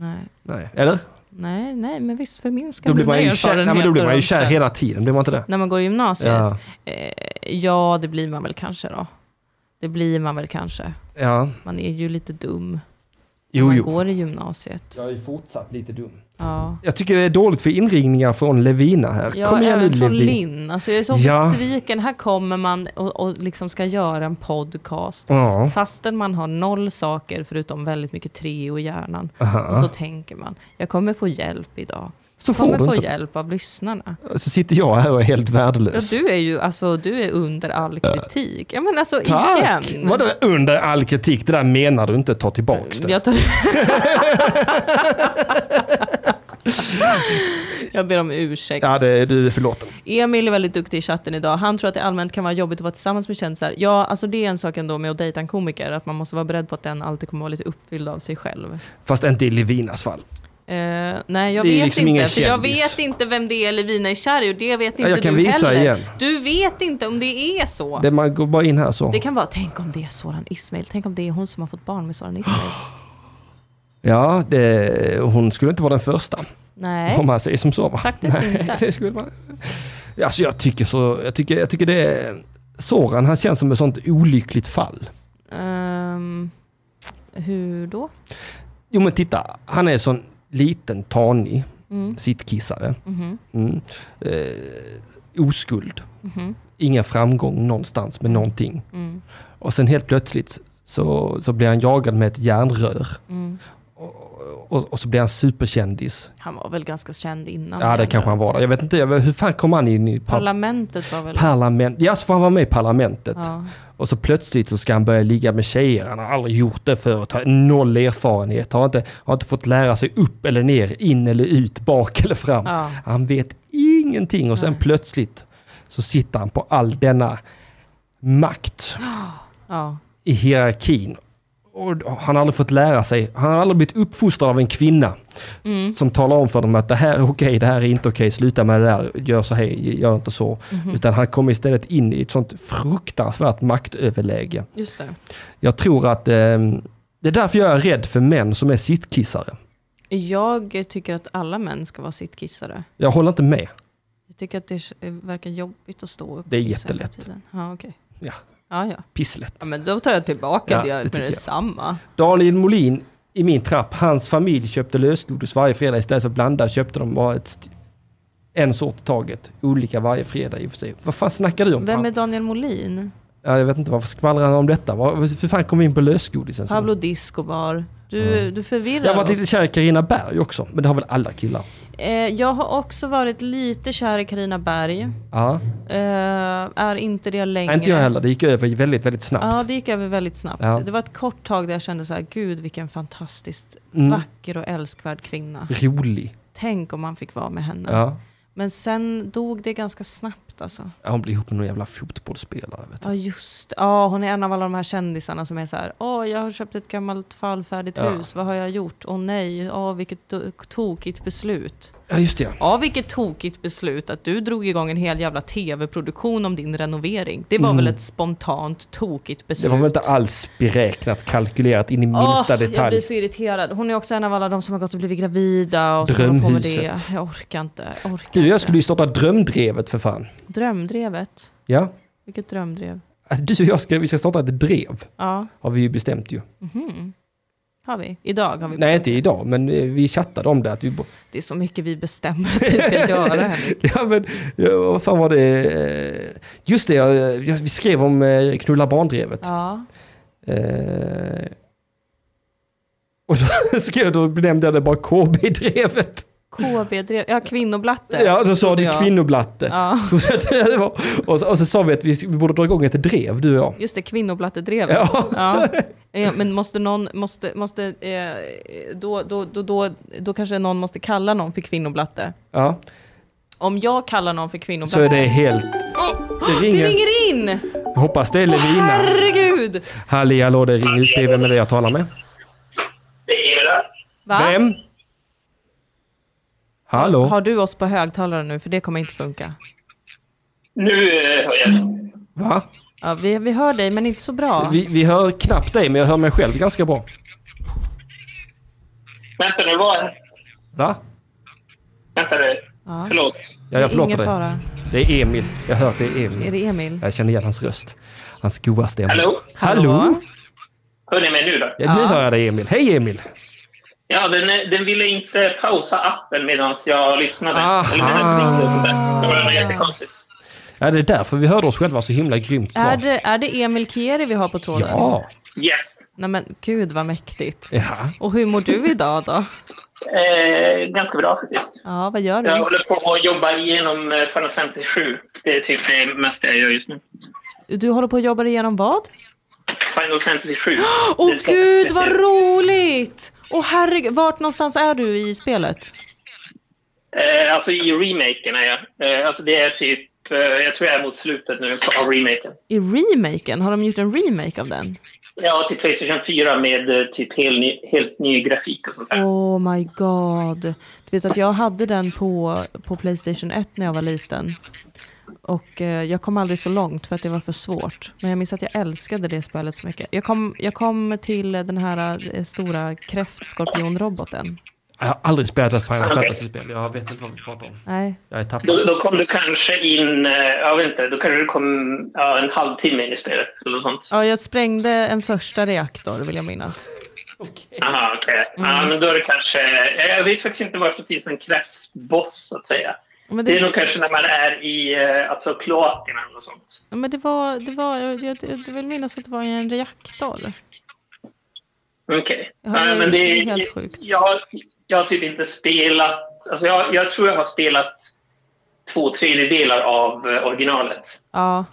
B: Nej,
C: Nej. Eller?
B: nej, nej men visst förminskar
C: Då blir, man ju
B: mina
C: kär, nej, men då blir man ju kär
B: erfarenheter
C: hela tiden, blir man inte det?
B: När man går i gymnasiet?
C: Ja,
B: Eh, ja, det blir man väl kanske då. Det blir man väl kanske.
C: ja.
B: Man är ju lite dum.
C: jo
B: man
C: jo.
B: går i gymnasiet.
C: Jag är fortsatt lite dum.
B: Ja.
C: Jag tycker det är dåligt för inringningar från Levina här.
B: Ja,
C: Kom igen nu
B: även från
C: Levina.
B: Linn. Alltså jag är så
C: Ja.
B: besviken. Här kommer man och, och liksom ska göra en podcast.
C: Ja,
B: Fastän man har noll saker förutom väldigt mycket treo i hjärnan.
C: aha.
B: Och så tänker man, jag kommer få hjälp idag.
C: Så
B: Jag
C: får
B: kommer
C: du
B: få
C: inte.
B: hjälp av lyssnarna.
C: Så sitter jag här och är helt
B: Ja,
C: värdelös.
B: du är ju alltså, du är under all kritik. Ja, men alltså
C: Tack!
B: igen.
C: Vadå under all kritik? Det där menar du inte, ta tillbaks det.
B: Mm, Jag, tar... jag ber om ursäkt.
C: Ja, det, du är förlåten.
B: Emil är väldigt duktig i chatten idag. Han tror att det allmänt kan vara jobbigt att vara tillsammans med kändisar. Ja, alltså det är en sak ändå med att dejta en komiker, att man måste vara beredd på att den alltid kommer vara lite uppfylld av sig själv.
C: Fast inte i Levinas fall.
B: Eh, nej, jag
C: Det är
B: vet
C: liksom ingen
B: inte. För jag
C: kändis.
B: vet inte vem det är Levina är kär i och det vet inte
C: jag kan
B: du
C: visa
B: heller.
C: igen.
B: Du vet inte om det är så.
C: Det, man går bara in här så.
B: Det kan vara, tänk om det är Soran Ismail. Tänk om det är hon som har fått barn med Soran Ismail.
C: Ja, det, hon skulle inte vara den första.
B: Nej,
C: Om man säger som så va?
B: Faktiskt inte.
C: Det skulle man. Alltså jag tycker så, jag tycker, jag tycker det är, Soran han känns som ett sånt olyckligt fall.
B: Ehm, hur då?
C: Jo men titta, han är en sån liten tanig
B: Mm.
C: sittkissare.
B: Mhm.
C: Mm. Eh, oskuld.
B: Mhm.
C: Ingen framgång någonstans med någonting.
B: Mm.
C: Och sen helt plötsligt så, så blir han jagad med ett järnrör.
B: Mm.
C: Och, och så blir han superkändis.
B: Han var väl ganska känd innan.
C: Ja det kanske han var. där. Jag vet inte, jag vet, hur fan kom han in i par-
B: Parlamentet var väl...
C: parlament? Ja, så får han vara med i parlamentet.
B: ja.
C: Och så plötsligt så ska han börja ligga med tjejer. Han har aldrig gjort det förut. Har noll erfarenhet. Har inte, har inte fått lära sig upp eller ner, in eller ut, bak eller fram.
B: Ja.
C: Han vet ingenting. Och sen plötsligt så sitter han på all denna makt
B: Ja.
C: i hierarkin. och han har aldrig fått lära sig. Han har aldrig blivit uppfostrad av en kvinna som talar om för dem att det här är okej, det här är inte okej, sluta med det där, gör så här, gör inte så. Utan han kommer istället in i ett sånt fruktansvärt maktöverläge.
B: Just det.
C: Jag tror att eh, det är därför jag är rädd för män som är sittkissare.
B: Jag tycker att alla män ska vara sittkissare.
C: Jag håller inte med.
B: Jag tycker att det eh, verkar jobbigt att stå upp.
C: Det är
B: och kissa hela
C: jättelätt.
B: tiden. Ja, okej.
C: Ja,
B: Ja, ja.
C: pisslätt.
B: ja, men då tar jag tillbaka
C: Ja,
B: det
C: det
B: med
C: tycker jag.
B: detsamma.
C: Daniel Molin i min trapp, hans familj köpte lösgodis varje fredag istället för att blanda köpte de bara ett st- en sort i taget, olika varje fredag i och för sig. Vad fan snackar du om?
B: Vem är Daniel Molin?
C: ja, jag vet inte, varför skvallrar han om detta? Vad- För fan kom vi in på lösgodisen? sen?
B: Pablo Discobar. Du, du förvirrar
C: jag har varit
B: oss.
C: lite kär i Carina Berg också, men det har väl alla killar?
B: Eh, jag har också varit lite kär i Karina Berg.
C: Ja,
B: Eh, är inte det längre.
C: Nej, inte jag heller. Det gick över väldigt, väldigt snabbt.
B: Ja, det gick över väldigt snabbt.
C: Ja.
B: Det var ett kort tag där jag kände så här, gud vilken fantastiskt
C: Mm.
B: vacker och älskvärd kvinna.
C: Rolig.
B: Tänk om man fick vara med henne.
C: Ja.
B: Men sen dog det ganska snabbt alltså.
C: Ja, Hon blir ihop med någon jävla fotbollsspelare. Vet du.
B: Ja just det. ja hon är en av alla de här kändisarna som är så här, åh jag har köpt ett gammalt fallfärdigt
C: Ja.
B: hus, vad har jag gjort? Åh nej, åh vilket to- tokigt beslut.
C: Ja, just det.
B: Ja vilket tokigt beslut att du drog igång en hel jävla tv-produktion om din renovering. Det var väl ett spontant tokigt beslut.
C: Mm. Det var väl inte alls beräknat, kalkylerat in i minsta
B: Åh, Jag
C: detalj.
B: blir så irriterad. Hon är också en av alla de som har gått och blivit gravida och som håller på med det.
C: Drömhuset.
B: Jag orkar inte. Jag orkar
C: Du, jag
B: inte.
C: skulle ju starta drömdrevet för fan.
B: Drömdrevet.
C: Ja.
B: Vilket drömdrev?
C: Att Du och jag ska, vi ska starta ett drev,
B: Ja, Mhm.
C: har vi ju bestämt ju.
B: har vi. Idag har vi.
C: Nej, inte idag, men eh, vi chattade om det. Att vi bo-
B: Det är så mycket vi bestämmer att vi ska göra. Henrik.
C: ja, men ja, vad fan var det? eh, Just det, jag, jag, vi skrev om eh, knulla barndrevet.
B: Ja.
C: Eh, och så skrev jag, då benämnde jag det bara KB-drevet.
B: KB-drev. Ja, kvinnoblatte.
C: Ja, då sa
B: trodde
C: du
B: jag.
C: kvinnoblatte.
B: Ja.
C: Trodde jag att det var. och, så, och så sa vi att vi, vi borde dra igång ett drev, du och jag.
B: Just det, kvinnoblattedrevet.
C: Ja.
B: Ja. Eh, Men måste någon, måste, måste, eh, då, då, då, då, då kanske någon måste kalla någon för kvinnoblatte.
C: Ja,
B: Om jag kallar någon för kvinnoblatte. Ah,
C: så är det helt... det
B: Det
C: ringer.
B: ringer in!
C: Hoppas det är Levina.
B: Herregud!
C: Halli hallå, det ringer ut. Det är vem är det jag talar med?
B: Va?
C: Vem? Hallå?
B: Har du oss på högtalare nu? För det kommer inte funka.
F: Nu eh, hör jag dig.
C: Va?
B: Ja, vi, vi hör dig, men inte så bra.
C: Vi, vi hör knappt dig, men jag hör mig själv ganska bra.
F: Vänta nu, vad...
C: Va?
F: Vänta nu.
B: Ja.
F: Förlåt.
C: Ja, jag förlåter
B: Ingen
C: dig.
B: fara.
C: Det är Emil. Jag hör att det är
B: Är
C: Emil.
B: det Emil?
C: Jag känner igen hans röst. Hans goa stämma.
F: Hallå?
C: Hallå?
F: Hör ni mig nu då?
C: Ja, nu
B: Ja.
C: hör jag dig Emil. Hej Emil!
F: Ja, den, eh, den ville inte pausa appen medan jag lyssnade.
C: Aha.
F: Eller medan jag ringde och sådär. Så det var jättekonstigt.
C: Ja, det är därför vi hörde oss själva så himla grymt bra.
B: Är det, är det Emil Kieri vi har på tråden?
C: Ja!
F: Yes.
B: Nej men gud vad mäktigt.
C: Ja.
B: Och hur mår du idag då?
F: Eh, ganska bra faktiskt.
B: Ja, vad gör
F: Jag
B: du?
F: håller på att jobba igenom eh, Final Fantasy 7. Det är typ det mesta jag gör just nu.
B: Du håller på att jobba igenom vad?
F: Final Fantasy 7.
B: Åh
F: Det ska-
B: gud
F: det
B: vad
F: ser-
B: roligt! Åh herregud, vart någonstans är du i spelet?
F: Eh, alltså i remaken är jag. Eh, alltså det är typ... Eh, jag tror jag är mot slutet nu av remaken.
B: I remaken? Har de gjort en remake av den?
F: Ja, till Playstation 4 med eh, typ helt ny, helt ny grafik och sånt där.
B: Oh my god. Du vet att jag hade den på, på Playstation 1 när jag var liten. Och eh, jag kom aldrig så långt för att det var för svårt. Men jag minns att jag älskade det spelet så mycket. Jag kom, jag kom till den här eh, stora kräftskorpionroboten.
C: Jag har aldrig spelat ett Final
F: Okej.
C: Fantasy-spel. Jag vet inte vad vi pratar om.
B: Nej,
C: Jag är tappad.
F: Då, då kom du kanske in, eh, jag vet inte, då kanske du kom ja, en halvtimme in i spelet eller något sånt.
B: ja, jag sprängde en första reaktor vill jag minnas.
F: Aha, okej. Ja,
B: Mm.
F: men då är det kanske, eh, jag vet faktiskt inte varför det finns en kräftboss så att säga.
B: Men
F: Det är nog
B: det,
F: kanske när man är i eh, alltså, kloakerna eller något sånt.
B: ja, men det var, det var jag, jag, jag vill minnas att det var i en reaktor.
F: Okej.
B: Ja, det
F: Ja,
B: är
F: men det är
B: helt sjukt.
F: Jag, jag har typ inte spelat, alltså jag, jag tror jag har spelat två tredjedelar av eh, originalet.
B: Ja,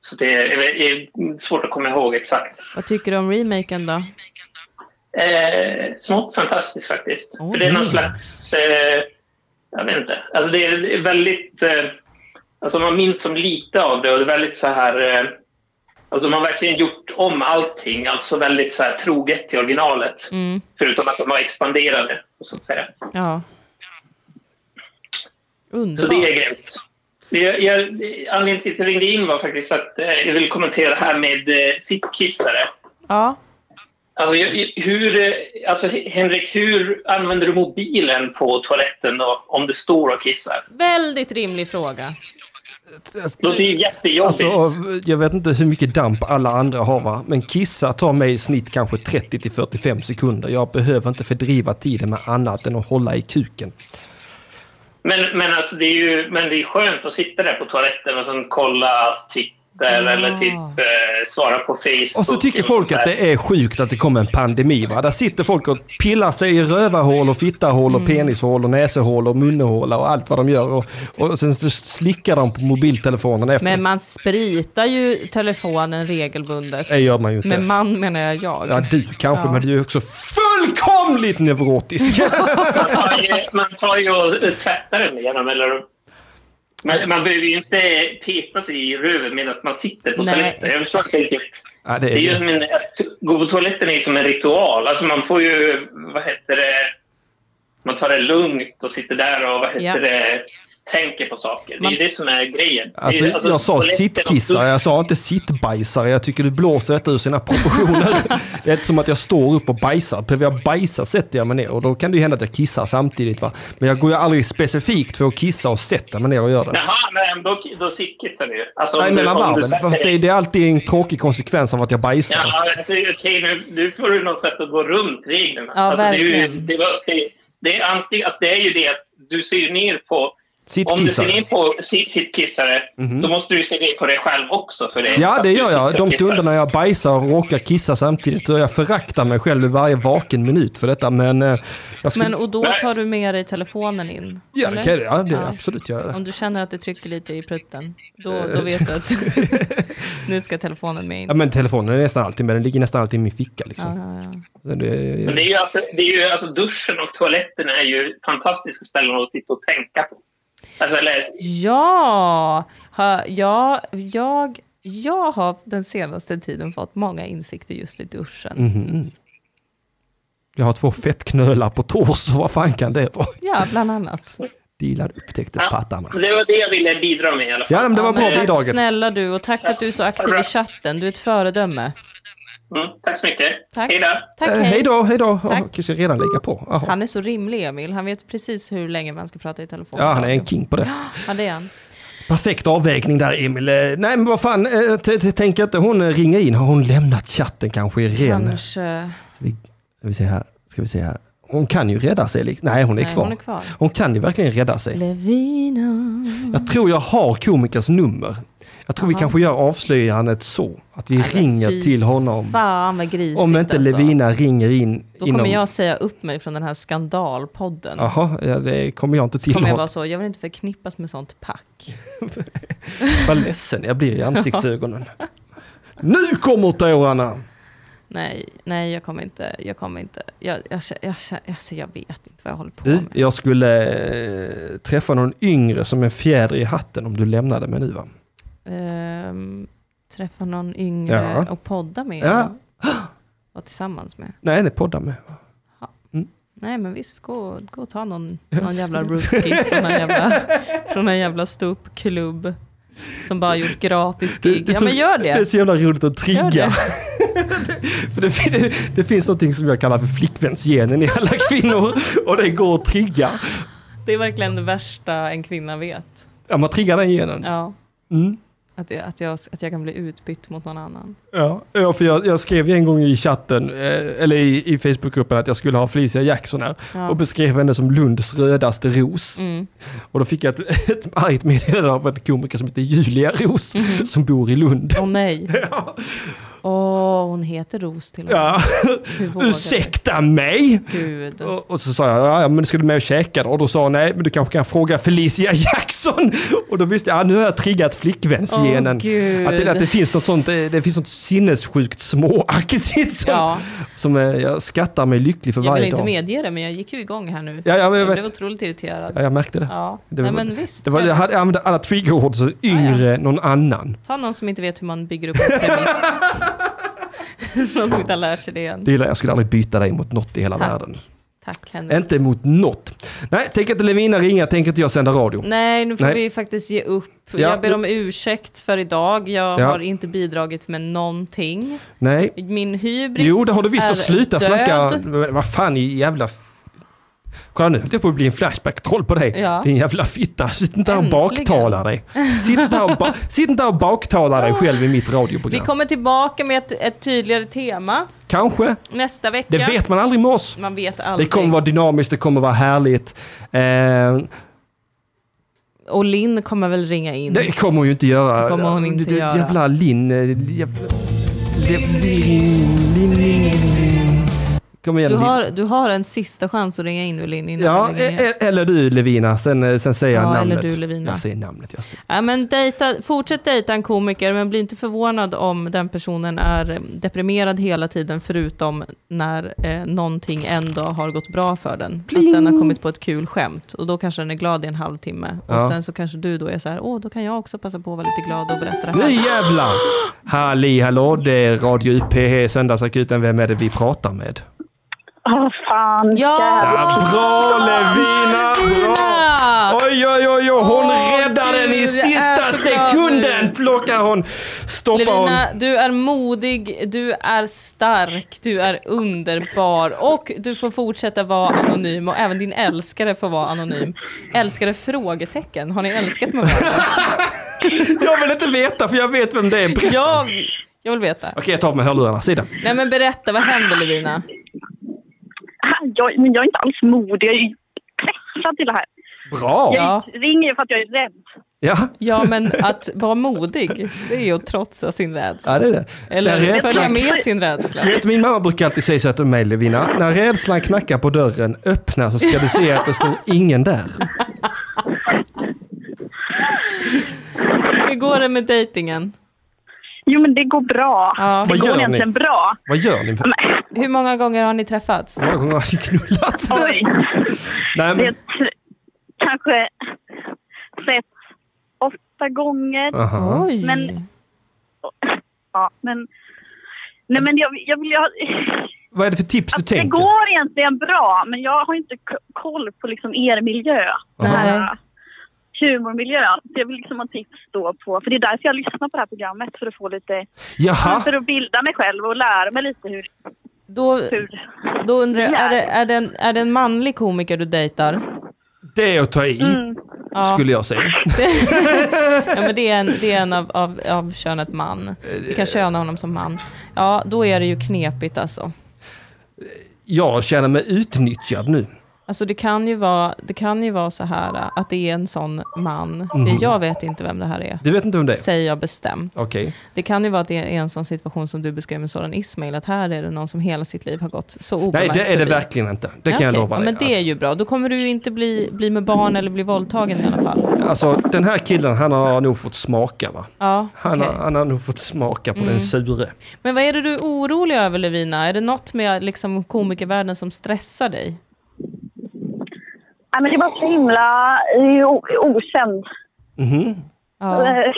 F: Så det är, det är svårt att komma ihåg exakt.
B: vad tycker du om remaken då?
F: Eh, smått fantastiskt faktiskt.
B: Åh,
F: För det är någon slags... Eh, jag vet inte. Alltså det är det är väldigt... Eh, alltså man minns som lite av det och det är väldigt så här... Eh, ja, Alltså de har verkligen gjort om allting, alltså väldigt så här, troget till originalet.
B: Mm.
F: Förutom att de har expanderat det, så att säga.
B: Ja.
F: Så det är
B: Underbart.
F: grymt. Men Jag, jag, anledningen till att jag ringde in var faktiskt att eh, jag ville kommentera det här med eh, sittkissare.
B: Ja.
F: Alltså, jag- jag- hur, eh, alltså, Henrik, hur använder du mobilen på toaletten då, om du står och kissar?
B: Väldigt rimlig fråga.
F: Då är det ju jättejobbigt.
C: Alltså, av- jag vet inte hur mycket damp alla andra har va, men kissa tar mig i snitt kanske 30 till 45 sekunder. Jag behöver inte fördriva tiden med annat än att hålla i kuken.
F: Men, men, alltså, det är ju, men det är skönt att sitta där på toaletten och sen kolla Twitter eller typ eh, svara på Facebook.
C: Och så tycker folk
F: sånt
C: att
F: där.
C: det är sjukt att det kommer en pandemi va. Där sitter folk och pillar sig i rövahål och fittahål och
B: Mm.
C: penishål och näsehål och munhåla och allt vad de gör. Och, och sen så slickar de på mobiltelefonen efter.
B: Men man spritar ju telefonen regelbundet.
C: det gör man ju inte.
B: Med man menar jag jag.
C: Ja, du kanske,
B: Ja.
C: men du är också fullkomligt neurotisk.
F: Man tar ju, man tar ju och eh, tvättar den igenom. Eller, man, man behöver ju inte peta sig i röven medan man sitter på
B: Nej,
F: toaletten. Jag förstår inte riktigt.
C: ja, det
F: Det är ju
C: är
F: som en, alltså, gå på toaletten är ju som en ritual. Alltså man får ju, vad heter det, man tar det lugnt och sitter där och vad heter
B: Ja.
F: det, tänker på saker. Det är ju det som är grejen. Det är
C: Alltså,
F: ju-
C: jag sa
F: toaletten och
C: sittkissare, jag sa inte sittbajsare. Jag tycker du blåser detta ur sina proportioner. det är inte som att jag står upp och bajsar. Behöver jag bajsa sätter jag mig ner och då kan det ju hända att jag kissar samtidigt. Va? Men jag går ju aldrig specifikt för att kissa och sätter mig ner och gör det.
F: Jaha, men då, då sittkissar du ju. Alltså, om
C: Nej,
F: du-
C: mellan
F: om du
C: varven.
F: sätter
C: Fast det, är-
F: dig-
C: det är alltid en tråkig konsekvens av att jag bajsar.
F: Ja, alltså, okej, nu, nu får du något sätt att gå runt reglerna.
B: Ja,
F: alltså, det, är ju,
B: verkligen.
F: det, var, det, det, är anting, alltså, det är ju det att du ser ner på... Om du ser
C: Sittkissare.
F: ner på sitt, sittkissare, då måste du se ner på dig själv också. För det,
C: Mhm. Ja,
F: att
C: det
F: du
C: gör
F: sitter
C: jag.
F: och
C: De
F: kissar.
C: stunderna jag bajsar och råkar kissa samtidigt. Och jag föraktar mig själv i varje vaken minut för detta. Men, eh, jag skulle...
B: Men och då tar du med dig telefonen in?
C: ja, det
B: eller?
C: kan jag, ja, det
B: Ja.
C: absolut Eh. gör jag. det.
B: Om du känner att du trycker lite i prutten, då, då vet du att nu ska telefonen med in.
C: Ja, men telefonen är nästan alltid med. Den ligger nästan alltid i min ficka. Liksom.
B: Ja, ja, ja.
C: Det,
F: Men det är ju alltså, det är ju, alltså duschen och toaletten är ju fantastiska ställen att sitta och tänka på. Alltså, eller,
B: Ja, ha, ja jag, jag har den senaste tiden fått många insikter just i duschen.
C: Mm. jag har två fettknölar på torso. Vad fan kan det vara?
B: Ja, bland annat.
C: Dilan upptäckte
F: Ja,
C: pattarna.
F: det var det jag ville bidra med i alla fall.
C: Ja, men det var bra
B: men tack
C: bidraget.
B: snälla du och tack för att du är så aktiv i chatten. Du är ett föredöme.
F: Mm, tack så mycket.
B: Tack.
F: Hej då.
B: Tack,
C: Eh,
B: hej.
C: Hej då, hej då.
B: Tack.
C: Oh, kanske jag redan lägga på. Jaha.
B: Han är så rimlig, Emil. Han vet precis hur länge man ska prata i telefon.
C: Ja, han är en king på det.
B: Ja, det är han.
C: Perfekt avvägning där Emil. Eh, Nej men vad fan, eh, t- t- tänker inte hon eh, ringer in? Har hon lämnat chatten kanske i ren? Ska
B: Kanske...
C: vi se här, ska vi se här. Hon kan ju rädda sig. liksom. Nej hon är
B: Nej,
C: kvar.
B: hon är kvar.
C: Hon kan ju verkligen rädda sig.
B: Levina.
C: Jag tror jag har komikers nummer. Jag tror vi kanske gör avslöjandet så. Att vi ringer
B: fy
C: till honom.
B: Fan vad grisigt
C: Om inte
B: alltså.
C: Levina ringer in
B: Då kommer
C: inom...
B: jag säga upp mig från den här skandalpodden.
C: Jaha, ja, det kommer jag inte
B: Kommer jag
C: tillåta.
B: vara så, jag vill inte förknippas med sånt pack.
C: Vad ledsen jag blir i ansiktsögonen. nu kommer tårarna!
B: Nej, nej jag kommer inte, jag kommer inte, jag, jag, jag, jag, alltså, jag vet inte vad jag håller på
C: Du,
B: med.
C: jag skulle eh, träffa någon yngre som en fjäder i hatten om du lämnade mig nu va?
B: Ehm, träffa någon yngre
C: Ja.
B: och podda med.
C: Ja.
B: Vara tillsammans med.
C: Nej, nej, podda med.
B: Nej men visst, gå, gå och ta någon, någon jävla rookie från någon jävla, från en jävla ståuppklubb. Som bara gjort gratis
C: Det-
B: gig.
C: det är
B: Ja
C: så-
B: men gör
C: Det är så jävla roligt att trigga.
B: Gör det.
C: för det, fin- det, det finns någonting som jag kallar för flickvänsgenen i alla kvinnor och det går att trigga.
B: Det är verkligen det värsta en kvinna vet.
C: Ja, man triggar den genen. Ja.
B: Ja.
C: Mm.
B: Att, jag, att, jag, att jag kan bli utbytt mot någon annan.
C: Ja, för jag, jag skrev ju en gång i chatten, eh, eller i, i Facebookgruppen, att jag skulle ha Felicia Jackson här
B: Ja.
C: och beskrev henne som Lunds rödaste ros.
B: Mm.
C: Och då fick jag ett, ett argt
B: Mm.
C: meddelande av en komiker som heter Julia Ros som bor i Lund.
B: Åh nej.
C: Ja.
B: Åh, hon heter Ros till och med.
C: Ja.
B: Hur vågar du?
C: Ursäkta mig!
B: Gud.
C: Och, och så sa jag, ja, ja men ska du med och käka då? Och då sa hon, nej men du kanske kan fråga Felicia Jackson. Och då visste jag, ja, nu har jag triggat flickvänsgenen.
B: Åh, Gud.
C: att, det, att det finns något sånt, eh, det finns något sinnessjukt småaktigt som,
B: Ja.
C: som eh, jag skattar mig lycklig för
B: Jag vill
C: varje
B: inte
C: dag.
B: medge det, men jag gick ju igång här nu.
C: Ja, ja, men jag
B: blev
C: vet.
B: otroligt irriterad.
C: Ja, jag märkte det.
B: Ja,
C: Det
B: Nej,
C: var-
B: men visst.
C: Det var, jag hade- jag använde alla triggerord så yngre någon annan.
B: Ta någon som inte vet hur man bygger upp en premiss. någon som inte har lärt sig det än.
C: Det gillar jag. jag, skulle aldrig byta dig mot något i hela
B: Tack.
C: världen.
B: Tack Henrik.
C: Inte mot något. Nej, tänk inte Levina ringa, tänk inte jag sända radio.
B: Nej, nu får
C: Nej.
B: vi faktiskt ge upp.
C: Ja.
B: Jag ber om ursäkt för idag. Jag
C: Ja.
B: har inte bidragit med någonting.
C: Nej.
B: Min hybris
C: Jo, det har du visst.
B: är
C: Och sluta
B: död.
C: snacka. Men Vad fan i jävla... f- Kolla nu, det får bli en flashback-troll på dig.
B: Ja.
C: Din jävla fitta. Sitt inte här och
B: Äntligen.
C: baktala dig. Sitt inte här och, ba- Sitt inte här och baktala dig själv i mitt
B: Vi
C: radioprogram.
B: kommer tillbaka med ett, ett tydligare tema
C: Kanske.
B: nästa vecka.
C: Det vet man aldrig med oss.
B: Man vet
C: Det
B: aldrig.
C: kommer vara dynamiskt, det kommer vara härligt. Eh,
B: Och Linn kommer väl ringa in.
C: det kommer hon ju inte göra.
B: Det kommer hon inte
C: Det- det-
B: göra. Mm.
C: Jävla Linn. eh, Jävla... Linn, Linn, Linn, Linn. Kom igen
B: Du,
C: Linn.
B: har, du har en sista chans att ringa in nu Linn innan
C: Ja,
B: vi ringer igen.
C: e- eller du Levina, sen, sen säger jag
B: Ja, eller
C: namnet.
B: du, Levina.
C: Jag säger namnet. Jag säger.
B: Ja, men dejta, fortsätt dejta en komiker, men bli inte förvånad om den personen är eh, deprimerad hela tiden, förutom när eh, någonting en dag har gått bra för den. Att den har kommit på ett kul skämt, och då kanske den är glad i en halvtimme.
C: Ja.
B: Och sen så kanske du då är så här, åh, då kan jag också passa på att vara lite glad och berätta det
C: Nu
B: här.
C: jävlar! Halli hallå, det är Radio UP, Söndagsakuten. Vem är det vi pratar med?
G: Åh, fan.
B: Ja!
C: Ja, bra Levina! Bra!
B: Lina!
C: Oj, oj, oj, oj. hon
B: Åh,
C: räddar den i
B: Gud, jag är
C: sista
B: så glad
C: sekunden!
B: nu.
C: Plockar hon, stoppar hon.
B: Levina, du är modig, du är stark, du är underbar och du får fortsätta vara anonym och även din älskare får vara anonym. Älskare? frågetecken. Har ni älskat med varandra?
C: Jag vill inte veta för jag vet vem det är. Ber-
B: Jag, jag vill veta.
C: Okej, jag tar på mig hörlurarna. Sidan.
B: Nej men berätta, vad händer Levina?
G: Ah, Jag, men jag är inte alls modig. Jag är ju pressad till det här.
C: Bra! Ja.
B: Ja,
G: Jag ringer för att jag är rädd.
C: ja.
B: ja men att vara modig, det är ju att trotsa sin rädsla.
C: det är det.
B: Eller
C: Den rädslan-
B: följa med sin rädsla.
C: Du Vet, min mamma brukar alltid säga så här till mig Levina, när rädslan knackar på dörren, öppna så ska du se att det står ingen där.
B: Hur går det med dejtingen?
G: Jo, men det går bra.
B: Ja.
G: Det
C: Vad
G: går
C: gör ni?
G: egentligen bra.
C: Vad gör ni? Hur
G: Men,
B: Hur många gånger har ni träffats?
C: många gånger har ni knullat?
G: oj.
C: Nej,
G: Det är
C: men,
G: tr- kanske sett åtta gånger.
C: aha.
B: Oj.
G: Men- Ja, men... Nej, men jag, jag vill... Jag,
C: Vad är det för tips du
G: att det
C: tänker?
G: går egentligen bra, men jag har inte k- koll på liksom er miljö.
B: Nej.
G: Den här humormiljön. Så jag vill liksom ha tips då på... För det är därför jag lyssnar på det här programmet, för att få lite...
C: Jaha,
G: För att bilda mig själv och lära mig lite hur...
B: Då,
G: hur
B: Då undrar jag, är det, är, det en, är det en manlig komiker du dejtar?
C: det är att ta i,
G: Mm.
B: Ja,
C: skulle jag säga.
B: ja men det är en, det är en av, av, av könet man. Vi kan köna honom som man. Ja, då är det ju knepigt alltså.
C: Jag känner mig utnyttjad nu.
B: Alltså det kan ju vara, det kan ju vara så här äh, att det är en sån man.
C: Mm.
B: Jag vet inte vem det här är.
C: Du vet inte vem det är?
B: Säger jag bestämt.
C: Okej.
B: Det kan ju vara att det är en sån situation som du beskrev med Soran Ismail, att här är det någon som hela sitt liv har gått så
C: Nej,
B: obemärkt
C: det är det
B: förbi.
C: verkligen inte. Det kan jag
B: Okej,
C: lova
B: ja,
C: dig.
B: men det är ju bra. Då kommer du ju inte bli, bli med barn eller bli våldtagen i alla fall.
C: Alltså, den här killen, han har nog fått smaka va?
B: Ja,
C: Han,
B: okej. Mm.
C: har, han har nog fått smaka på den sure.
B: Men vad är det du är orolig över Levina? Är det något med liksom, komikervärlden som stressar dig?
G: Nej, men det var så himla eh, o- okänd.
B: Ja.
G: Eh,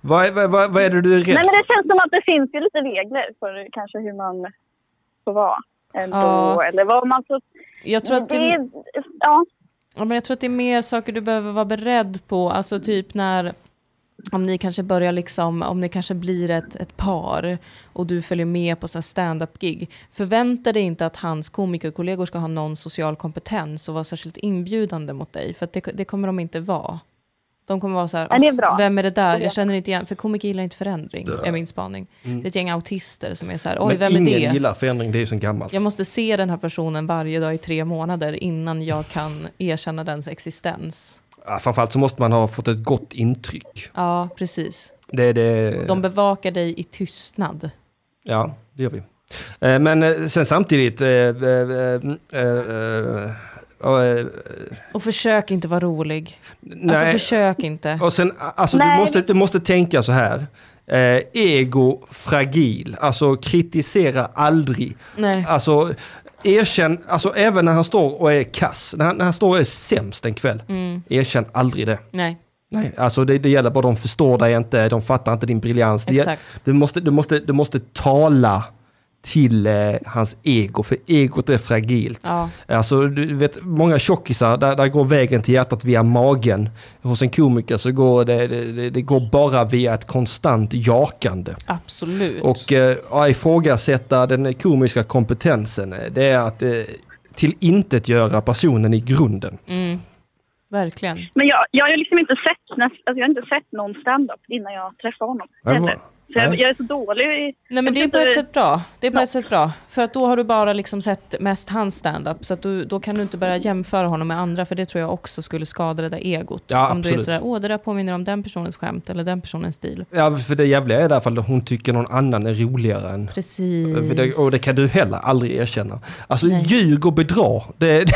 C: Vad, är- vad, vad, vad är det du är rädd
G: Nej, men
C: för?
G: det känns som att det finns ju lite regler för kanske hur man får vara. Ändå,
B: Ja.
G: Eller vad man får...
B: Jag, tror att
G: det,
B: det,
G: är- ja,
B: ja, men jag tror att det är mer saker du behöver vara beredd på, alltså
G: Mm.
B: typ när om ni kanske börjar liksom, om ni kanske blir ett, ett par och du följer med på så här stand-up-gig, förvänta dig inte att hans komikerkollegor ska ha någon social kompetens och vara särskilt inbjudande mot dig, för att det, det kommer de inte vara. De kommer vara så här,
G: Nej, det är bra.
B: vem är det där? Jag känner inte igen, för komiker gillar inte förändring, är min spaning. Det är ett gäng autister som är så här, oj,
C: Mm. Men
B: vem är
C: ingen
B: det?
C: gillar förändring, det är ju så gammalt.
B: Jag måste se den här personen varje dag i tre månader innan jag kan erkänna dens existens.
C: Ja, framförallt så måste man ha fått ett gott intryck.
B: Ja, precis.
C: Det är det...
B: De bevakar dig i tystnad.
C: Ja, det gör vi. Eh, Men eh, sen samtidigt... eh, eh, eh, eh, eh, eh,
B: Alltså, Och försök inte vara rolig. Alltså
C: Nej,
B: försök inte.
C: och sen, alltså du
G: Nej.
C: måste, du måste tänka så här. Eh, ego fragil, alltså kritisera aldrig.
B: Nej.
C: Alltså erkänn, alltså även när han står och är kass, när han, när han står och är sämst en kväll,
B: Mm.
C: erkänn aldrig det.
B: Nej.
C: Nej, alltså det, det gäller bara de förstår dig inte, de fattar inte din briljans. Det,
B: Exakt.
C: Du, måste, du, måste, du måste tala till eh, hans ego, för egot är fragilt.
B: Ja.
C: Alltså, du vet, många tjockisar, där, där går vägen till hjärtat via magen. Hos en komiker så går det, det, det, det går bara via ett konstant jakande.
B: Absolut.
C: Och eh, att ifrågasätta den komiska kompetensen, eh, det är att eh, till intet göra personen i grunden.
B: Mm. Verkligen.
G: Men jag, jag har ju liksom inte sett, näst, alltså jag har inte sett någon stand-up innan jag träffade honom.
C: Ja, det var-
G: Heller. Så jag,
C: Nej.
G: jag är så dålig. i-
B: Nej men
G: jag
B: det är
G: vet
B: på ett
G: inte-
B: sätt bra. Det är på ett sätt bra. För att då har du bara liksom sett mest hans standup. Så att du, då kan du inte börja jämföra honom med andra. För det tror jag också skulle skada det där egot.
C: Ja,
B: om du
C: absolut.
B: är sådär, åh det där påminner om den personens skämt eller den personens stil.
C: Ja, för det jävliga är därför att hon tycker någon annan är roligare än...
B: Precis.
C: Det, och det kan du heller aldrig erkänna. Alltså
B: Nej.
C: ljug och bedra. Det, det,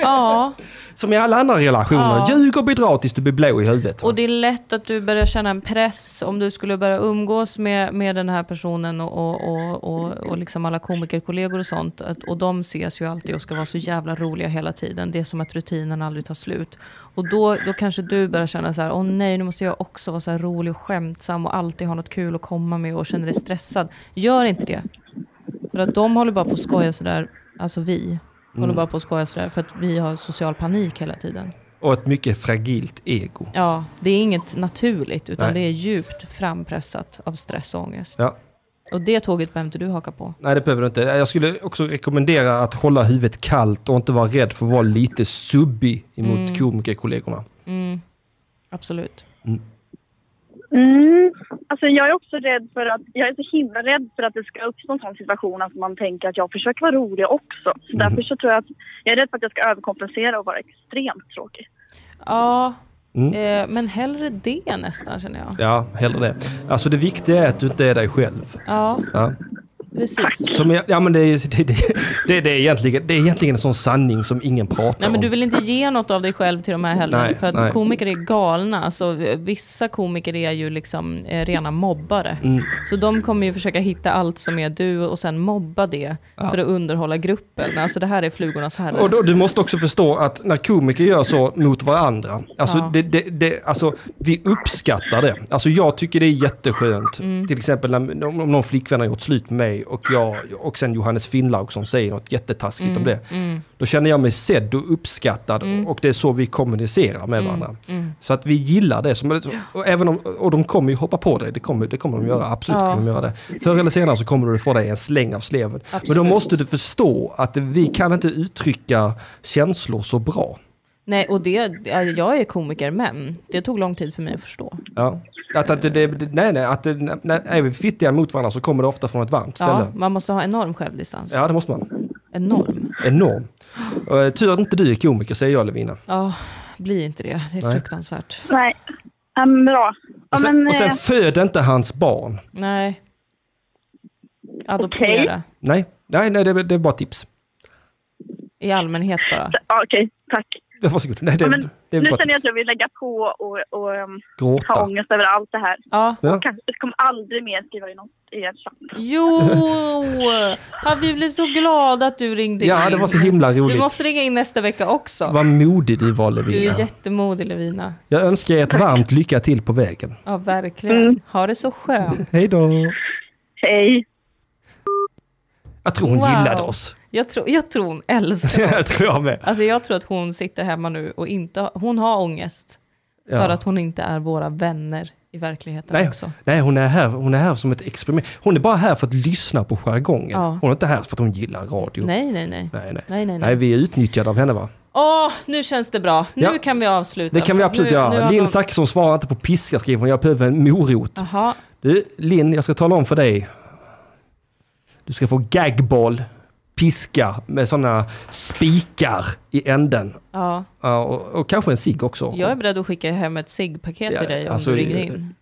B: Ja,
C: som i alla andra relationer.
B: Ja.
C: Ljug och bedra tills du blir blå i huvudet.
B: och det är lätt att du börjar känna en press om du skulle börja umgås med, med den här personen och, och, och, och, och liksom alla komikerkollegor och sånt. Att, och de ses ju alltid och ska vara så jävla roliga hela tiden. Det är som att rutinen aldrig tar slut. Och då, då kanske du börjar känna så här, åh nej nu måste jag också vara så här rolig och skämtsam och alltid ha något kul att komma med och känner dig stressad. Gör inte det. För att de håller bara på att skoja sådär, alltså vi. Håller bara på att skoja sådär för att vi har social panik hela tiden.
C: Och ett mycket fragilt ego.
B: Ja, det är inget naturligt utan
C: Nej.
B: det är djupt frampressat av stress och ångest.
C: Ja.
B: Och det tåget behöver inte du haka på.
C: Nej, det behöver du inte. Jag skulle också rekommendera att hålla huvudet kallt och inte vara rädd för att vara lite subbig emot
B: Mm.
C: komikerkollegorna.
B: Absolut.
G: Mm. Alltså jag är också rädd för att, jag är så himla rädd för att det ska uppstå en sån situation att man tänker att jag försöker vara rolig också. Så
C: Mm.
G: därför så tror jag att, jag är rädd för att jag ska överkompensera och vara extremt tråkig.
B: Ja,
C: Mm.
B: eh, men hellre det nästan känner jag.
C: Ja, hellre det. Alltså det viktiga är att du inte är dig själv.
B: Ja,
C: Ja.
B: precis.
C: Som, jag- ja, men det, är- det, det, det, det, är egentligen, det är egentligen en sån sanning som ingen pratar
B: Nej men
C: om.
B: du vill inte ge något av dig själv till de här heller.
C: Nej,
B: för att
C: nej.
B: komiker är galna. Alltså, eh, vissa komiker är ju liksom eh, rena mobbare.
C: Mm.
B: Så de kommer ju försöka hitta allt som är du och sen mobba det för att underhålla gruppen. Alltså det här är flugornas herre.
C: Och då, du måste också förstå att när komiker gör så mot varandra, alltså,
B: Ja.
C: det, det, det, alltså vi uppskattar det. Alltså jag tycker det är jätteskönt.
B: Mm.
C: Till exempel när, om, om någon flickvän har gjort slut med mig och, jag, och sen Johannes Finnlaug som säger något jättetaskigt om
B: Mm,
C: det. Då känner jag mig sedd och uppskattad och det är så vi kommunicerar
B: Mm,
C: med varandra. Så att vi gillar det. Som, och, även om, och de kommer ju hoppa på dig, det kommer, det kommer de göra, absolut
B: Ja.
C: kommer de göra det. Förr eller senare så kommer du få dig en släng av sleven. Men då
B: Absolut.
C: måste du förstå att vi kan inte uttrycka känslor så bra.
B: Nej, och det, ja, jag är komiker, men det tog lång tid för mig att förstå.
C: Ja. Att, att det, det, nej, nej, att det, när- när, är vi fittiga mot varandra så kommer det ofta från ett varmt
B: Ja,
C: ställe.
B: man måste ha enorm självdistans.
C: Ja, det måste man.
B: Enorm.
C: Enorm. Uh, tur att inte du är komiker, säger jag Levina.
B: Ja, bli inte det. Det är
C: Nej.
B: fruktansvärt.
G: Nej, um, bra. Ja,
C: Och sen,
G: men,
C: och sen
G: eh,
C: föd inte hans barn.
B: Nej. Adoptera.
C: Nej, nej, nej det, det är bara tips.
B: I allmänhet bara.
G: ja, okej, tack.
C: Varsågod. Nej, det,
G: Ja,
C: är-
G: men,
C: det är
G: nu
C: bara
G: känner jag att
C: tips.
G: jag vill lägga på och, och ehm, ha
C: Gråta.
G: ångest över allt det här.
B: Ja.
C: Ja.
G: Kanske, jag kommer aldrig mer skriva i någon i en chatt.
B: Jo! Ja, vi blev så glada att du ringde
C: ja,
B: in.
C: det var så himla
B: Du
C: roligt.
B: måste ringa in nästa vecka också.
C: Vad modig du var
B: Du
C: Levina.
B: är jättemodig Levina.
C: Jag önskar er ett varmt lycka till på vägen.
B: Ja, verkligen. Ha det så skönt.
C: Hej då!
G: Hej!
C: Jag tror hon
B: Wow.
C: gillade oss.
B: Jag tror, jag tror hon älskar
C: jag tror jag med.
B: Alltså jag tror att hon sitter hemma nu och inte, hon har ångest för
C: Ja.
B: att hon inte är våra vänner i verkligheten
C: Nej,
B: också.
C: nej hon, är här, hon är här som ett experiment. Hon är bara här för att lyssna på jargongen.
B: Ja.
C: Hon är inte här för att hon gillar radio.
B: Nej, nej, nej.
C: Nej, nej.
B: Nej, nej, nej.
C: Nej, vi är utnyttjade av henne va?
B: Åh, nu känns det bra. Nu
C: Ja.
B: kan vi avsluta.
C: Det kan vi
B: För
C: absolut
B: nu, nu
C: göra.
B: har
C: Linn
B: de-
C: Zachrisson svarar inte på piska skriver hon. Jag behöver en morot.
B: Jaha,
C: Du, Linn, jag ska tala om för dig. Du ska få gagball piska med sådana spikar i änden.
B: Ja.
C: Ja, och, och kanske en cigg också.
B: Jag är beredd att skicka hem ett ciggpaket
C: Ja,
B: till dig om
C: alltså,
B: du ringer in.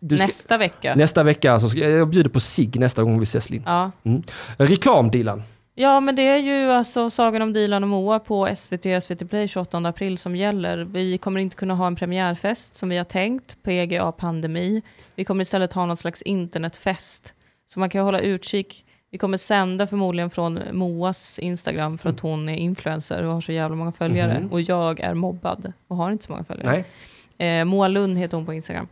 C: Du ska-
B: Nästa vecka.
C: Nästa vecka, så ska, jag bjuder på cigg nästa gång vi ses Linn.
B: Ja.
C: Mm. Reklam Dilan.
B: ja, men det är ju alltså Sagan om Dilan och Moa på SVT, SVT Play 28 april som gäller. Vi kommer inte kunna ha en premiärfest som vi har tänkt, PGA pandemi. Vi kommer istället ha någon slags internetfest. Så man kan hålla utkik. Vi kommer sända förmodligen från Moas Instagram för att hon är influencer och har så jävla många följare. Och jag är mobbad och har inte så många följare.
C: Nej.
B: Eh, Moa Lund heter hon på Instagram.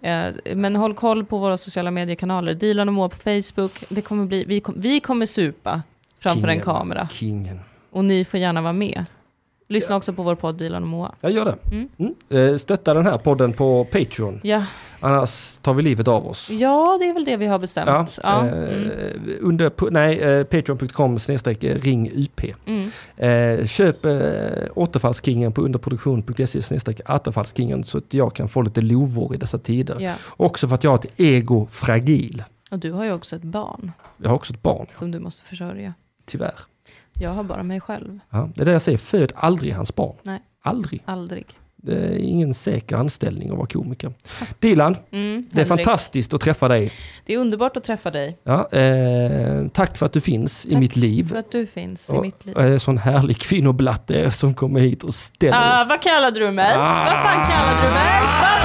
B: Eh, men håll koll på våra sociala mediekanaler. Dilan och Moa på Facebook. Det kommer bli, vi, kom, vi kommer supa framför en
C: Kingen.
B: kamera.
C: Kingen.
B: Och ni får gärna vara med. Lyssna också på vår podd Dilan och Moa.
C: Jag gör det. Mm. Eh, Stötta den här podden på Patreon.
B: Ja,
C: Annars tar vi livet av oss.
B: ja det är väl det vi har
C: Ja,
B: bestämt. Ja,
C: eh,
B: mm.
C: under, pu- nej, eh, patreon.com snedstreck eh, ring UP.
B: Mm.
C: Eh, köp eh, återfallskingen på underproduktion.se snedstreck återfallskingen så att jag kan få lite lovor i dessa tider.
B: ja.
C: Också för att jag har ett ego fragil.
B: Och du har ju också ett barn
C: Jag har också ett barn, ja,
B: som du måste försörja.
C: tyvärr.
B: Jag har bara mig själv.
C: Ja, det är det jag säger, föd aldrig hans barn.
B: Nej.
C: Aldrig.
B: Aldrig.
C: Det är ingen säker anställning att vara komiker. Dilan,
B: Mm,
C: det är
B: Henrik.
C: fantastiskt att träffa dig.
B: Det är underbart att träffa dig.
C: Ja, eh, tack för att du finns i
B: Tack
C: mitt liv.
B: För att du finns i
C: Och-
B: mitt liv.
C: och är en sån härlig kvinnoblatte som kommer hit och ställer
B: Ah, vad kallade du mig? Vad fan kallade du mig? Vad